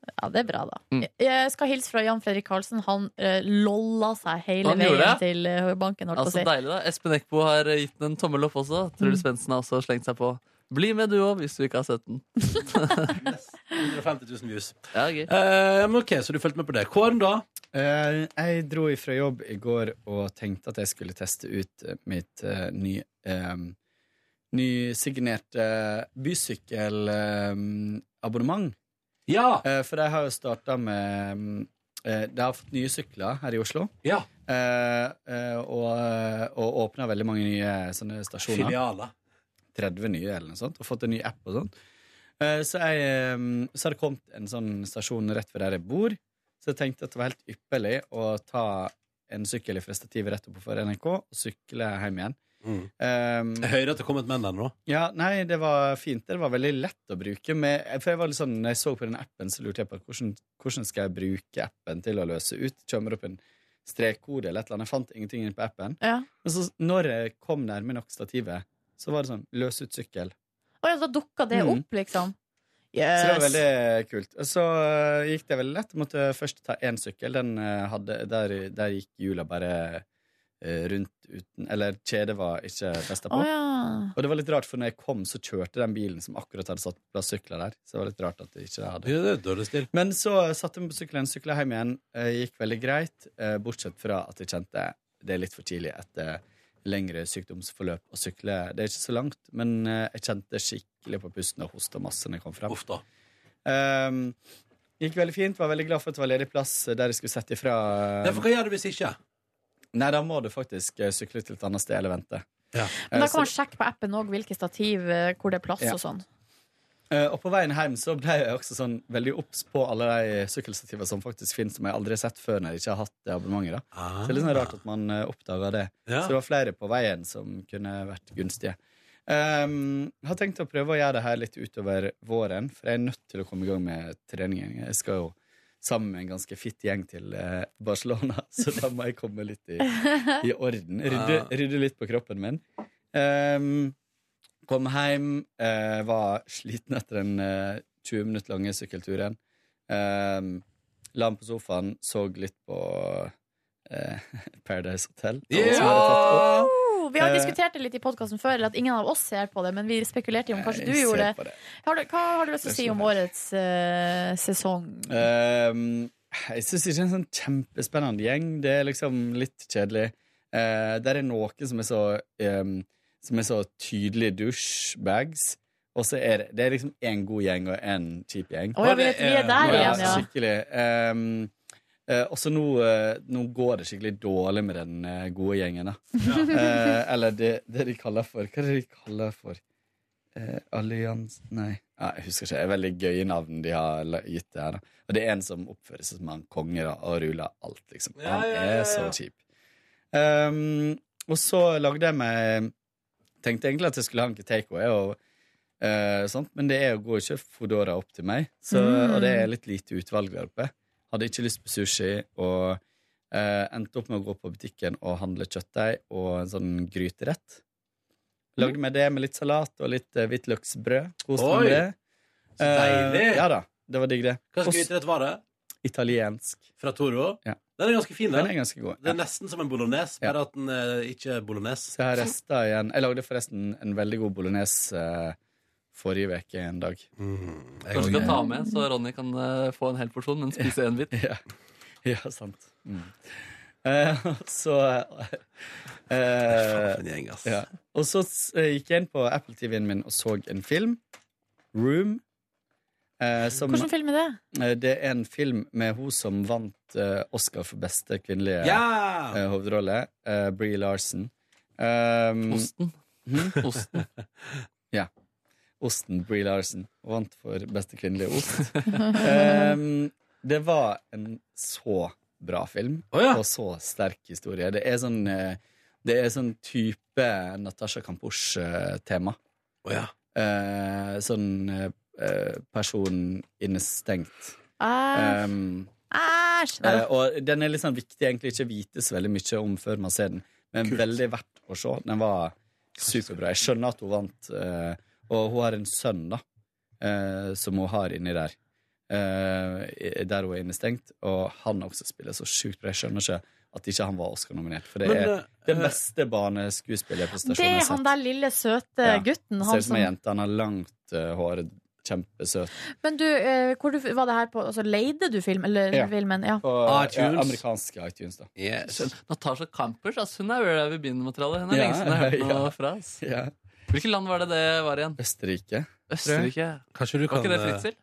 Speaker 3: Ja, det er bra, da.
Speaker 4: Mm.
Speaker 3: Jeg skal hilse fra Jan Fredrik Karlsen. Han eh, lolla seg hele
Speaker 4: Han gjorde
Speaker 3: veien
Speaker 4: det?
Speaker 3: til eh, banken. holdt på å
Speaker 4: Altså,
Speaker 3: si.
Speaker 4: deilig da Espen Eckbo har uh, gitt den en tommel opp også. Truls Svendsen har også slengt seg på. Bli med du òg, hvis du ikke har sett den.
Speaker 2: 150 000 views.
Speaker 4: Ja, gøy.
Speaker 2: Eh, men ok, Så du fulgte med på det. Kåren, da?
Speaker 9: Eh, jeg dro ifra jobb i går og tenkte at jeg skulle teste ut eh, mitt eh, ny, eh, nysignerte bysykkelabonnement.
Speaker 2: ja!
Speaker 9: Eh, for de har jo starta med eh, De har fått nye sykler her i Oslo.
Speaker 2: Ja.
Speaker 9: Eh, eh, og og åpna veldig mange nye sånne stasjoner.
Speaker 2: Filialer.
Speaker 9: 30 nye eller noe sånt, og fått en ny app og sånn. Eh, Så, jeg, eh, så har det kommet en sånn stasjon rett ved der jeg bor, så jeg tenkte at det var helt ypperlig å ta en sykkel fra stativet rett oppe for NRK og sykle hjem igjen.
Speaker 2: Mm.
Speaker 9: Ehm,
Speaker 2: Jeg hører at det kom et menn der nå.
Speaker 9: Ja, nei, det var fint. Det var veldig lett å bruke. Med, for jeg var litt sånn, når jeg så på den appen, så lurte jeg på hvordan, hvordan skal jeg bruke appen til å løse ut. Kommer opp en strekkode eller et eller annet. Jeg fant ingenting inne på appen.
Speaker 3: Ja.
Speaker 9: Men så når jeg kom nærme nok stativet, så var det sånn løs ut sykkel.
Speaker 3: Å ja, da dukka det
Speaker 9: Mm.
Speaker 3: opp, liksom.
Speaker 9: Så det var
Speaker 3: Yes.
Speaker 9: veldig kult. Og så øh, gikk det veldig lett. Jeg måtte først ta én sykkel. Den øh, hadde, der, der gikk hjula bare øh, rundt uten Eller kjedet var ikke festa på.
Speaker 3: Å ja.
Speaker 9: Og det var litt rart, for når jeg kom, så kjørte den bilen som akkurat hadde satt plass sykler der. Så det var litt rart at det ikke hadde
Speaker 2: Ja, det er dårlig stil.
Speaker 9: Men så eh, satte jeg meg på sykkelen, sykla hjem igjen. eh, Gikk veldig greit, eh, bortsett fra at jeg kjente det er litt for tidlig etter lengre sykdomsforløp å sykle. Det er ikke så langt, men eh, jeg kjente skikkelig på pusten og hosta masse når jeg kom fram. Ehm, gikk veldig fint. Var veldig glad for at det var ledig plass der jeg skulle sette ifra. eh,
Speaker 2: Nei, for hva gjør du hvis ikke?
Speaker 9: Nei, da må du faktisk eh, sykle til et annet sted eller vente.
Speaker 3: Men
Speaker 9: Eh,
Speaker 3: da
Speaker 9: så-
Speaker 3: kan man sjekke på appen òg hvilke stativ eh, hvor det er plass
Speaker 9: Ja.
Speaker 3: og sånn.
Speaker 9: Eh, Og på veien hjem så ble jeg også sånn veldig obs på alle de sykkelstativene som faktisk finnes, som jeg aldri har sett før når jeg ikke har hatt det abonnementet. Da.
Speaker 2: Ah.
Speaker 9: Så det er litt sånn rart at man eh, oppdager det.
Speaker 2: Ja.
Speaker 9: Så det var flere på veien som kunne vært gunstige. Um, jeg har tenkt å prøve å gjøre det her litt utover våren, for jeg er nødt til å komme i gang med treningen. Jeg skal jo sammen med en ganske fitt gjeng til eh, Barcelona, så da må jeg komme litt i, i orden. Rydde,
Speaker 2: Ja.
Speaker 9: rydde litt på kroppen min. Um, Kom hjem, eh, var sliten etter den eh, 20 minutter lange sykkelturen. Eh, la meg på sofaen, så litt på eh, Paradise Hotel. som jeg hadde tatt opp.
Speaker 3: Oh, Vi har
Speaker 9: Eh,
Speaker 3: diskutert det litt i podkasten før, eller at ingen av oss ser på det, men vi spekulerte i om kanskje
Speaker 9: Jeg
Speaker 3: du
Speaker 9: ser
Speaker 3: gjorde
Speaker 9: Eh, på det.
Speaker 3: det. Har du, hva har du lyst til å si om årets eh, sesong?
Speaker 9: Ehm, jeg syns ikke det er en sånn kjempespennende gjeng. Det er liksom litt kjedelig. Eh, der er noen som er så ehm, Som er så tydelige douchebags. Og så er det, det er liksom én god gjeng og én kjip gjeng.
Speaker 3: Å, ja, vi vet- vi er der
Speaker 9: eh,
Speaker 3: igjen, ja.
Speaker 9: Skikkelig. Ehm, eh, og så nå, eh, nå går det skikkelig dårlig med den eh, gode gjengen, da. Eh, eller det, det de kaller for Hva er det de kaller for? Eh, Allians Nei, ja, jeg husker ikke. Det er veldig gøye navn de har la- gitt det her. Da. Og det er en som oppfører seg som han konge da, og ruler alt, liksom.
Speaker 7: Ja,
Speaker 9: han
Speaker 7: ja, ja,
Speaker 9: er
Speaker 7: ja.
Speaker 9: så kjip. Ehm, og så lagde jeg meg Tenkte egentlig at jeg skulle ha en takeaway, og Eh, sant? Men det er jo går ikke Foodora opp til meg, så,
Speaker 13: Mm.
Speaker 9: og det er litt lite utvalg der oppe. Hadde ikke lyst på sushi og eh, endte opp med å gå på butikken og handle kjøttdeig og en sånn gryterett. Lagde meg det med litt salat og litt uh, hvitløksbrød. Koste meg
Speaker 2: Oi.
Speaker 9: med det.
Speaker 2: Så deilig.
Speaker 9: Eh, ja da, det var digg, det.
Speaker 2: Hva
Speaker 9: Og
Speaker 2: slags gryterett var det?
Speaker 9: Italiensk.
Speaker 2: Fra Toro?
Speaker 9: Ja.
Speaker 2: Den er ganske fin,
Speaker 9: Den er ganske god.
Speaker 2: Det er nesten som en bolognese, bare at den eh, ikke er bolognese.
Speaker 9: Så jeg har resta igjen. Jeg lagde forresten en veldig god bolognese eh, forrige uke en dag.
Speaker 2: Mm.
Speaker 4: Kanskje du kan ta med, så Ronny kan eh, få en hel porsjon, men spise en bit.
Speaker 9: Ja, ja sant. Mm. Eh, så eh, ja. Og så s- eh, gikk jeg inn på Apple TV-en min og så en film. Room. eh, som-
Speaker 3: Hvilken film er det?
Speaker 9: Eh, Det er en film med hun som vant eh, Oscar for beste kvinnelige
Speaker 2: Ja!
Speaker 9: eh, hovedrolle. eh, Brie Larson. Um,
Speaker 4: Osten.
Speaker 9: Mhm.
Speaker 4: Osten.
Speaker 9: ja. Osten Brie Larson. Hun vant for beste kvinnelige ost. um, det var en så bra film, og så sterk historie. Det er sånn, eh, det er sånn type Natasha Kampusch-tema. Eh, sånn eh, eh, person innestengt.
Speaker 4: Eh.
Speaker 3: Æsj.
Speaker 9: Um,
Speaker 3: Æsj! Nei da.
Speaker 9: eh, og den er litt sånn viktig egentlig ikke vites veldig mye om før man ser den, men veldig verdt å se. Den var superbra. Jeg skjønner at hun vant, eh, og hun har en sønn da, eh, som hun har inni der, eh, der hun er innestengt, og han også spiller så sjukt bra. Jeg skjønner ikke at ikke han var Oscar-nominert, for det
Speaker 3: Men,
Speaker 9: er
Speaker 3: eh,
Speaker 9: den beste barneskuespillerprestasjonen
Speaker 3: Det
Speaker 9: jeg
Speaker 3: er
Speaker 9: har sett.
Speaker 3: han der lille, søte
Speaker 9: Ja.
Speaker 3: gutten.
Speaker 9: Ser
Speaker 3: Han
Speaker 9: ut som
Speaker 3: som...
Speaker 9: ei jente. Han har langt eh, hår. Kjempesøt.
Speaker 3: Men du, eh, hvor du, var det her på Altså, leide du film, eller,
Speaker 9: Ja.
Speaker 3: filmen? Ja.
Speaker 9: På ja, eh, amerikanske iTunes, da.
Speaker 4: Natasha Kampusch, ass, hun er jo der vi begynner materialet. Hun er
Speaker 9: Ja,
Speaker 4: lenge siden jeg har hørt
Speaker 9: ja.
Speaker 4: noe fra. Ass. Hvilket land var det det var igjen?
Speaker 9: Østerrike. eh,
Speaker 4: Østerrike.
Speaker 2: Kanskje du
Speaker 4: Var ikke
Speaker 2: kan, eh,
Speaker 4: det Fritzel?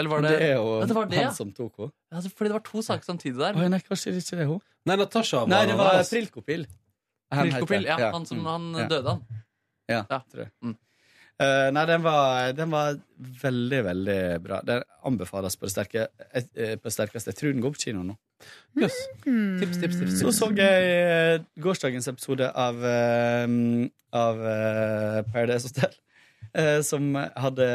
Speaker 4: Eller var det,
Speaker 9: er jo
Speaker 4: Ja, det var det,
Speaker 9: han
Speaker 4: ja.
Speaker 9: som tok henne.
Speaker 4: Ja, altså, fordi det var to saker samtidig der.
Speaker 9: Oi, nei, kanskje det ikke det er hun?
Speaker 2: Nei, Natasha
Speaker 9: Nei, det var
Speaker 4: Prilkopil
Speaker 9: Prilkopil.
Speaker 4: Prilkopil, ja, han
Speaker 9: Mm.
Speaker 4: som han døde, han.
Speaker 9: Ja, tror jeg. Mm. Eh, nei, den var, den var veldig, veldig bra. Den anbefales på det, sterke, eh, på det sterkeste. Jeg tror den går på kino nå.
Speaker 2: Tips, tips, tips.
Speaker 9: Så så jeg eh, gårsdagens episode av, eh, av eh, Paradise Hotel. eh, som hadde,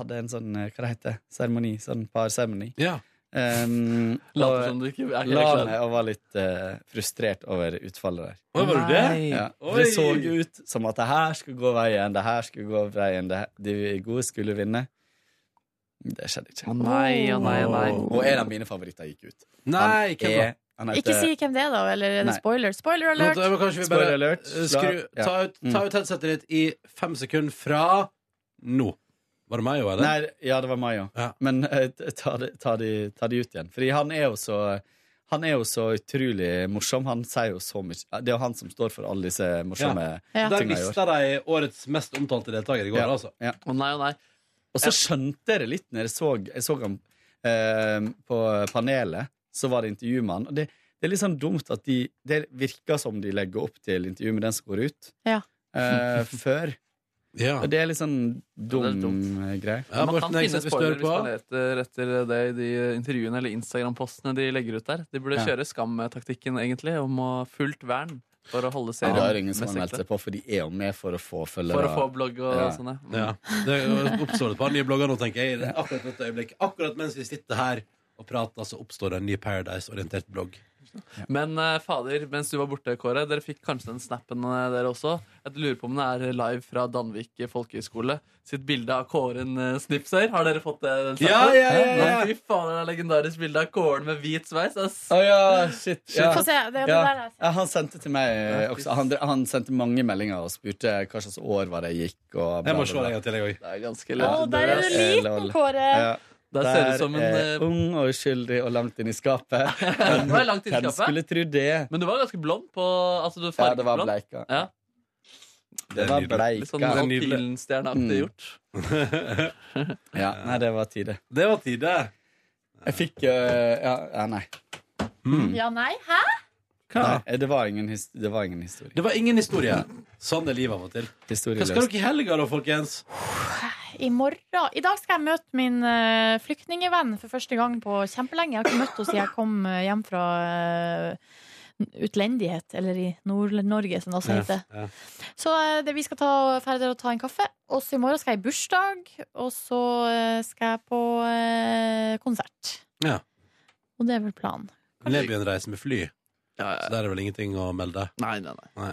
Speaker 9: hadde en sånn eh, Hva det heter Seremoni. Sånn parseremoni.
Speaker 2: Ja.
Speaker 9: Um,
Speaker 4: Later som du ikke er helt
Speaker 9: la
Speaker 4: klar.
Speaker 9: meg og var litt eh, frustrert over utfallet der.
Speaker 4: Oi, var du det?
Speaker 9: Ja.
Speaker 4: Oi.
Speaker 9: For Det så ut som at det her skulle gå veien, det her skulle gå veien, det her, de gode skulle vinne. Det skjedde ikke.
Speaker 4: Å nei, å nei, å nei.
Speaker 9: Og en av mine favoritter gikk ut.
Speaker 2: Nei, hvem da?
Speaker 9: han heter,
Speaker 3: Ikke si hvem det er, da. Eller er det
Speaker 9: Nei.
Speaker 3: spoiler? Spoiler alert!
Speaker 2: Nå, da, men kanskje vi bare,
Speaker 9: Spoiler alert.
Speaker 2: eh, Skru,
Speaker 9: Ja.
Speaker 2: ta, ut, ta ut headsetet ditt i fem sekunder fra nå. Var det meg òg, eller?
Speaker 9: Nei, ja, det var Mayo. Men eh, ta, de, ta, de, ta de ut igjen. Fordi han er jo så han er jo så utrolig morsom. Han sier jo så mye Det er jo han som står for alle disse morsomme
Speaker 2: Ja. Der
Speaker 9: tingene i år.
Speaker 2: mista de årets mest omtalte deltaker i går,
Speaker 9: Ja.
Speaker 2: altså.
Speaker 9: Ja.
Speaker 4: nei, nei.
Speaker 9: Og så skjønte jeg det litt når jeg så, jeg så ham eh, på panelet. Så var det intervju med han. Og det, det er litt sånn dumt at de Det virker som de legger opp til intervju med den som går ut,
Speaker 3: Ja.
Speaker 9: eh, før.
Speaker 2: Ja.
Speaker 9: Og det er litt sånn dum eh, greie.
Speaker 4: Ja, man kan finne spoilere hvis man leter etter det i de intervjuene eller Instagram-postene de legger ut der. De burde
Speaker 9: Ja.
Speaker 4: kjøre skamtaktikken, egentlig, om å fullt vern for å holde
Speaker 9: Ja,
Speaker 4: serien
Speaker 9: det er ingen som
Speaker 4: mest
Speaker 9: har
Speaker 4: ekte.
Speaker 9: meldt seg på, for de er jo med for å få følgere.
Speaker 4: For å få blogg og
Speaker 9: Ja.
Speaker 4: sånn, ja.
Speaker 2: Ja. Det oppstår et par nye blogger nå, tenker jeg. i det- Akkurat dette øyeblikk. Akkurat mens vi sitter her og prater, så oppstår det en ny Paradise-orientert blogg.
Speaker 4: Men eh, fader, mens du var borte, Kåre, dere fikk kanskje den snappen eh, dere også. Jeg lurer på om den er live fra Danvik folkehøgskole. Sitt bilde av Kåren eh, Snipser. Har dere fått det? Den
Speaker 2: Ja,
Speaker 4: snappen?
Speaker 2: ja, ja, ja.
Speaker 4: Nei, Fy faen, det er et legendarisk bilde av Kåren med hvit sveis. ass.
Speaker 9: Å ja, shit. Ja.
Speaker 3: Få se, det er det
Speaker 9: Ja.
Speaker 3: der altså. jeg
Speaker 9: Ja, han sendte til meg eh, også. Han, han sendte mange meldinger og spurte hva slags år var det jeg gikk. Og
Speaker 2: Jeg må se deg en til, jeg
Speaker 4: Det er ganske
Speaker 3: Å, der er du liten, Kåre.
Speaker 4: Der ser du som en, eh,
Speaker 9: er ung og uskyldig og langt inn i skapet.
Speaker 4: Du er langt inn i
Speaker 9: Hvem
Speaker 4: skapet.
Speaker 9: eh, skulle tro det?
Speaker 4: Men du var ganske blond på altså, du var
Speaker 9: Ja, det var
Speaker 4: fargeblond.
Speaker 9: bleika.
Speaker 4: Ja.
Speaker 9: Det var bleika.
Speaker 4: Litt sånn alpinstjerneaktig gjort.
Speaker 9: ja, nei, det var tide.
Speaker 2: Det var tide.
Speaker 9: Jeg fikk eh, ja, ja, nei.
Speaker 3: sier. Ja, nei? Hæ?
Speaker 9: nei det, var ingen his- det var ingen historie.
Speaker 2: Det var ingen historie. Sånn er livet av og til. Hva skal dere i helga, da, folkens?
Speaker 3: I morgen I dag skal jeg møte min eh, flyktningevenn for første gang på kjempelenge. Jeg har ikke møtt henne siden jeg kom eh, hjem fra eh, utlendighet, eller i Nord-Norge, som det også heter. Så eh, det, vi skal ta ferdig og ta en kaffe. Og så i morgen skal jeg i bursdag, og så eh, skal jeg på eh, konsert.
Speaker 2: Ja.
Speaker 3: Og det er vel planen.
Speaker 2: Libyen-reise med fly. Så der er vel ingenting å melde?
Speaker 4: Nei, nei, nei.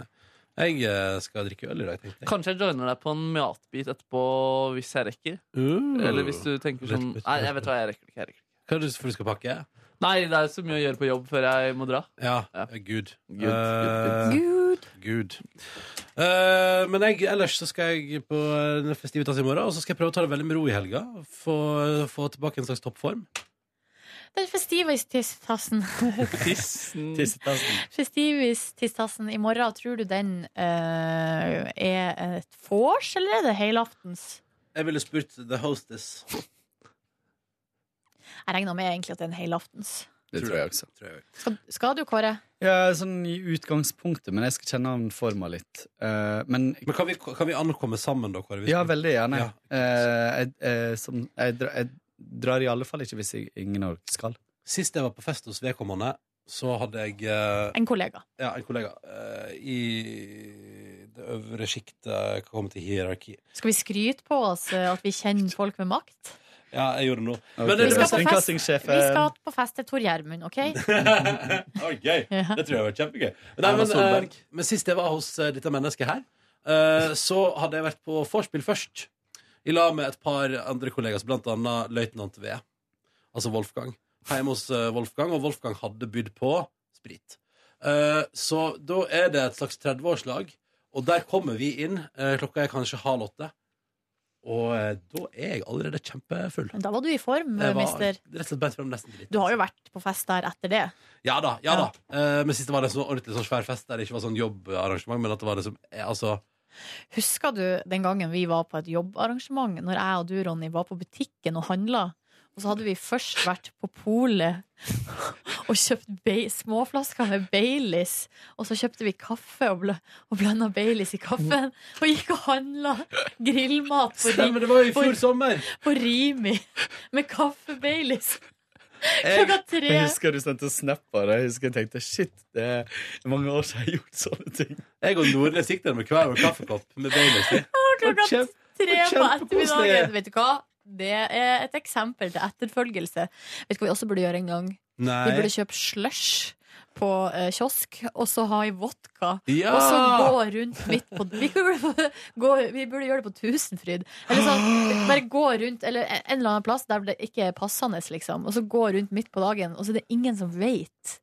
Speaker 2: Jeg eh, skal drikke øl i dag, tenkte jeg.
Speaker 4: Kanskje jeg joiner deg på en matbit etterpå hvis jeg rekker.
Speaker 2: Uh.
Speaker 4: Eller hvis du tenker sånn
Speaker 2: Litt-
Speaker 4: Nei, jeg vet hva, jeg rekker det ikke. Jeg rekker. det ikke.
Speaker 2: Hva er det for du skal pakke?
Speaker 4: Nei, det er så mye å gjøre på jobb før jeg må dra.
Speaker 2: Ja, Gud.
Speaker 4: Gud, Gud,
Speaker 2: Eh,
Speaker 3: Gud.
Speaker 2: Eh, men jeg, ellers så skal jeg på eh, festivitas i morgen, og så skal jeg prøve å ta det veldig med ro i helga. Få, få tilbake en slags toppform.
Speaker 3: Den festivis-tistassen.
Speaker 2: Tissetassen.
Speaker 3: Festivis-tistassen i morgen, tror du den eh, er et vors, eller er det helaftens?
Speaker 2: Jeg ville spurt The Hostess.
Speaker 3: Jeg regner med egentlig at det er en helaftens.
Speaker 9: Det tror jeg også.
Speaker 3: Skal, skal du, Kåre?
Speaker 9: Ja, sånn i utgangspunktet, men jeg skal kjenne an forma litt. Eh, men
Speaker 2: kan, vi, ankomme sammen, da, Kåre?
Speaker 9: Ja, veldig gjerne. Eh, jeg, eh, som, jeg, dra, jeg drar i alle fall ikke hvis jeg, ingen av dere skal.
Speaker 2: Sist jeg var på fest hos vedkommende, så hadde jeg eh,
Speaker 3: En kollega.
Speaker 2: Ja, en kollega eh, i det øvre sjiktet, hva kommer til hierarki.
Speaker 3: Skal vi skryte på oss eh, at vi kjenner folk med makt?
Speaker 2: Ja, jeg gjorde det nå.
Speaker 3: Vi skal på fest, vi skal på fest til Tor Gjermund, OK?
Speaker 2: det var gøy. Det tror jeg var kjempegøy. Nei,
Speaker 4: Erna
Speaker 2: men,
Speaker 4: Solberg.
Speaker 2: eh, men sist jeg var hos eh, dette mennesket her, eh, så hadde jeg vært på vorspiel først. I lag med et par andre kollegaer, så blant annet løytnant V. Altså Wolfgang. Hjemme hos eh, Wolfgang, og Wolfgang hadde bydd på sprit. Eh, så da er det et slags 30-årslag, og der kommer vi inn. eh, klokka er kanskje halv åtte. Og eh, da er jeg allerede kjempefull.
Speaker 3: Men da var du i form,
Speaker 2: Jeg var
Speaker 3: mister.
Speaker 2: Rett og slett beint frem nesten dritt.
Speaker 3: Du har jo vært på fest der etter det.
Speaker 2: Ja da. ja da Eh, Men sist det var det en sånn ordentlig sånn svær fest der det ikke var sånn jobbarrangement, men at det var liksom eh, altså,
Speaker 3: Husker du den gangen vi var på et jobbarrangement, når jeg og du, Ronny, var på butikken og handla? Og så hadde vi først vært på polet og kjøpt Bai- småflasker med Baileys. Og så kjøpte vi kaffe og, bl og blanda Baileys i kaffen. Og gikk og handla grillmat på,
Speaker 2: Stemmer, det var jo i
Speaker 3: på-
Speaker 2: fjor sommer.
Speaker 3: på Rimi med kaffe Baileys.
Speaker 9: Jeg-
Speaker 3: Klokka tre.
Speaker 9: Jeg husker du sendte snap av det. Jeg husker jeg tenkte shit, det er mange år siden jeg har gjort sånne ting.
Speaker 2: Jeg og Nordnes gikk der med hver vår kaffekopp med Baileys i.
Speaker 3: Klokka
Speaker 2: Kjempe-
Speaker 3: tre på
Speaker 2: kjempekoselig.
Speaker 3: ettermiddagen. Vet du hva? Det er et eksempel til etterfølgelse. Vet du hva vi også burde gjøre en gang?
Speaker 2: Nei.
Speaker 3: Vi burde kjøpe slush på eh, kiosk, og så ha i vodka.
Speaker 2: Ja!
Speaker 3: Og så gå rundt midt på vi, burde, gå, vi burde gjøre det på Tusenfryd. Eller sånn, bare gå rundt Eller en eller annen plass der det ikke er passende, liksom. Og så gå rundt midt på dagen, og så er det ingen som veit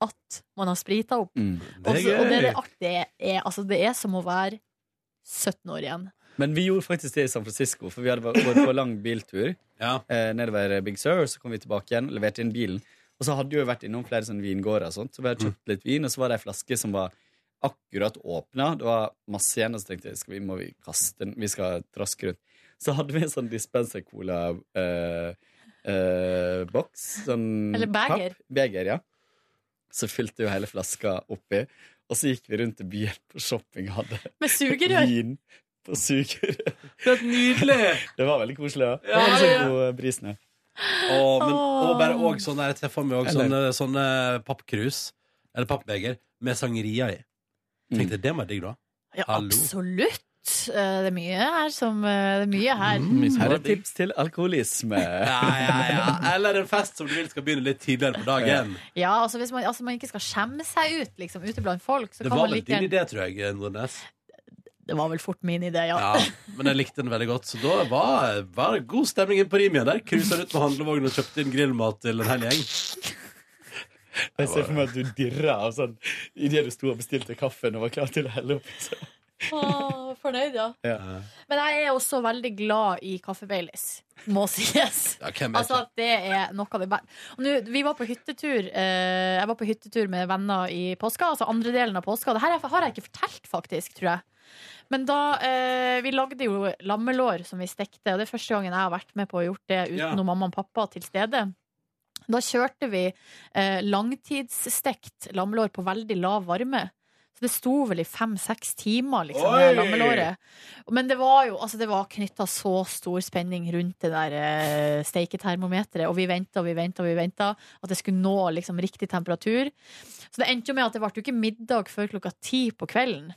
Speaker 3: at man har sprita opp.
Speaker 9: Mm.
Speaker 3: Og så- og det er det artige er, altså, det er som å være 17 år igjen.
Speaker 9: Men vi gjorde faktisk det i San Francisco, for vi hadde vært vært på lang biltur eh, nedover Big Sur, så kom vi tilbake igjen, leverte inn bilen. Og så hadde vi jo vært innom flere sånne vingårder og sånt, så vi hadde kjøpt litt vin, og så var det ei flaske som var akkurat åpna, det var masse igjen, og så tenkte jeg skal vi må vi kaste den, vi skal traske rundt. Så hadde vi en sånn dispenser-cola-boks, sånn
Speaker 3: Eller beger.
Speaker 9: papp- Beger, ja. Så fylte jo hele flaska oppi, og så gikk vi rundt i byen på shopping, hadde
Speaker 3: Med sugerør.
Speaker 9: vin på sugerør.
Speaker 2: Det er nydelig!
Speaker 9: Det var veldig koselig. Ja.
Speaker 2: Ja,
Speaker 9: det var
Speaker 2: ja.
Speaker 9: så god eh, bris nå.
Speaker 2: Og, men, og bare òg sånn der, jeg ser for meg også sånne,
Speaker 9: Eller-
Speaker 2: sånne pappkrus, eller pappbeger, med sangeria i. Tenkte det må være digg, da.
Speaker 3: Ja,
Speaker 2: Hallo.
Speaker 3: absolutt. Eh, Det er mye her som eh, Det er mye her.
Speaker 9: Her er tips til alkoholisme.
Speaker 2: Ja, ja, ja. Eller en fest som du vil skal begynne litt tidligere på dagen.
Speaker 3: Ja, altså hvis man, altså man ikke skal skjemme seg ut liksom, ute blant folk, så
Speaker 2: Det
Speaker 3: kan
Speaker 2: var
Speaker 3: man
Speaker 2: vel
Speaker 3: like
Speaker 2: din
Speaker 3: gjerne
Speaker 2: idé, tror jeg, Nordnes.
Speaker 3: Det var vel fort min idé, ja.
Speaker 2: Ja, men jeg likte den veldig godt. Så da var, var det god stemning inn på Rimia der. Cruisa rundt med handlevogn og kjøpte inn grillmat til en hel gjeng.
Speaker 9: Jeg ser for meg at du dirra av sånn idet du sto og bestilte kaffen og var klar til å helle opp. sånn. Så.
Speaker 3: Åh, fornøyd, ja.
Speaker 9: Ja.
Speaker 3: Men jeg er også veldig glad i kaffe Baileys. Må sies.
Speaker 2: Ja, hvem er
Speaker 3: altså, det er noe av det bæ- Og nå, Vi var på hyttetur eh, Jeg var på hyttetur med venner i påska, altså andre delen av påska. Det her er- har jeg ikke fortalt, faktisk, tror jeg. Men da eh, Vi lagde jo lammelår som vi stekte, og det er første gangen jeg har vært med på å gjort det uten
Speaker 5: Ja.
Speaker 3: noe mamma og pappa til stede. Da kjørte vi eh, langtidsstekt lammelår på veldig lav varme. Det sto vel i fem-seks timer, liksom,
Speaker 13: Oi!
Speaker 3: det lammelåret. Men det var jo altså, det var knytta så stor spenning rundt det der eh, steiketermometeret, og vi venta og vi venta og vi venta at det skulle nå liksom riktig temperatur. Så det endte jo med at det ble jo ikke middag før klokka ti på kvelden.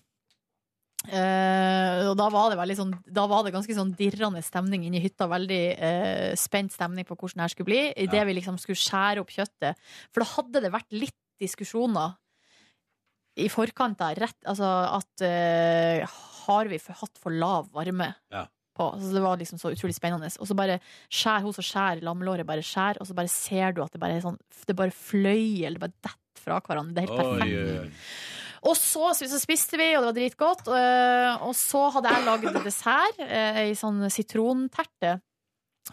Speaker 3: Eh, og da var det veldig sånn Da var det ganske sånn dirrende stemning inni hytta. Veldig eh, spent stemning på hvordan det her skulle bli. Idet
Speaker 13: Ja.
Speaker 3: vi liksom skulle skjære opp kjøttet. For da hadde det vært litt diskusjoner i forkant der. Rett, altså at eh, Har vi for, hatt for lav varme?
Speaker 2: Ja.
Speaker 3: På. Så det var liksom så utrolig spennende. Og så bare skjær hun som skjærer lammelåret, bare skjær, og så bare ser du at det bare er sånn Det bare fløy, eller det bare detter fra hverandre. Det er helt perfekt. Og så, så spiste vi, og det var dritgodt. øh, Og så hadde jeg lagd dessert, øh, ei sånn sitronterte.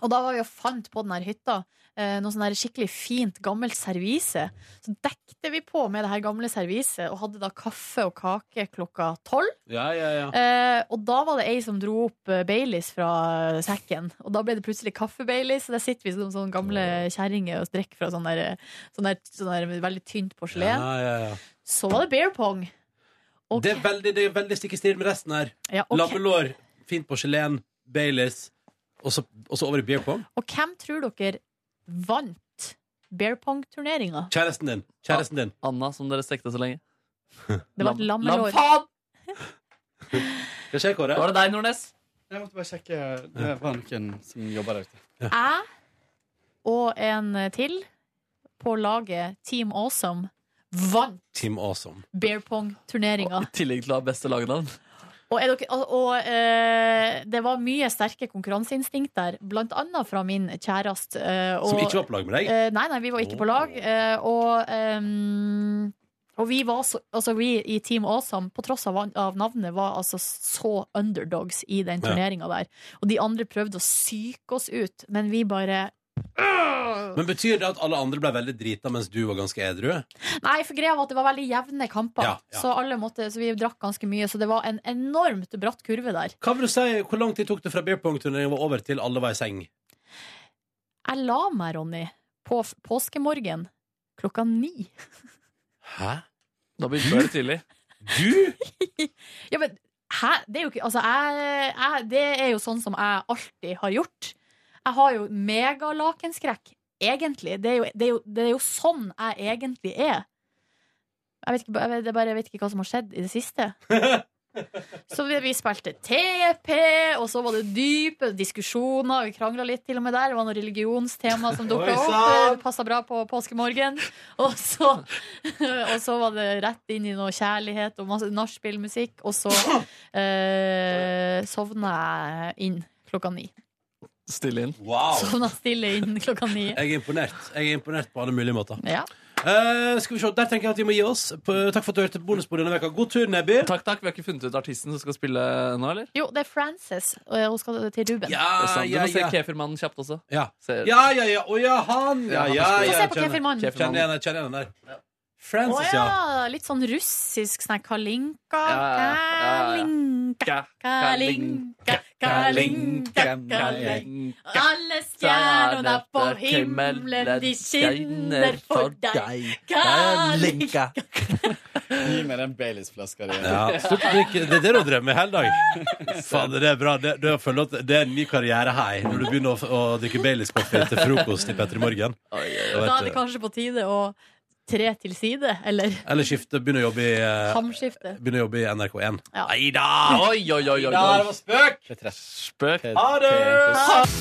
Speaker 3: Og da var vi og fant på den her hytta øh, noe sånn her skikkelig fint, gammelt servise. Så dekte vi på med det her gamle serviset, og hadde da kaffe og kake klokka tolv.
Speaker 2: Ja, ja, ja.
Speaker 3: Eh, og da var det ei som dro opp eh, Baileys fra eh, sekken. Og da ble det plutselig kaffe-Baileys, og der sitter vi som sånne gamle kjerringer og drikker fra sånn der, eh, sånn der, sånn der veldig tynt porselen.
Speaker 2: Ja, ja, ja.
Speaker 3: Så var det beer pong.
Speaker 2: Det er veldig, det er veldig stikk i stil med resten her.
Speaker 3: Ja, ok.
Speaker 2: Lammelår, fint porselen, Baileys, og så og så over i beer pong.
Speaker 3: Og hvem tror dere vant beer pong-turneringa?
Speaker 2: Kjæresten din. Kjæresten din.
Speaker 4: Anna, som dere stekte så lenge.
Speaker 3: Det var et
Speaker 4: Lam-
Speaker 3: lammelår.
Speaker 4: lam-
Speaker 2: Skal jeg Kåre?
Speaker 4: Var det deg, Nordnes?
Speaker 9: Jeg måtte bare sjekke. Det var noen som jobba der ute.
Speaker 3: Jeg og en til på laget Team Awesome vant
Speaker 2: Team Awesome.
Speaker 3: beer pong-turneringa.
Speaker 4: I tillegg til å ha beste lagnavn.
Speaker 3: Og, er dere, og, og eh, det var mye sterke konkurranseinstinkt der, blant annet fra min kjæreste. eh, og-
Speaker 2: Som ikke var på lag med deg?
Speaker 3: Eh, nei, nei, vi var ikke på lag. eh, og, ehm, og vi var så, altså vi i Team Awesome, på tross av, av navnet, var altså så underdogs i den
Speaker 13: Ja.
Speaker 3: turneringa der. Og de andre prøvde å psyke oss ut, men vi bare
Speaker 2: Men betyr det at alle andre ble veldig drita mens du var ganske edru?
Speaker 3: Nei, for greia var at det var veldig jevne kamper.
Speaker 2: Ja, ja.
Speaker 3: Så, alle måtte, så vi drakk ganske mye. Så det var en enormt bratt kurve der.
Speaker 2: Hva vil du si, Hvor lang tid tok det fra beer pong-turneringen var over til alle var i seng?
Speaker 3: Jeg la meg, Ronny, på f- påskemorgen klokka ni.
Speaker 2: Hæ?
Speaker 4: Da begynte det tidlig.
Speaker 2: Du?
Speaker 3: Ja, men hæ? Det er jo ikke Altså, jeg, jeg Det er jo sånn som jeg alltid har gjort. Jeg har jo megalakenskrekk, egentlig. Det er, jo, det, er jo, det er jo sånn jeg egentlig er. Jeg vet, ikke, jeg, vet, jeg bare vet ikke hva som har skjedd i det siste. Så vi, vi spilte TP, og så var det dype diskusjoner. Vi krangla litt til og med der. Det var noe religionstema som dukka
Speaker 13: Oi,
Speaker 3: opp.
Speaker 13: sant!
Speaker 3: Det passa bra på påskemorgen. Og så, og så var det rett inn i noe kjærlighet og masse nachspielmusikk. Og så eh, sovna jeg inn klokka ni.
Speaker 4: Stille inn.
Speaker 2: Wow.
Speaker 3: Sovna stille inn klokka ni.
Speaker 2: Jeg er imponert. Jeg er imponert på alle mulige måter.
Speaker 3: Ja.
Speaker 2: Eh, skal vi se, Der tenker jeg at vi må gi oss. På, takk for at du hørte på Bonusbordet denne veka. God tur, Nebby.
Speaker 4: Takk, takk. Vi har ikke funnet ut artisten som skal spille nå, eller?
Speaker 3: Jo, det er Frances. og Hun skal til Ruben.
Speaker 4: Det er sant. du
Speaker 2: ja,
Speaker 4: må se
Speaker 2: ja.
Speaker 4: Kefirmannen kjapt også.
Speaker 2: Ja.
Speaker 4: Se-
Speaker 2: Ja, ja, ja. Å ja, han! Ja, ja,
Speaker 4: Få
Speaker 2: ja.
Speaker 4: se på
Speaker 2: Kjenner-
Speaker 3: Kefirmannen.
Speaker 2: Kjenner igjen den, kjenner igjen den der.
Speaker 3: Å
Speaker 2: Frances, ja.
Speaker 3: ja, litt sånn russisk sånn her kalinka,
Speaker 2: Ja, ja, ja, ja.
Speaker 3: kalinka, kalinka, kalinka, kalinka. Alle stjernene på himmelen, de skinner for deg. Kalinka.
Speaker 9: Gi meg den Baileys-flaska di.
Speaker 2: Ja, slutt å drikke. Det er det du drømmer i hele dag. Fader, det er bra. Det, det, jeg føler at det er en ny karriere her, når du begynner å, å drikke Baileys-kaffe til frokost i Petter i morgen.
Speaker 3: Da er det kanskje på tide å tre til side, eller
Speaker 2: Eller skifte, begynne å jobbe i eh,
Speaker 3: hamskifte.
Speaker 2: Begynne å jobbe i NRK1.
Speaker 3: Ja.
Speaker 2: Nei da!
Speaker 4: Oi, oi, oi, oi.
Speaker 2: Ja, det var spøk!
Speaker 4: Spøk.
Speaker 2: Ha det!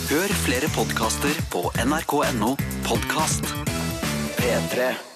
Speaker 14: Hør flere podkaster på nrk.no podkast. P3.